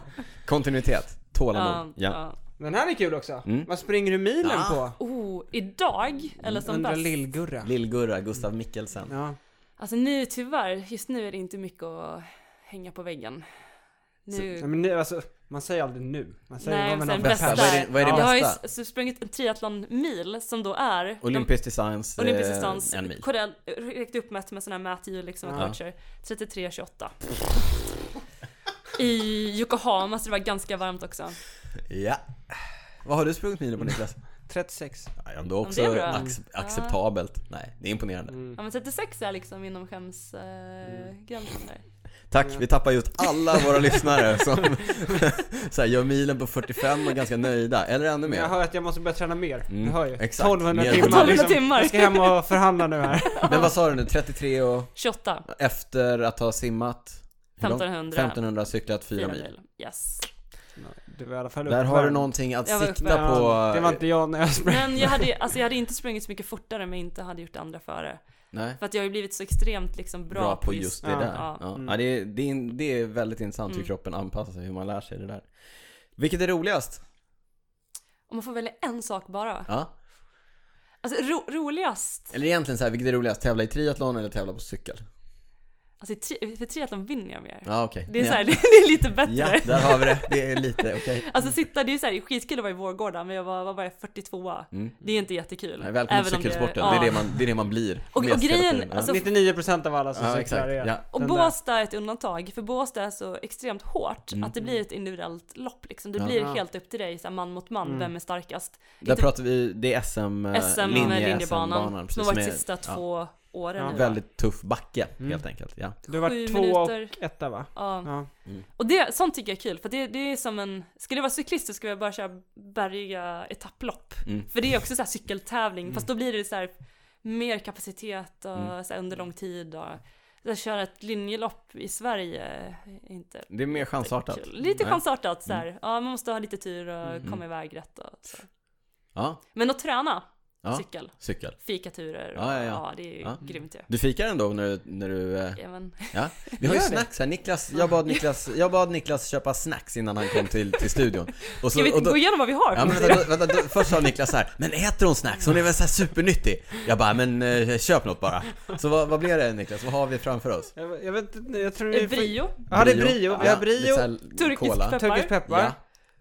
C: Kontinuitet, tålamod. Ja.
A: Den här är kul också.
C: Mm.
A: Vad springer du milen
C: Ah.
A: på?
B: Oh, idag? Eller som
A: Undrar
B: bäst?
A: Lill-Gurra.
C: Lill-Gurra, Gustav Mikkelsen.
A: Ja.
B: Alltså nu tyvärr, just nu är det inte mycket att hänga på väggen.
A: Nej,
B: Nu...
A: men nu, alltså, man säger aldrig nu. Man säger
B: Nej,
A: vad
B: men
A: man
B: sen
A: har
B: bästa.
C: Vad är det- vad är det
B: jag har ju
C: bästa?
B: s- sprungit en triathlonmil som då är
C: Olympisk distans, eh,
B: olympisk distans,
C: en mil.
B: Corell räckte upp med med sådana här mätdjur liksom och
C: Ja.
B: coacher. 33-28. I Yokohama så det var ganska varmt också.
C: Ja. Vad har du sprungit milen på Niklas?
A: 36.
C: Ja, ändå också
B: det är bra. Mm.
C: ac- acceptabelt. Nej, det är imponerande.
B: Ja men 36 är liksom inomskämsgränsen
C: Mm.
B: eh, gränsen där.
C: Tack, vi tappar just alla våra lyssnare som så här, gör milen på 45 och är ganska nöjda, eller ännu
A: Men jag
C: mer.
A: hör att jag måste börja träna mer.
C: Mm,
A: Du hör ju.
C: exakt.
A: 1200
C: Mer.
A: timmar. liksom.
C: 1200
B: timmar.
A: Jag ska hem och förhandla nu här.
C: Men vad sa du nu, 33 och
B: 28,
C: efter att ha simmat? hur långt?
B: 1500.
C: 1500 cyklat 4
B: 4
C: mil.
B: mil. Yes.
A: Du var i alla fall
C: Där har du
A: uppvärmd.
C: någonting att
B: Jag var
C: sikta
B: uppvärmd.
C: på. Eh,
A: Det var inte jag när jag sprang.
B: Men jag hade, alltså jag hade inte sprungit så mycket fortare om jag inte hade gjort det andra före.
C: Nej.
B: För att jag har ju blivit så extremt liksom bra,
C: Bra, på just det
A: Ja.
C: där. Ja.
B: Ja. Mm.
C: Ja, det, är, det, är, in- det är väldigt intressant hur kroppen anpassar sig, hur man lär sig det där. Vilket är roligast?
B: Om man får välja en sak bara.
C: Ja.
B: Alltså ro, roligast,
C: Eller egentligen så här, vilket är roligast? Tävla i triathlon eller tävla på cykel?
B: alltså i tri, för triathlon vinner jag mer.
C: Ja, okej.
B: Det är,
C: ja.
B: så här, det är lite bättre.
C: Ja, där har vi det. Det är lite, okej.
B: Alltså sitta, det är ju såhär skitkul att vara i Vårgårda men jag var, var bara 42a.
C: Mm.
B: Det är inte jättekul.
C: Nej, Välkommen till
B: Även om
C: cykelsporten. Det,
B: ja.
C: är det, man, det är det man blir.
B: Och- och
C: Mest hela
B: grejen,
C: tiden. Ja.
B: alltså,
A: 99% av alla som
C: ja,
A: cyklar
C: exakt.
A: är...
C: Ja.
B: Och
A: Den där.
B: Båstad är ett undantag, för Båstad är så extremt hårt
C: Mm.
B: att det blir ett individuellt lopp liksom. Det
C: Ja.
B: blir helt upp till dig, så här, man mot man, vem är starkast?
C: Där pratar vi, det är SM, eh,
B: SM,
C: linje,
B: linjebanan,
C: precis,
B: som har varit
C: med-
B: sista
C: ja,
B: två åren nu, va?
C: Väldigt tuff backe, helt enkelt. Ja.
A: Du var
B: Sju
A: två
B: minuter.
A: och etta va?
B: Ja.
A: Ja.
B: Och det, sånt tycker jag är kul, för det, det är som en... Skulle jag vara cyklist så skulle jag bara köra bergiga etapplopp.
C: Mm.
B: För det är också så här cykeltävling, fast då blir det så här mer kapacitet och
C: Mm.
B: så här under lång tid och... Så här, köra ett linjelopp i Sverige är inte
C: Det är mer chansartat.
B: kul. Lite
C: Nej. Mm. Mm-hmm.
B: chansartat så här. Ja, man måste ha lite tur och komma iväg rätt och så.
C: Ja,
B: Men att träna
C: Ja.
B: cykel,
C: cykel.
B: fikaturer och,
C: Ja, ja,
B: ja,
C: ja.
B: det är ju
C: Ja.
B: grymt ju.
C: Du fikar ändå när du, när du eh,
B: Ja, men,
C: ja. Vi har ju
A: Gör det.
C: snacks här, Niklas, jag bad Niklas, jag bad Niklas köpa snacks innan han kom till, till studion. Och
B: ska vi
C: och då-
B: gå igenom vad vi har?
C: Ja, men vänta, då, vänta, då, först sa Niklas så här, men äter hon snacks? Hon är väl så här supernyttig? Jag bara, men eh, köp något bara. Så vad, vad blir det Niklas? Vad har vi framför oss?
A: Jag, jag vet inte, jag tror
B: Eh,
A: vi...
B: Brio,
A: Ja det är brio, vi
C: Ja,
A: har
C: lite så
A: brio,
C: här
B: Turkisk
C: cola.
B: peppar.
A: turkisk peppar,
C: Ja.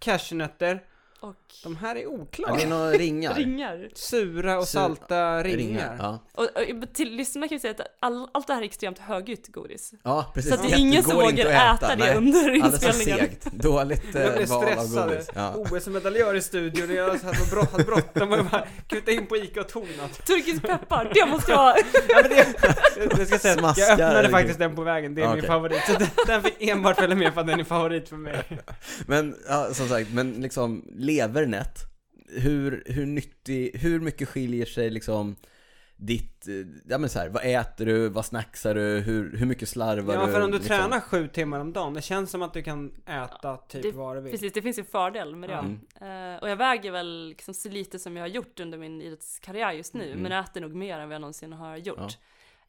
A: cashewnötter.
B: och
A: De här är
C: Ja,
A: oklara.
C: det är några ringar.
B: ringar.
A: Sura och
C: Sur-
A: salta ringar.
C: Ja.
B: Och, och till lyssnarna kan vi säga att all, allt det här är extremt högljutt godis.
C: ja, precis.
B: Så att det
C: Ja.
B: är ingen som
C: går inte
B: vågar
C: att
B: äta det
C: Nej.
B: under
C: Alldeles för
B: inspelningen.
C: segt. Dåligt
A: Jag
C: eh,
A: blev
C: val av
A: stressad.
C: godis. Ja.
A: OS-medaljör i studion och jag satt och brott- hade bråttom och jag bara kutade in på ICA och tog något.
B: Turkisk peppar, det måste jag ha!
C: Mm.
A: Ja, men det, det ska sägas, jag
C: Smaskar.
A: öppnade faktiskt den på vägen, det är min
C: Okej.
A: favorit. Så den, den fick enbart följa med för att den är favorit för mig.
C: Men ja, som sagt, men liksom levernet. Hur, hur nyttig, hur mycket skiljer sig liksom ditt, eh, ja men så här, vad äter du, vad snacksar du, hur, hur mycket slarvar
A: Ja,
C: du?
A: för om du
C: liksom?
A: tränar sju timmar om dagen, det känns som att du kan äta typ
B: det-
A: vad du vill.
B: Precis, det finns ju en fördel med det.
C: Mm.
B: Eh, och jag väger väl liksom så lite som jag har gjort under min idrottskarriär just nu, men äter nog mer än vad jag någonsin har gjort.
C: Mm.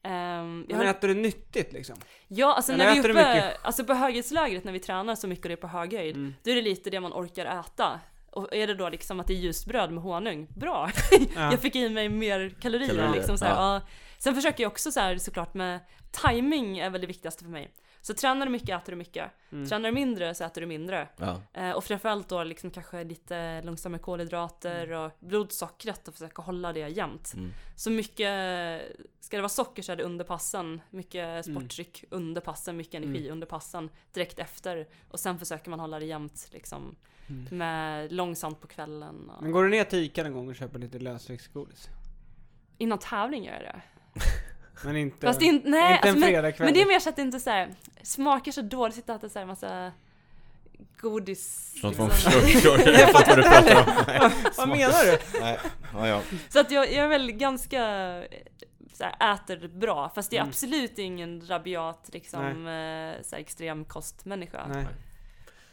C: Ja.
B: Ehm, jag
A: Men
B: har,
A: äter du nyttigt liksom?
B: ja, alltså
A: eller
B: när vi är
A: äter du
B: uppe,
A: mycket? Mm.
B: alltså på höghöjdslägret när vi tränar så mycket och det är på hög höjd, då är det lite det man orkar äta. Och är det då liksom att det är ljust bröd med honung, bra!
A: Ja.
B: jag fick i mig mer kalorier,
C: Kalorier,
B: liksom så här,
C: ja.
B: ja. Sen försöker jag också så här såklart med timing är väl det viktigaste för mig. Så tränar du mycket äter du mycket.
A: Mm.
B: Tränar du mindre så äter du mindre.
C: Ja.
B: Eh, Och framförallt då liksom kanske lite långsammare kolhydrater
A: Mm.
B: och blodsockret och försöka hålla det jämnt. Så mycket, ska det vara socker så är det under passen,
A: Mm.
B: mycket sporttryck under passen, mycket energi under passen direkt efter. Och sen försöker man hålla det jämnt liksom med långsamt på kvällen. Och...
A: Mm. Men går du ner till Ica någon gång och köper lite lösviktsgodis?
B: Innan tävling gör jag det.
A: Men inte...
B: Fast in, nej,
A: inte en
B: alltså, men,
A: fredagkväll.
B: men det är mer så att det inte så här, smaker så dåligt, sitta och äta så här massa godis.
C: Sånt får man
B: liksom.
C: förstå. Jag fattar vad du pratar om.
A: Vad menar du?
C: Nej, ja, ja.
B: Så att jag, jag är väl ganska eh, så här, äter bra, fast jag är absolut ingen rabiat liksom eh, så här, extrem kostmänniska.
A: Nej.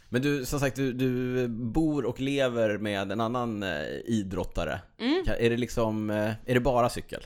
C: Men du, som sagt, du, du bor och lever med en annan eh, idrottare.
A: Mm.
C: Ka- Är det liksom, eh, är det bara cykel?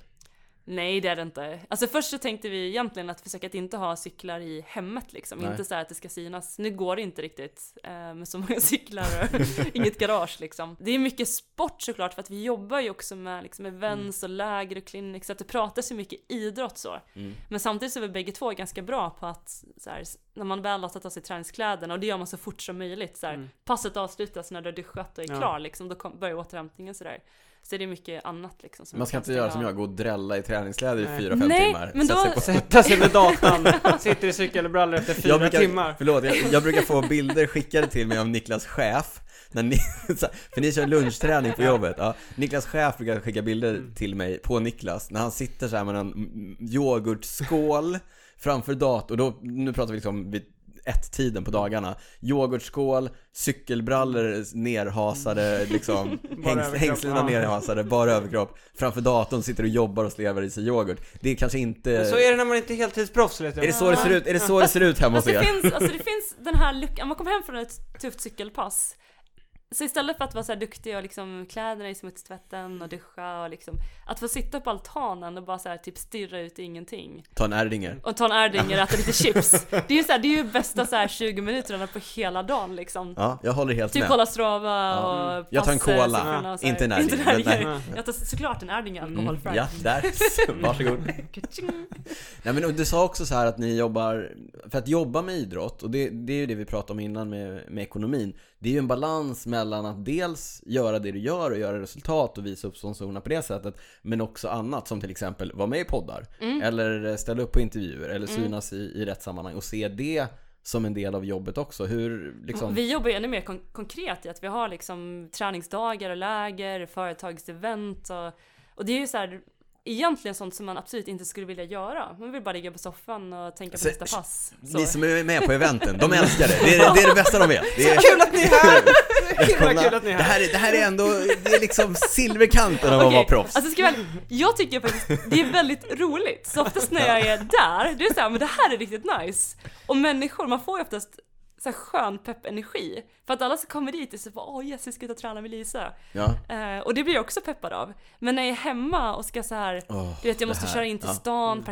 B: Nej, det är det inte. Alltså först så tänkte vi egentligen att försöka att inte ha cyklar i hemmet liksom.
C: Nej.
B: Inte så här att det ska synas. Nu går det inte riktigt eh, med så många cyklar och inget garage liksom. Det är mycket sport såklart för att vi jobbar ju också med liksom events och läger och clinics. Så att det pratas ju mycket idrott så.
A: Mm.
B: Men samtidigt så är vi bägge två ganska bra på att så här, när man väl har tagit av sig träningskläderna och det gör man så fort som möjligt. Så här,
C: Mm.
A: Mm.
B: Passet avslutas när du har duschat och är
A: Ja.
B: klar liksom. Då kom, börjar återhämtningen sådär. Så det är mycket annat liksom. som
C: Man ska
B: vi
C: inte göra
B: ha.
C: som jag, gå och drälla i träningskläder i
A: Nej.
C: 4-5
B: Nej,
C: timmar.
B: men
C: Sätta
B: då-
C: sig på-
A: Sätta sig vid datorn, sitter i cykelbrallor efter fyra
C: jag brukar,
A: timmar.
C: Förlåt, jag, jag brukar få bilder skickade till mig av Niklas chef. När ni, så- för ni kör lunchträning på jobbet. Ja, Niklas chef brukar skicka bilder
A: Mm.
C: till mig på Niklas när han sitter så här med en mm, yoghurtskål framför datorn. Och då, nu pratar vi liksom vid ett-tiden på dagarna. Yoghurtskål, cykelbrallor nerhasade, liksom, hängs,
A: överkropp,
C: hängslena
A: ja.
C: nerhasade, bara överkropp. Framför datorn sitter och jobbar och slevar i sig yoghurt. Det är kanske inte...
A: Men så är det när man inte är heltidsproffs
C: Eh, Är
A: lite.
C: det så det ser ut? Är det så det ser ut hemma hos
B: Alltså
C: er?
B: det, finns, alltså det finns den här luckan, man kommer hem från ett tufft cykelpass. Så istället för att vara så här duktig och liksom kläderna i smutstvätten och duscha och liksom att få sitta på altanen och bara så här typ stirra ut i ingenting
C: Ta en Erdinger.
B: och ta en Erdinger och äta lite chips. Det är ju så här, det är ju bästa så här 20 minuterna på hela dagen liksom.
C: Ja, jag håller helt
B: Typ
C: med.
B: kolla Strava
C: Ja. Mm.
B: och
C: Jag tar en
B: pass, eh,
C: cola.
B: siffrorna och så här.
C: Inte en
B: Inte en
C: Erdinger.
B: Erdinger.
A: Nej.
B: Jag tar såklart en Erdinger
C: Mm,
B: alkoholfri.
C: ja, där. Varsågod.
B: Ka-ching.
C: Nej, men och du sa också så här att ni jobbar, för att jobba med idrott, och det, det är ju det vi pratade om innan med, med ekonomin, det är ju en balans mellan att dels göra det du gör och göra resultat och visa upp sponsorerna på det sättet, men också annat som till exempel vara med i poddar,
B: Mm.
C: eller ställa upp på intervjuer, eller synas i, i rätt sammanhang och se det som en del av jobbet också. Hur liksom...
B: Vi jobbar ju ännu mer kon- konkret i att vi har liksom träningsdagar och läger, företagsevent och, och det är ju så här egentligen sånt som man absolut inte skulle vilja göra. Man vill bara ligga på soffan och tänka på
C: Så-
B: nästa pass. Så.
C: Ni som är med på eventen, de älskar det. Det är det, är det bästa de vet. Det är,
A: Kul att ni är här! Himla kul att ni
C: det,
A: är här!
C: här är, det här är ändå, det är liksom silverkanten av att
B: Okej,
C: vara proffs.
B: Alltså ska jag, väl- jag tycker faktiskt det är väldigt roligt. Så oftast när jag är där, det är såhär, men det här är riktigt nice. Och människor, man får ju oftast så här skön peppenergi. För att alla som kommer dit är så bara, åh yes, jag ska ut och träna med Lisa.
C: Ja.
B: Eh, och det blir jag också peppad av. Men när jag är hemma och ska så här,
C: Åh,
B: du vet jag
C: det
B: måste
C: här.
B: köra in till
C: Ja.
B: stan,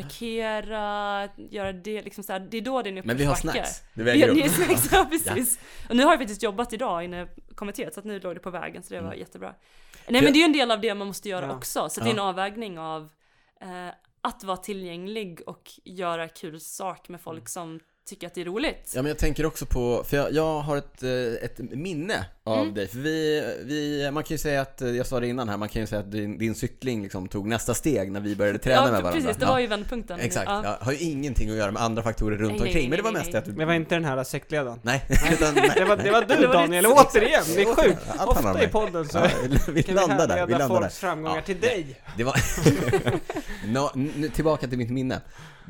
B: parkera, göra det liksom så här, det är då det är en
C: Men vi har
B: uppförsbacke.
C: snacks. Det
B: Vi
C: väger
B: har-
C: upp.
B: det är snacks, ja precis. Och nu har jag faktiskt jobbat idag inne i kommittéet så att nu låg det på vägen så det var
C: Mm.
B: jättebra. Nej men det är ju en del av det man måste göra
A: Ja.
B: också, så det är en avvägning av eh, att vara tillgänglig och göra kul sak med folk som tycker att det är roligt.
C: Ja men Mm. jag tänker också på, för jag, jag har ett, eh, ett minne av dig. För vi, vi, man kan ju säga att, eh, jag sa det innan här, man kan ju säga att din, din cykling liksom tog nästa steg när vi började träna med varandra.
B: precis, det var ju vändpunkten.
C: ja, exakt,
B: Ja.
C: ja, har ju ingenting att göra med andra faktorer runt
B: Nej, nej,
C: omkring. men det var
B: nej,
C: mest
B: nej,
C: det att du...
A: Det var inte den här sektledaren.
C: Nej, utan,
A: Det var, det var du
B: Det var ditt-
A: Daniel, återigen! Det är
C: Återigen,
A: sjukt!
C: allt handlar om
A: Ofta i
C: mig.
A: podden så
C: Ja, vi
A: kan vi
C: landar där, vi
A: härleda
C: landar där.
A: folks framgångar
C: Ja.
A: till dig.
C: Det var... Nå, nu, tillbaka till mitt minne.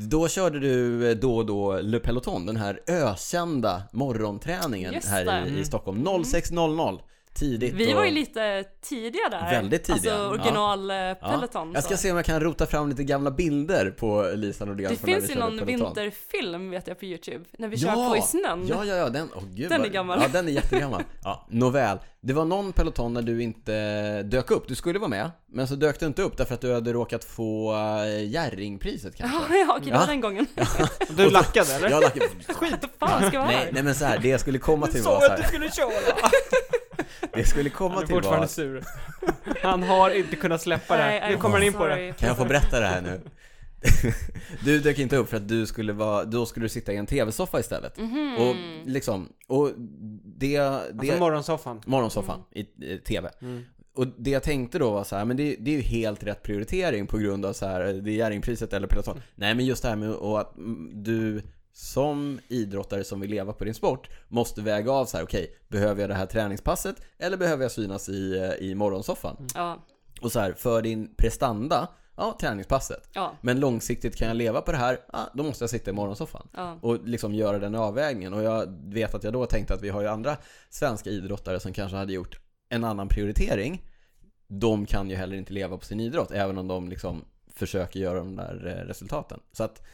C: Då körde du eh, då och då Le Peloton, den här ökända morgonträningen
B: Just
C: här
B: det. Mm.
C: i, i Stockholm. 06.00 tidigt.
B: Vi
C: och-
B: var ju lite tidiga där.
C: Väldigt tidiga,
B: Alltså original eh, Peloton.
C: Ja. Jag ska
B: så.
C: se om jag kan rota fram lite gamla bilder på Lisa Nordgren
B: Det
C: från när vi
B: finns ju
C: körde
B: någon
C: peloton.
B: vinterfilm vet jag på Youtube. När vi kör på i snön.
C: Ja, ja, ja, den, åh gud,
B: Den
C: vad-
B: är gammal.
C: Ja, den är jättegammal. Ja, nåväl, det var någon peloton när du inte dök upp. Du skulle vara med, men så dök du inte upp därför att du hade råkat få eh, Jerringpriset kanske.
B: Ja, ja, okej, det var
C: Ja.
B: den gången.
A: Du lackade eller?
C: Jag lackade,
B: Skit fan ska jag vara
C: nej,
B: här?
C: nej men så här, det jag skulle komma till var så här,
A: skulle köra!
C: det jag skulle komma
A: Han är
C: till
A: fortfarande
C: var,
A: sur. Han har inte kunnat släppa det här.
B: Nej,
A: Nu
B: I'm
A: kommer han in på det.
B: sorry.
C: kan jag få berätta det här nu? Du dök inte upp för att du skulle vara, då skulle du sitta i en tv-soffa istället.
B: Mhm.
C: Och liksom, och det, det...
A: Mm. Alltså morgonsoffan.
C: Morgonsoffan i, i TV. Och det jag tänkte då var så här, men det, det är ju helt rätt prioritering på grund av så här, det är Jerringpriset eller Peloton. Nej men just det här med och att mm, du som idrottare som vill leva på din sport måste väga av så här, okej, behöver jag det här träningspasset eller behöver jag synas i, eh, i morgonsoffan?
B: Ja,
C: Och så här, för din prestanda, ja träningspasset.
B: ja,
C: Men långsiktigt kan jag leva på det här, ja, då måste jag sitta i morgonsoffan
B: ja.
C: och liksom göra den avvägningen. Och jag vet att jag då tänkte att vi har ju andra svenska idrottare som kanske hade gjort en annan prioritering. De kan ju heller inte leva på sin idrott, även om de liksom försöker göra de där eh, resultaten. Så att,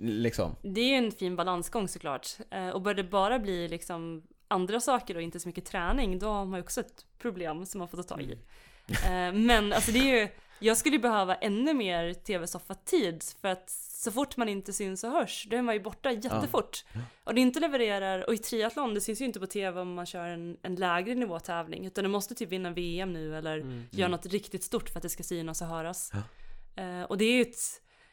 C: liksom,
B: Det är ju en fin balansgång såklart. Eh, Och bör det bara bli liksom andra saker och inte så mycket träning, då har man ju också ett problem som man får ta tag i. Eh, Men alltså det är ju, jag skulle ju behöva ännu mer tv-soffatid för att så fort man inte syns och hörs, då är man ju borta jättefort. Och det inte levererar, och i triathlon, det syns ju inte på tv om man kör en, en lägre nivå tävling, utan du måste typ vinna VM nu eller göra något riktigt stort för att det ska synas och höras. Eh, Och det är ju ett,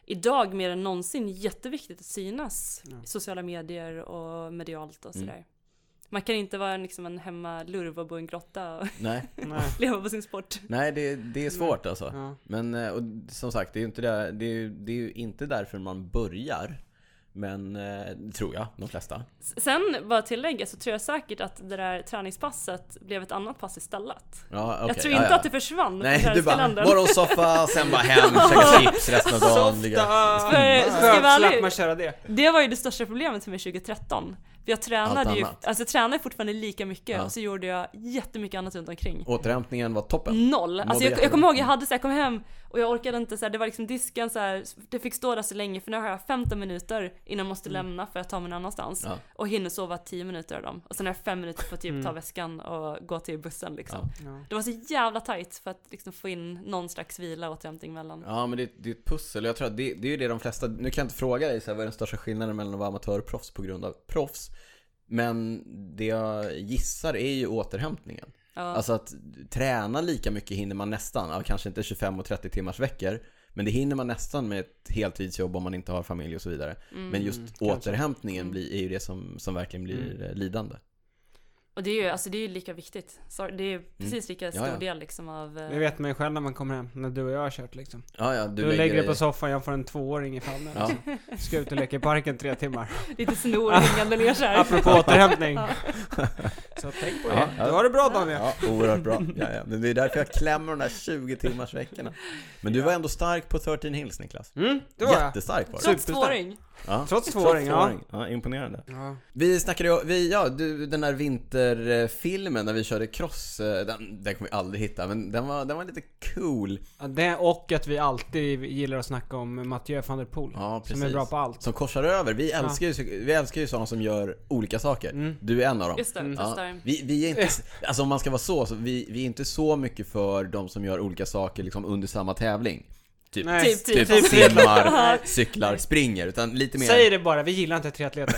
B: idag mer än någonsin jätteviktigt att synas i sociala medier och medialt
C: Mm.
B: och sådär. Man kan inte vara liksom en hemmalurv och bo i en grotta och
C: nej,
A: Nej.
B: leva på sin sport.
C: nej det, det är svårt alltså.
A: Ja.
C: Men eh, och som sagt, det är ju inte, där, det är, ju- det är ju inte därför man börjar. Men, eh, tror jag, de flesta.
B: S- Sen bara tillägga så tror jag säkert att det där träningspasset blev ett annat pass istället.
C: Ja, okej,
B: jag tror inte
C: ja, ja.
B: att det försvann
C: Nej,
B: från
C: du bara
B: träningskalendern.
C: morgonsoffa, sen bara hem, käka chips resten av dagen. ligga-
B: För, ska jag
A: Skönt,
B: vara
A: slapp man
B: ärlig,
A: köra det.
B: det var ju det största problemet för mig 2013. För jag tränade
C: Allt
B: ju,
C: annat.
B: alltså jag tränade fortfarande lika mycket
C: Ja.
B: och så gjorde jag jättemycket annat runt omkring.
C: Återhämtningen var toppen.
A: Mm.
B: Noll. Alltså jag, jag
C: jättebra.
B: kommer ihåg, jag hade så här, kom hem och jag orkade inte så här, det var liksom disken så här, det fick stå där så länge för nu har jag 15 minuter innan jag måste lämna för att ta mig någon annanstans.
C: Mm. Ja. Mm.
B: Och hinner sova 10 minuter av dem. Och sen har jag 5 minuter för att typ ta väskan och gå till bussen liksom.
A: Ja.
B: Det var så jävla tight för att liksom få in någon slags vila och återhämtning mellan.
C: Ja men det, det är ett pussel, jag tror att det, det är ju det de flesta, nu kan jag inte fråga dig så här, vad är den största skillnaden mellan att vara amatör och proffs på grund av proffs? Men det jag gissar är ju återhämtningen. Alltså att träna lika mycket hinner man nästan, ja, kanske inte 25 och 30 timmars veckor. Men det hinner man nästan med ett heltidsjobb om man inte har familj och så vidare.
B: Mm.
C: men
A: Mm,
C: just återhämtningen blir, är ju det som, som verkligen blir eh, lidande.
B: Och det är ju, alltså det är ju lika viktigt. Så det är precis lika stor
C: Mm. ja.
B: del liksom av... eh,
A: Det vet man ju själv när man kommer hem, när du och jag har kört liksom.
C: Ja, ja, du,
A: Du, lägger dig
C: i-
A: på soffan, jag får en tvååring i famnen.
C: Ja.
A: Ska ut och leka i parken tre timmar.
B: Lite snor hängande ner så här.
A: Apropå återhämtning. Så tänk på
C: Ja,
A: det.
C: ja.
A: Du har det bra Daniel.
C: Ja, oerhört bra. Ja, ja. Men det är därför jag klämmer de där 20 timmars veckorna. Men du var ändå stark på 13 Hills Niklas.
A: Mm, det var jag.
C: Jättestark var du.
B: Trots
A: Superstark.
B: tvååring.
C: Ja.
A: Trots tvååring, ja.
C: tvååring. ja. Imponerande.
A: ja.
C: Vi snackade ju, vi, ja du, den där vinterfilmen när vi körde cross, eh, den, den kommer vi aldrig hitta men den var, den var lite cool.
A: Ja, Det och att vi alltid gillar att snacka om Mathieu van der Poel.
C: Ja, precis.
A: som är bra på allt.
C: Som korsar över. Vi älskar ju, vi älskar ju sådana som gör olika saker.
A: Mm.
C: Du är en av dem.
B: Just det, testar.
C: Vi, vi är inte, alltså om man ska vara så, så vi, vi är inte så mycket för de som gör olika saker liksom under samma tävling. Typ
A: Nej,
B: Typ,
C: typ,
B: Typ.
C: simmar, cyklar, springer. Utan lite mer,
A: Säg det bara, vi gillar inte triatleter.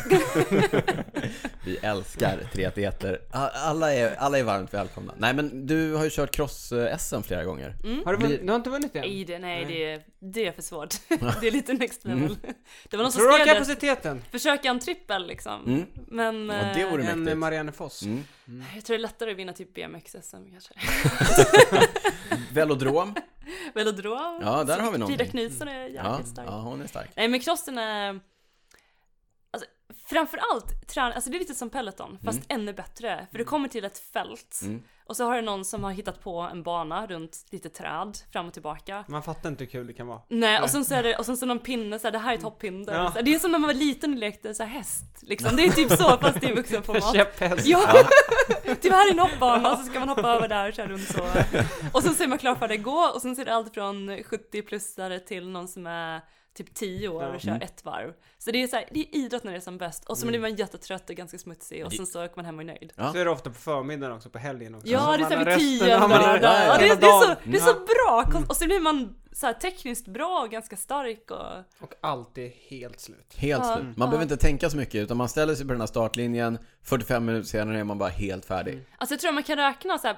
C: vi älskar triatleter. A- Alla är, alla är varmt välkomna. Nej men du har ju kört cross-SM flera gånger.
B: Mm.
A: Har du, vunnit, du har inte vunnit än?
B: Nej, det, nej det, är- det är för svårt. det är lite next
C: Mm.
B: level. Det var någon som
A: Tror du har
B: skrev det.
A: kapaciteten?
B: Försöka en trippel liksom. Men
C: Mm. Ja, det vore
B: eh,
A: En eh,
C: mäktigt. Mm.
A: Marianne Foss.
B: jag tror det är lättare att vinna typ BMX-SM kanske.
C: Velodrom.
B: Velodrom.
C: Ja, där har vi
B: Frida
C: någonting. Mm.
B: Knutsson är jävligt
C: Ja,
B: stark.
C: ja, hon är stark.
B: Nej men crossen är... Alltså, framförallt träna, alltså det är lite som Peloton fast
C: Mm.
B: ännu bättre. För du kommer till ett fält och så har du någon som har hittat på en bana runt lite träd fram och tillbaka.
A: Man fattar inte hur kul det kan vara.
B: Nej, och sen så är det, och sen så någon pinne så här, det här är ett hopphinder.
A: Ja.
B: Så här, Det är som när man var liten och lekte så här häst liksom. Det är typ så fast i vuxenformat.
A: Käpphäst.
B: Ja! typ här är en hoppbana och så ska man hoppa över där och köra runt så. Och sen ser man klar för det gå och sen ser det allt från 70-plussare till någon som är typ 10 år
A: Ja. Mm.
B: och kör ett varv. Så det är så här, det är idrott när det är som bäst. Och så blir man jättetrött och ganska smutsig och sen så åker man hem och är nöjd.
C: Ja.
A: Så är det ofta på förmiddagen också, på helgen också.
B: Ja, det är såhär vid
A: Man har rösten
B: tionde
A: och man har-
B: där. Ja, det, är, det, är så, det är så
A: Ja. Mm.
B: bra kon- och så blir man så här tekniskt bra och ganska stark och
A: Och allt är helt slut.
C: Helt
B: Ja.
C: slut. Man
B: Ja.
C: behöver inte tänka så mycket utan man ställer sig på den här startlinjen 45 minuter senare är man bara helt färdig.
B: Alltså jag tror man kan räkna så här.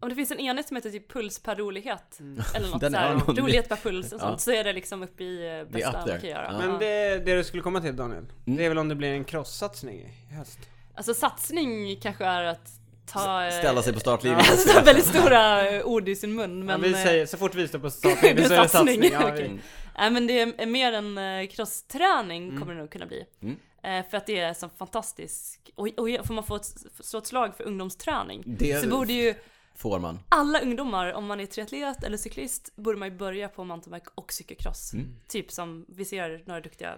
B: Om det finns en enhet som heter typ puls per rolighet eller något
C: Den
B: så här,
C: är någon-
B: rolighet per puls och
C: Ja.
B: sånt, så är det liksom uppe i eh,
C: Det är
B: bästa
C: up
B: man
C: there.
B: kan göra.
C: Ja. Mm.
A: Men
B: Men
A: det, det du skulle komma till Daniel, det är väl om det blir en cross-satsning i höst?
B: Alltså satsning kanske är att ta... eh,
C: Ställa sig på startlinjen.
B: Alltså väldigt stora eh, ord i sin mun men...
A: Men, vi
B: eh,
A: säger, så fort vi står på
B: det
A: startlinjen
B: är
A: så är det
B: satsning.
A: satsning. Ja, vi-
C: Mm.
B: Okej. Nej men det är mer en eh, crossträning kommer det nog kunna bli.
C: Mm.
B: Eh, För att det är så fantastisk, och, och får man få ett, slå ett slag för ungdomsträning
C: Det
B: så borde ju
C: får man.
B: alla ungdomar, om man är triatlet eller cyklist, borde man ju börja på mountainbike och cykelcross.
C: Mm.
B: Typ som vi ser några duktiga,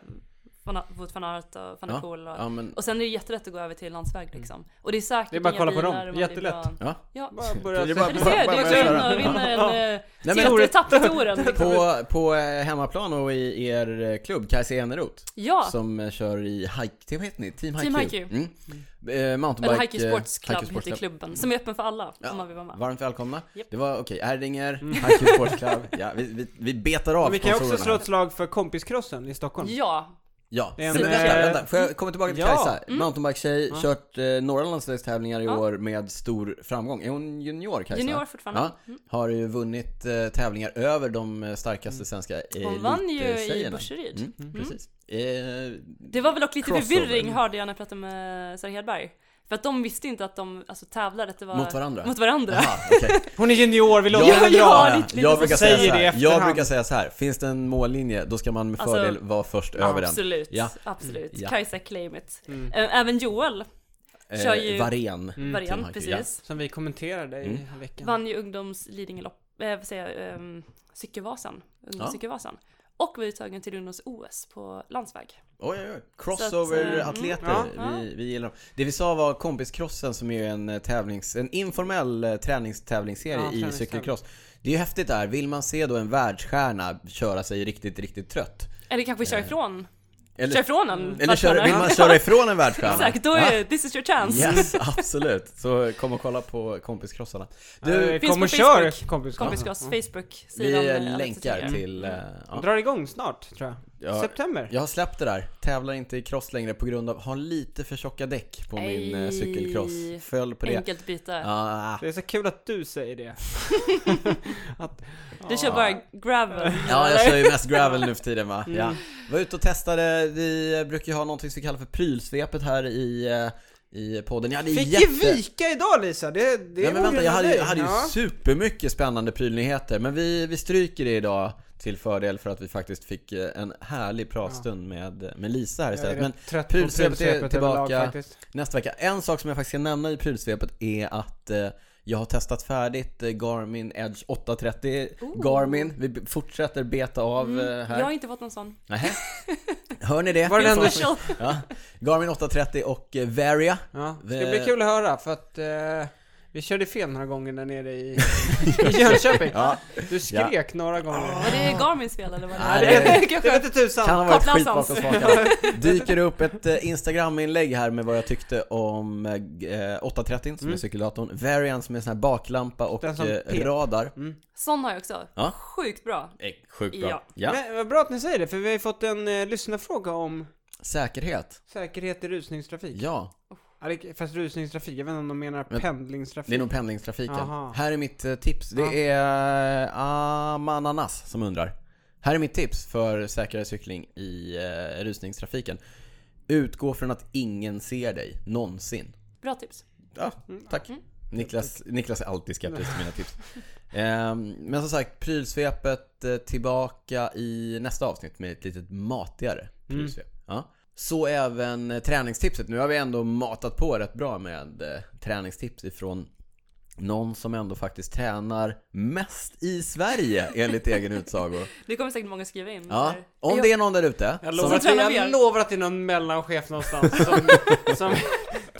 B: Van- Wout van Aert och van der
C: Ja.
B: Poel. Och,
C: Ja, Mm. men,
B: och sen är det jättelätt att gå över till landsväg liksom. Och det är säkert
A: Det är bara att
B: inga
A: kolla på
B: bilar
A: dem.
B: och man blir
A: Jättelätt.
B: bra-
C: ja.
B: Ja.
A: Bara börja
C: Det är
A: sätta-
C: bara-
B: Men du
C: bara-
B: ser, du
C: bara
B: går in
C: köra.
B: och vinner en eh,
C: men-
B: teateretapp i touren.
C: På, på eh, hemmaplan och i er eh, klubb, Kajsa Eneroth,
B: Ja,
C: som eh, kör i hike, team heter ni? Team
B: Team
C: HiQ.
B: HiQ.
C: Mm. Eh, mountainbike...
B: eller Hiking
C: eh,
B: Sports Club
C: Hiking Sports
B: heter klubben, som är öppen för alla
C: Ja.
B: om man vill vara med.
C: Varmt välkomna.
B: Japp.
C: Det var okej, Erdinger, Hike Sports Club. Ja, vi, vi, vi betar av
A: Mm. Vi kan ju också
C: sponsorerna.
A: slå ett slag för kompiskrossen i Stockholm.
B: Ja,
C: Ja,
A: Det är en,
C: men vänta,
A: eh,
C: vänta. Får jag komma tillbaka till
A: ja.
C: Kajsa? Mountainbike-tjej,
A: Ja.
C: kört eh, några landslagstävlingar i
B: Mm. Ja.
C: år med stor framgång. Är hon junior Kajsa?
B: junior fortfarande. Mm.
C: Ja, har ju vunnit eh, tävlingar över de eh, starkaste svenska
B: Mm. Hon vann ju i
C: elittjejerna.
B: Burseryd.
C: Mm, Precis. Eh,
B: Det var väl dock lite
C: Crossover.
B: förvirring hörde jag när jag pratade med Sara Hedberg. För att de visste inte att de alltså, tävlade, att det var...
C: Mot varandra?
B: Mot varandra.
C: aha, okej.
A: Hon är junior, vi låter
B: Ja,
A: henne
B: ja.
A: dra.
B: lite- lite
C: jag,
B: så.
C: brukar säga
A: Säger
C: så
A: det i
C: här, jag
A: efterhand.
C: brukar säga så här, finns det en mållinje då ska man med
B: Alltså,
C: fördel vara först över den.
B: Absolut,
C: Ja.
B: absolut.
C: Ja. Mm,
B: Kajsa claim it. Eh, Även Joel, kör ju-
C: Eh,
B: Mm.
C: Varen. Team
B: variant
C: Hockey,
B: precis,
A: Som vi kommenterade
C: Mm.
A: i veckan.
B: vann ju ungdoms Lidingölopp, eh, vad säger jag, ehm, cykelvasan, ungdomscykelvasan. Och var uttagen till ungdoms-OS på landsväg.
C: Oj, oj, oj.
B: Så att,
C: Crossover-atleter,
A: mm,
B: ja.
C: vi, vi gillar dem. Det vi sa var kompiskrossen som är en eh, tävlings, en informell eh, träningstävlingsserie
A: Ja,
C: i
A: träningstävling.
C: cykelcross. Det är ju häftigt där, vill man se då en världsstjärna köra sig riktigt, riktigt trött?
B: Eller kanske köra ifrån, köra
C: Eh, Eller,
B: ifrån en
C: eller köra, vill man köra ifrån en världsstjärna?
B: Exakt, då är this is your chance.
C: Yes, absolut. Så kom och kolla på kompiskrossarna. Du,
A: Du,
B: finns
A: kom
B: på
A: och kör
B: Facebook.
A: kompiskrossen.
B: Kompiskross,
C: vi
B: Facebook-sidan. eh, Alex
C: länkar
B: Cecilia.
C: till... eh,
A: Ja.
C: ja.
A: Drar igång snart, tror jag.
C: Ja.
A: September.
C: Jag har släppt det där, tävlar inte i cross längre på grund av, har lite för tjocka däck på min eh, cykelcross.
B: Ej.
C: Föll på det.
B: Enkelt byte.
C: Ah.
A: Det är så kul att du säger det. att,
B: Du kör bara gravel.
C: Ja, jag
B: eller?
C: kör ju mest gravel nu för tiden va?
B: Mm.
C: Ja. Var ute och testade, vi brukar ju ha någonting som vi kallar för prylsvepet här i, eh, i podden. Jag hade ju
A: Fick
C: jätte...
A: ju vika idag Lisa, det, det
C: Nej,
A: är
C: men vänta, jag hade, ju- jag hade ju
A: ja.
C: supermycket spännande prylnyheter, men vi, vi stryker det idag till fördel för att vi faktiskt fick eh, en härlig pratstund med, med Lisa här
A: Jag är
C: istället. Men
A: rätt trött på
C: prylsvepet är
A: prylsvepet överlag
C: tillbaka
A: faktiskt.
C: nästa vecka. En sak som jag faktiskt ska nämna i prylsvepet är att eh, jag har testat färdigt eh, Garmin Edge 830
B: Oh.
C: Garmin, vi b- fortsätter beta av eh, här
B: Jag har inte fått någon sån.
C: Nähä. Hör ni det?
A: Mm, Var den enda-
B: Special.
C: ja. Garmin 830 och eh, Varia.
A: Ja, det
C: Vi-
A: ska bli kul att höra för att eh, vi körde fel några gånger där nere i, i Jönköping.
C: Ja.
A: Du skrek några gånger.
B: Var det Garmins fel eller vad
C: Nej,
B: det
C: det-
B: är?
A: Det vete tusan.
C: Kan ha varit
B: Koppla
C: skit
B: oss.
C: bakom spakarna. Dyker upp ett eh, Instagram-inlägg här med vad jag tyckte om eh, g- eh, 830 som är cykeldatorn, Varian som är en sån här baklampa och
A: Mm. Den som Mm.
C: eh,
A: pep.
C: radar.
B: Sån har jag också.
C: Ja.
B: Sjukt bra.
C: Eh, Sjukt
B: Ja.
C: bra. Ja.
A: Men vad bra att ni säger det, för vi har ju fått en eh, lyssnarfråga om
C: Säkerhet.
A: säkerhet i rusningstrafik.
C: Ja,
A: Ja. det- Fast rusningstrafik, jag vet inte om de menar
C: Men-
A: pendlingstrafik.
C: det är nog pendlingstrafiken.
A: Aha.
C: Här är mitt eh, tips. Det är eh, Amananas som undrar. Här är mitt tips för säkrare cykling i eh, rusningstrafiken. Utgå från att ingen ser dig, någonsin.
B: Bra tips.
C: Ja, Mm. tack. Niklas, Niklas är alltid skeptisk till mina tips. Ehm, Men som sagt, Mm. prylsvepet eh, tillbaka i nästa avsnitt med ett litet matigare prylsvep. Ja. Så även eh, träningstipset. Nu har vi ändå matat på rätt bra med eh, träningstips ifrån någon som ändå faktiskt tränar mest i Sverige enligt egen utsago.
B: Det kommer säkert många skriva in.
C: Ja,
B: där.
C: om det är någon där ute
A: Jag
C: som
A: lovar, att,
B: tränar vi
A: jag
B: er.
A: lovar att det är någon mellanchef någonstans som, som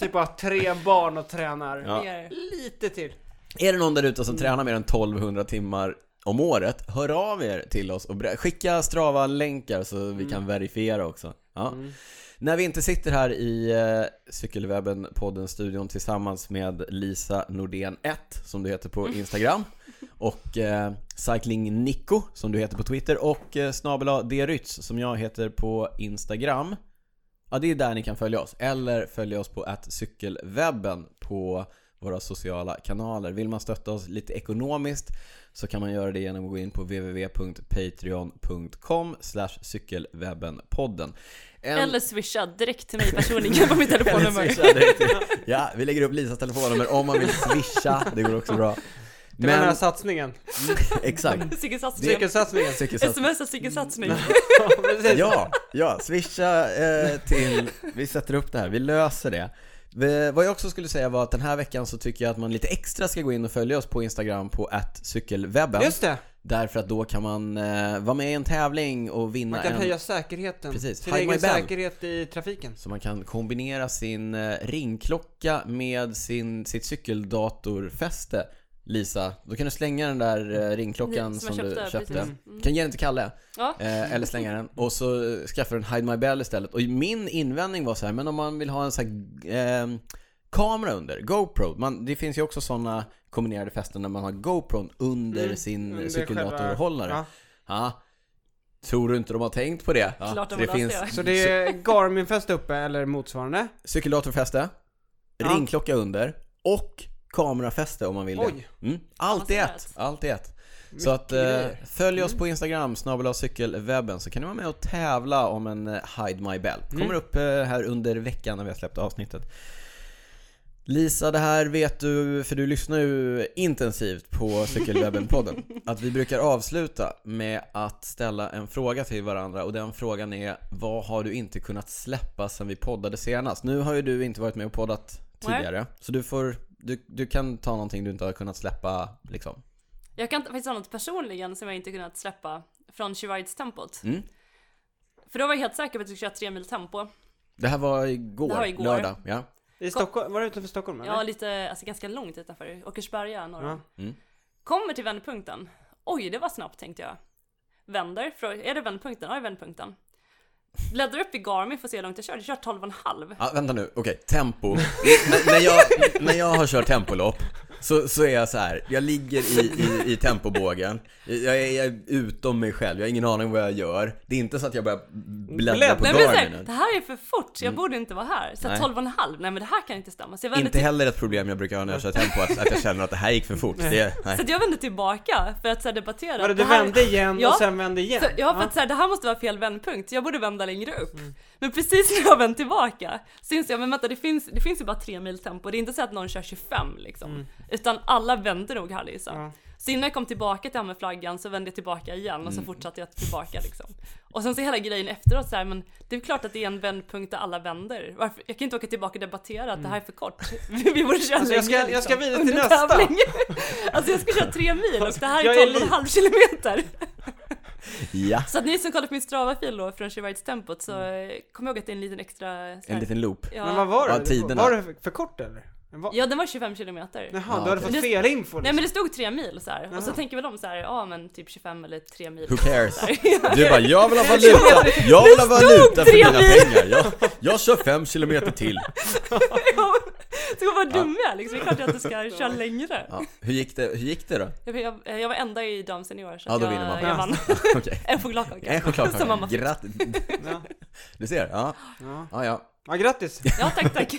A: typ har tre barn och tränar
C: Ja.
B: Mer.
A: lite till.
C: Är det någon där ute som tränar mer än 1200 timmar om året, hör av er till oss och ber- skicka Strava-länkar så vi kan verifiera också. Ja. När vi inte sitter här i eh, Cykelwebben podden studion tillsammans med Lisa Nordén 1 som du heter på Instagram och eh, Cycling Nico som du heter på Twitter och eh, snabel-a Drytz som jag heter på Instagram. Ja, det är där ni kan följa oss. Eller följa oss på att cykelwebben på våra sociala kanaler. Vill man stötta oss lite ekonomiskt så kan man göra det genom att gå in på www.patreon.com cykelwebbenpodden. En-
B: Eller swisha direkt till mig personligen på mitt
C: Eller
B: telefonnummer.
C: swisha direkt till- Ja, vi lägger upp Lisas telefonnummer om man vill swisha. Det går också bra.
A: Det var den här
C: Men,
A: satsningen.
C: exakt.
B: Cykelsatsning.
A: Cykelsatsningen.
C: Cykelsatsning.
B: Smsa cykelsatsning.
C: Mm.
A: Ja, precis.
C: Ja, ja, swisha eh, till, vi sätter upp det här, vi löser det. Vi, vad jag också skulle säga var att den här veckan så tycker jag att man lite extra ska gå in och följa oss på Instagram på cykelwebben.
A: Just det!
C: Därför att då kan man eh, vara med i en tävling och vinna
A: Man kan
C: en...
A: höja säkerheten.
C: Precis. Mm,
A: Sin
C: Hide my
A: egen
C: band.
A: säkerhet i trafiken.
C: Så man kan kombinera sin eh, ringklocka med sin, sitt cykeldatorfäste. Lisa, då kan du slänga den där eh, ringklockan
B: Som jag
C: som du
B: köpte,
C: köpte. Mm.
B: precis. Mm.
C: Kan ge den till Kalle.
B: Ja.
C: Eh, eller slänga den. Och så eh, skaffar du en Hide My Bell istället. Och min invändning var så här, men om man vill ha en så här ehm, kamera under, GoPro. Man, det finns ju också sådana kombinerade fästen när man har GoPro under
A: Mm,
C: sin
A: under
C: cykeldatorhållare.
A: själva-
C: Ja. Tror du inte de har tänkt på det? Ja,
B: Klart de
C: så det
B: har löst
C: finns
A: Så det är Garmin-fäste uppe eller motsvarande.
C: cykeldatorfäste,
A: Ja.
C: ringklocka under och kamerafäste om man vill
A: Oj!
C: det. Mm. Allt i ett!
B: Avancerat.
C: Allt i ett. Så att eh,
A: grejer. Mm.
C: följ oss på Instagram, snabel cykelwebben, så kan ni vara med och tävla om en eh, Hide My Bell.
A: Mm.
C: Kommer upp eh, här under veckan när vi har släppt avsnittet. Lisa, det här vet du, för du lyssnar ju intensivt på Cykelwebben-podden, att vi brukar avsluta med att ställa en fråga till varandra och den frågan är Vad har du inte kunnat släppa sen vi poddade senast? Nu har ju du inte varit med och poddat
B: Nej.
C: tidigare, så du får, du, du kan ta någonting du inte har kunnat släppa liksom.
B: Jag kan faktiskt ha något personligen som jag inte kunnat släppa från She Rides-tempot.
C: Mm.
B: För då var jag helt säker på att jag skulle köra tre mil tempo.
C: Det här var igår,
B: Det här var igår.
C: lördag. Ja.
A: I Stockholm, var det utanför Stockholm eller?
B: Ja, lite, alltså ganska långt utanför Åkersberga norr om.
C: Mm.
B: Kommer till vändpunkten. Oj, det var snabbt tänkte jag. Vänder, frå- är det vändpunkten? Ja, det är vändpunkten. Bläddrar upp i Garmin för att se hur långt jag kör. Jag kör 12,5.
C: Ah, vänta nu, okej, tempo. N- när, jag, när jag har kört tempolopp så, så är jag så här. jag ligger i, i, i tempobågen, jag är, jag är utom mig själv, jag har ingen aning om vad jag gör. Det är inte så att jag börjar bläddra på
B: Nej men
C: Garminen.
B: såhär, det här är för fort, jag borde inte vara här. Så
C: Nej.
B: 12,5, nej men det här kan inte stämma. Så jag vände
C: Inte heller ett problem jag brukar ha när jag kör tempo, att, att jag känner att det här gick för fort. Det, nej.
B: Så att jag vände tillbaka för att så här, debattera.
A: Var det,
B: Det
A: du
B: här-
A: vände igen
B: Ja.
A: och sen vände igen?
B: Så, ja, för att så här, det här måste vara fel vändpunkt, jag borde vända längre upp. Men precis när jag vänt tillbaka så inser jag, men vänta det finns, det finns ju bara tre mil tempo, det är inte så att någon kör 25 liksom. Utan alla vänder nog här liksom.
A: Ja.
B: Så innan jag kom tillbaka till det här med flaggan så vände jag tillbaka igen och
A: Mm.
B: så fortsatte jag tillbaka liksom. Och sen så hela grejen efteråt så här, men det är klart att det är en vändpunkt där alla vänder. Varför? Jag kan inte åka tillbaka och debattera att det här är för kort. Vi borde köra
A: Mm. Alltså, jag ska-
B: längre, liksom,
A: jag ska vidare till
B: Under
A: nästa.
B: tävling. Alltså jag ska köra tre mil och det här
A: Jag är
B: är 12,5 kilometer.
C: Ja,
B: Så att ni som kollat på min Strava-fil då från Shivites tempot så eh, kom ihåg att det är en liten extra... så här-
C: en liten loop.
B: ja.
A: Men vad var det?
C: Ja, tiderna.
A: Var det för- för kort eller? Var...
B: ja, den var 25 kilometer.
A: Jaha,
C: Ja,
A: du hade
C: okej.
A: fått fel info.
B: Nej
A: liksom.
B: men det stod tre mil så här. och så
A: Jaha.
B: tänker väl de så här, ja men typ 25 eller 3 mil.
C: Who cares?
B: Så här.
C: Du bara, jag vill ha valuta! Jag vill ha valuta för
B: tre
C: mina
B: mil.
C: pengar! Jag, jag kör fem kilometer till.
B: Ja, så vad dum jag är liksom, det är klart jag inte ska köra längre.
C: Ja, hur, gick det, hur gick det då?
B: Jag, jag, jag var enda i damsenior så
C: Ja,
B: att
C: då
B: jag,
C: vinner man.
B: jag vann.
C: Okej.
B: En chokladkaka.
C: En
B: Som
C: chokladkaka.
B: mamma fick.
C: Grattis.
A: liksom. Ja.
C: Du ser, ja.
A: Ja.
C: Ja, ja.
A: ja, grattis!
B: Ja tack tack.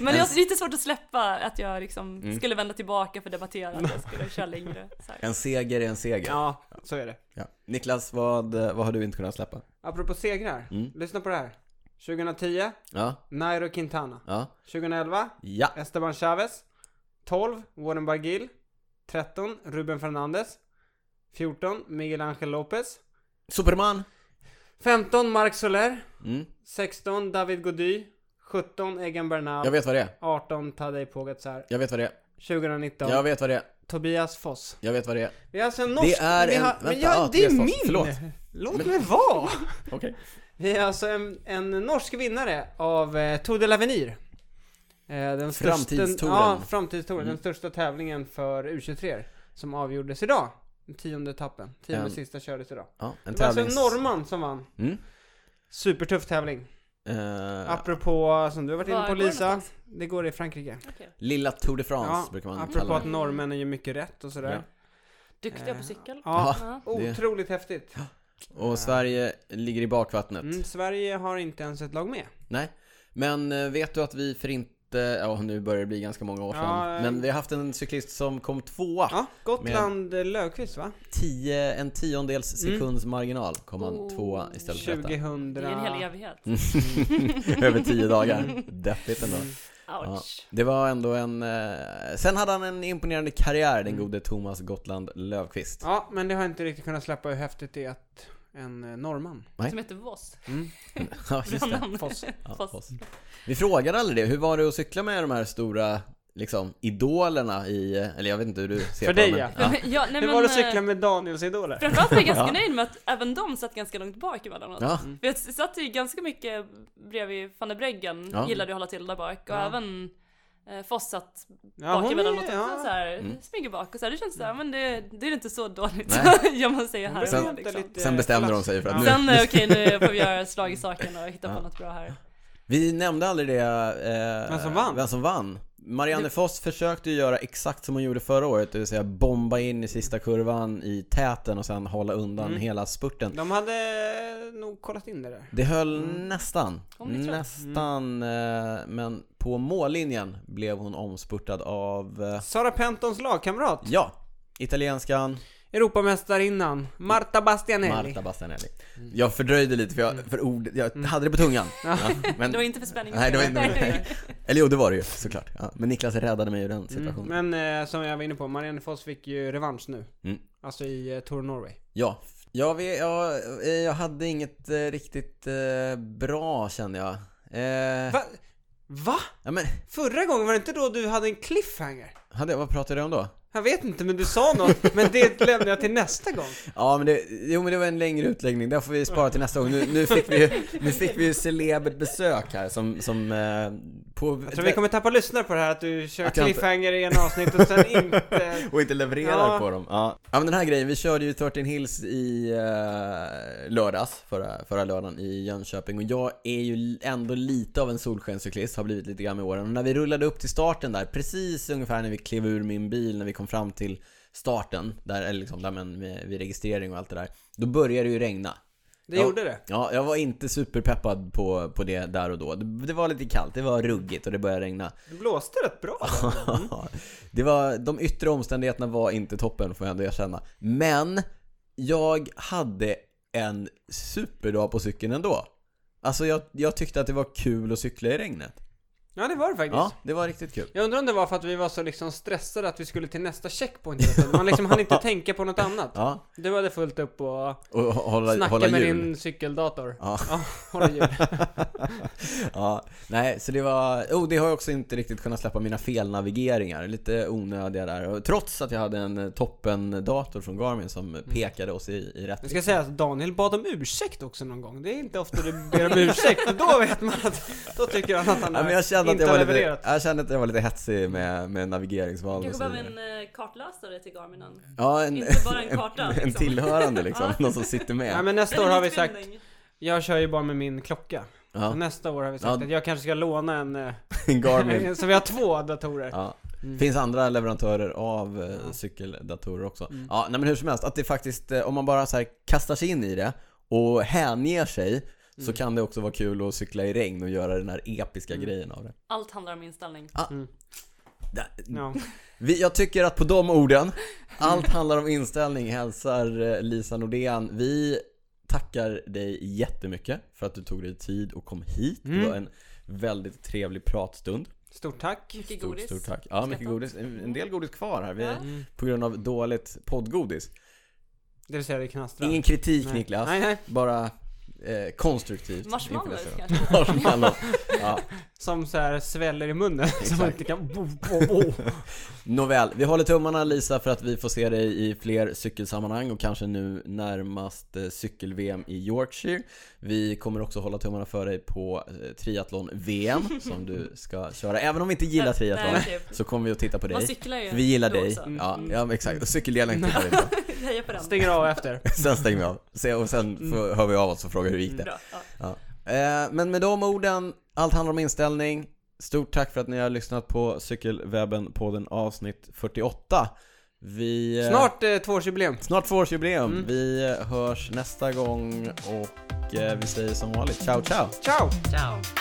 B: Men det är lite svårt att släppa att jag liksom
C: Mm.
B: skulle vända tillbaka för att debattera att jag skulle köra längre. Så här.
C: En seger är en seger.
A: Ja, så är det.
C: Ja. Niklas, vad, eh, vad har du inte kunnat släppa?
A: Apropå segrar,
C: Mm.
A: lyssna på det här. 2010,
C: Ja,
A: Nairo Quintana.
C: ja,
A: 2011,
C: ja.
A: Esteban Chavez. 12, Warren Bargill. 13, Ruben Fernandez. 14, Miguel Angel Lopez.
C: Superman!
A: 15 Marc Soler,
C: Mm.
A: 16 David Gody, 17 Egan Bernal,
C: Jag vet vad det är.
A: 18 Tadej Pogacar,
C: Jag vet vad det är.
A: 2019
C: Jag vet vad det är.
A: Tobias Foss.
C: Jag vet vad det är.
A: Vi har alltså en norsk...
C: är
A: vi
C: en-
A: har,
C: vänta,
A: men jag,
C: ja,
A: det är
C: Tobias Foss,
A: min!
C: förlåt.
A: Låt mig vara!
C: Okej.
A: Vi är alltså en, en norsk vinnare av eh, Tour de l'Avenir. Eh, den största-
C: Framtidstouren. Mm.
A: Ja, framtidstouren. Den största tävlingen för U23 som avgjordes idag. Den tionde etappen. Tionde
C: En-
A: sista kördes idag.
C: Ja, en
A: Det var alltså en
C: tävlings...
A: norrman som vann.
C: Mm.
A: Supertuff tävling.
C: Eh,
A: Apropå, som du har varit inne
B: Var
A: på
B: går det
A: Lisa,
B: någonstans?
A: det går i Frankrike.
B: Okej.
C: Lilla Tour de France brukar man
A: apropå
C: kalla
A: att
C: det.
A: norrmännen gör mycket rätt och sådär.
B: Duktiga på
C: Eh,
B: cykel.
A: Ja,
B: Ja.
C: det-
A: otroligt häftigt.
C: Och Sverige ligger i bakvattnet.
A: Mm, Sverige har inte ens ett lag med.
C: Nej. Men eh, vet du att vi för inte, ja nu börjar det bli ganska många år sedan.
A: Ja, eh.
C: men vi har haft en cyklist som kom tvåa.
A: Ja, Gotland eh, Löfqvist va?
C: Tio, en tiondels
A: Mm.
C: sekunds marginal kom han
B: Oh.
C: tvåa istället för
A: 2000...
C: detta.
B: Det är en hel evighet.
C: Över tio dagar. Deppigt ändå. Ja,
B: Ouch.
C: det var ändå en... Eh, sen hade han en imponerande karriär, den gode Thomas Gotland Löfqvist.
A: Ja, men det har jag inte riktigt kunnat släppa hur häftigt det är att en eh, norrman.
C: Nej.
B: Som heter Voss.
C: Ja,
B: Bra
C: just det.
B: namn.
A: Foss.
C: Ja,
B: Foss.
C: Foss. Vi frågade aldrig det. Hur var det att cykla med de här stora liksom, idolerna i... Eller jag vet inte hur du ser
A: För
C: på
A: dig,
C: det,
A: ja.
B: Ja, nej,
A: Hur
B: men,
A: var det att cykla
B: eh,
A: med Daniels idoler?
B: Framförallt var jag ganska nöjd med att även de satt ganska långt bak emellanåt.
C: ja.
B: För jag satt ju ganska mycket bredvid van der Breggen,
C: Ja.
B: gillade att hålla till där bak. Och
A: Ja.
B: även eh, Foss satt
A: Ja,
B: bak
A: hon är-
B: emellanåt också.
A: ja.
B: typ Så här,
C: Mm.
B: Smyger bak och så här, det känns så här, men det, det är inte så dåligt gör man sig här.
A: blev
B: Sen,
A: inte
B: liksom.
A: lite
C: Sen bestämde de
A: klass.
C: sig för att
A: Ja.
C: nu-
B: Sen eh, okej, nu får vi göra slag i saken och hitta på något bra här.
C: Vi nämnde aldrig det... Eh,
A: Vem som vann?
C: Vem som vann. Marianne Foss försökte ju göra exakt som hon gjorde förra året, det vill säga bomba in i sista kurvan i täten och sen hålla undan hela spurten.
A: De hade eh, nog kollat in det där.
C: Det höll nästan.
B: Hon blev klar.
C: Nästan. eh, Men på mållinjen blev hon omspurtad av, eh,
A: Sara Pentons lagkamrat,
C: ja, italienskan
A: Europamästarinnan, Marta Bastianelli.
C: Marta Bastianelli. Jag fördröjde lite för, jag, för ord, jag hade det på tungan. Ja, men,
B: Det var inte för spänning.
C: nej, det var inte Eller jo, det var det ju såklart. Ja, men Niklas räddade mig ur den situationen.
A: Men eh, som jag var inne på, Marianne Foss fick ju revansch nu.
C: Mm.
A: Alltså i eh, Tour Norway.
C: Ja. Jag, vet, jag, jag hade inget eh, riktigt eh, bra kände jag. Eh,
A: Va? Va?
C: ja, men,
A: Förra gången var det inte då du hade en cliffhanger?
C: hade, jag- vad pratade jag om då?
A: Jag vet inte, men du sa något. men det lämnar jag till nästa gång.
C: Ja men det, jo men det var en längre utläggning, den får vi spara till nästa gång. Nu, nu fick vi ju, nu fick vi ju celebert besök här som, som eh, på,
A: Jag tror vi kommer tappa lyssnare på det här att du kör
C: Att jag inte-
A: cliffhanger i ena avsnitt och sen inte...
C: och inte levererar
A: Ja.
C: på dem. Ja. ja men den här grejen, vi körde ju 13 Hills i eh, lördags, förra, förra lördagen i Jönköping och jag är ju ändå lite av en solskenscyklist, har blivit lite grann med åren. Och när vi rullade upp till starten där, precis ungefär när vi klev ur min bil, när vi kom fram till starten, där, eller liksom, där men, med, vid registrering och allt det där, då började det ju regna.
A: Det
C: Ja.
A: gjorde det.
C: Ja, jag var inte superpeppad på, på det där och då. Det, det var lite kallt, det var ruggigt och det började regna.
A: Det blåste rätt bra. Mm.
C: det var, de yttre omständigheterna var inte toppen får jag ändå erkänna. Men jag hade en superdag på cykeln ändå. Alltså jag, jag tyckte att det var kul att cykla i regnet.
A: Ja, det var det faktiskt.
C: Ja, det var riktigt kul.
A: Jag undrar om det var för att vi var så liksom stressade att vi skulle till nästa checkpoint hela tiden. Man liksom hann inte tänka på något annat.
C: Ja,
A: Du hade fullt upp och
C: och hå- hålla,
A: snacka
C: hålla
A: med
C: hjul.
A: din cykeldator.
C: Ja.
A: hålla hjul.
C: Ja, nej, så det var... Oh, det har jag också inte riktigt kunnat släppa mina felnavigeringar. Lite onödiga där. Och Trots att jag hade en toppen-dator från Garmin som pekade oss i, i rätt
A: Jag Mm. ska säga att Daniel bad om ursäkt också någon gång. Det är inte ofta du ber om ursäkt, men då vet man att... Då tycker han att han
C: Ja, men jag kände, att
A: inte
C: jag, var
A: har
C: lite,
A: levererat.
C: jag kände att jag var lite hetsig med, med navigeringsval och
B: Kanske
C: så
B: behöver
C: vidare.
B: en eh, kartläsare till Garminen.
C: Ja, en,
B: inte bara en karta,
C: en,
B: liksom.
C: tillhörande liksom,
B: Ja.
C: någon som sitter med.
A: Ja, men nästa år
B: En
A: har vi sagt...
B: utbildning.
A: Jag kör ju bara med min klocka.
C: Ja.
A: Så nästa år har vi sagt
C: Ja.
A: att jag kanske ska låna en... eh,
C: En Garmin.
A: så vi har två datorer.
C: Ja. Finns andra leverantörer av eh, cykeldatorer också. Ja, nej, men hur som helst, att det faktiskt, eh, om man bara så här kastar sig in i det och hänger sig så kan det också vara kul att cykla i regn och göra den här episka grejen av det.
B: Allt handlar om inställning.
C: Där-
A: Ja.
C: Vi, jag tycker att på de orden, allt handlar om inställning, hälsar eh, Lisa Nordén. Vi tackar dig jättemycket för att du tog dig tid och kom hit. Det var en väldigt trevlig pratstund.
A: Stort tack.
B: Mycket
C: Stort,
B: godis.
C: stort tack. Ja, mycket
B: Uppskattat.
C: godis. En en del godis kvar här. Vi,
B: Ja.
C: På grund av dåligt poddgodis.
A: Det vill säga det knastrar.
C: Ingen kritik
A: Nej.
C: Niklas.
A: Nej, nej.
C: Bara eh, konstruktivt.
B: Marshmallows
C: inför nästa
B: kanske?
C: gång. Marshmallows. Ja.
A: Som så här sväller i munnen. Som man
C: Exakt.
A: inte kan... Bo, bo, bo.
C: Nåväl, vi håller tummarna Lisa för att vi får se dig i fler cykelsammanhang och kanske nu närmast eh, cykel-VM i Yorkshire. Vi kommer också hålla tummarna för dig på eh, triathlon-VM som du ska köra. Även om vi inte gillar triathlon
B: Nej, typ.
C: så kommer vi att titta på
B: Man Mm.
C: dig.
B: cyklar ju.
C: Vi gillar
B: då
C: dig.
B: också.
C: Ja, ja men exakt. Och cykeldelen tittar vi på.
B: Jag Hejar på den.
A: Stänger av efter.
C: Sen stänger vi av. Se- Och sen får- hör vi av oss och frågar hur det gick det.
B: Bra. Ja.
C: Ja. Eh, Men med de orden, allt handlar om inställning. Stort tack för att ni har lyssnat på Cykelwebben på den avsnitt 48. Vi, eh,
A: Snart eh, tvåårsjubileum.
C: snart tvåårsjubileum. Vi eh, hörs nästa gång och eh, vi säger som vanligt ciao ciao.
A: Ciao!
B: Ciao.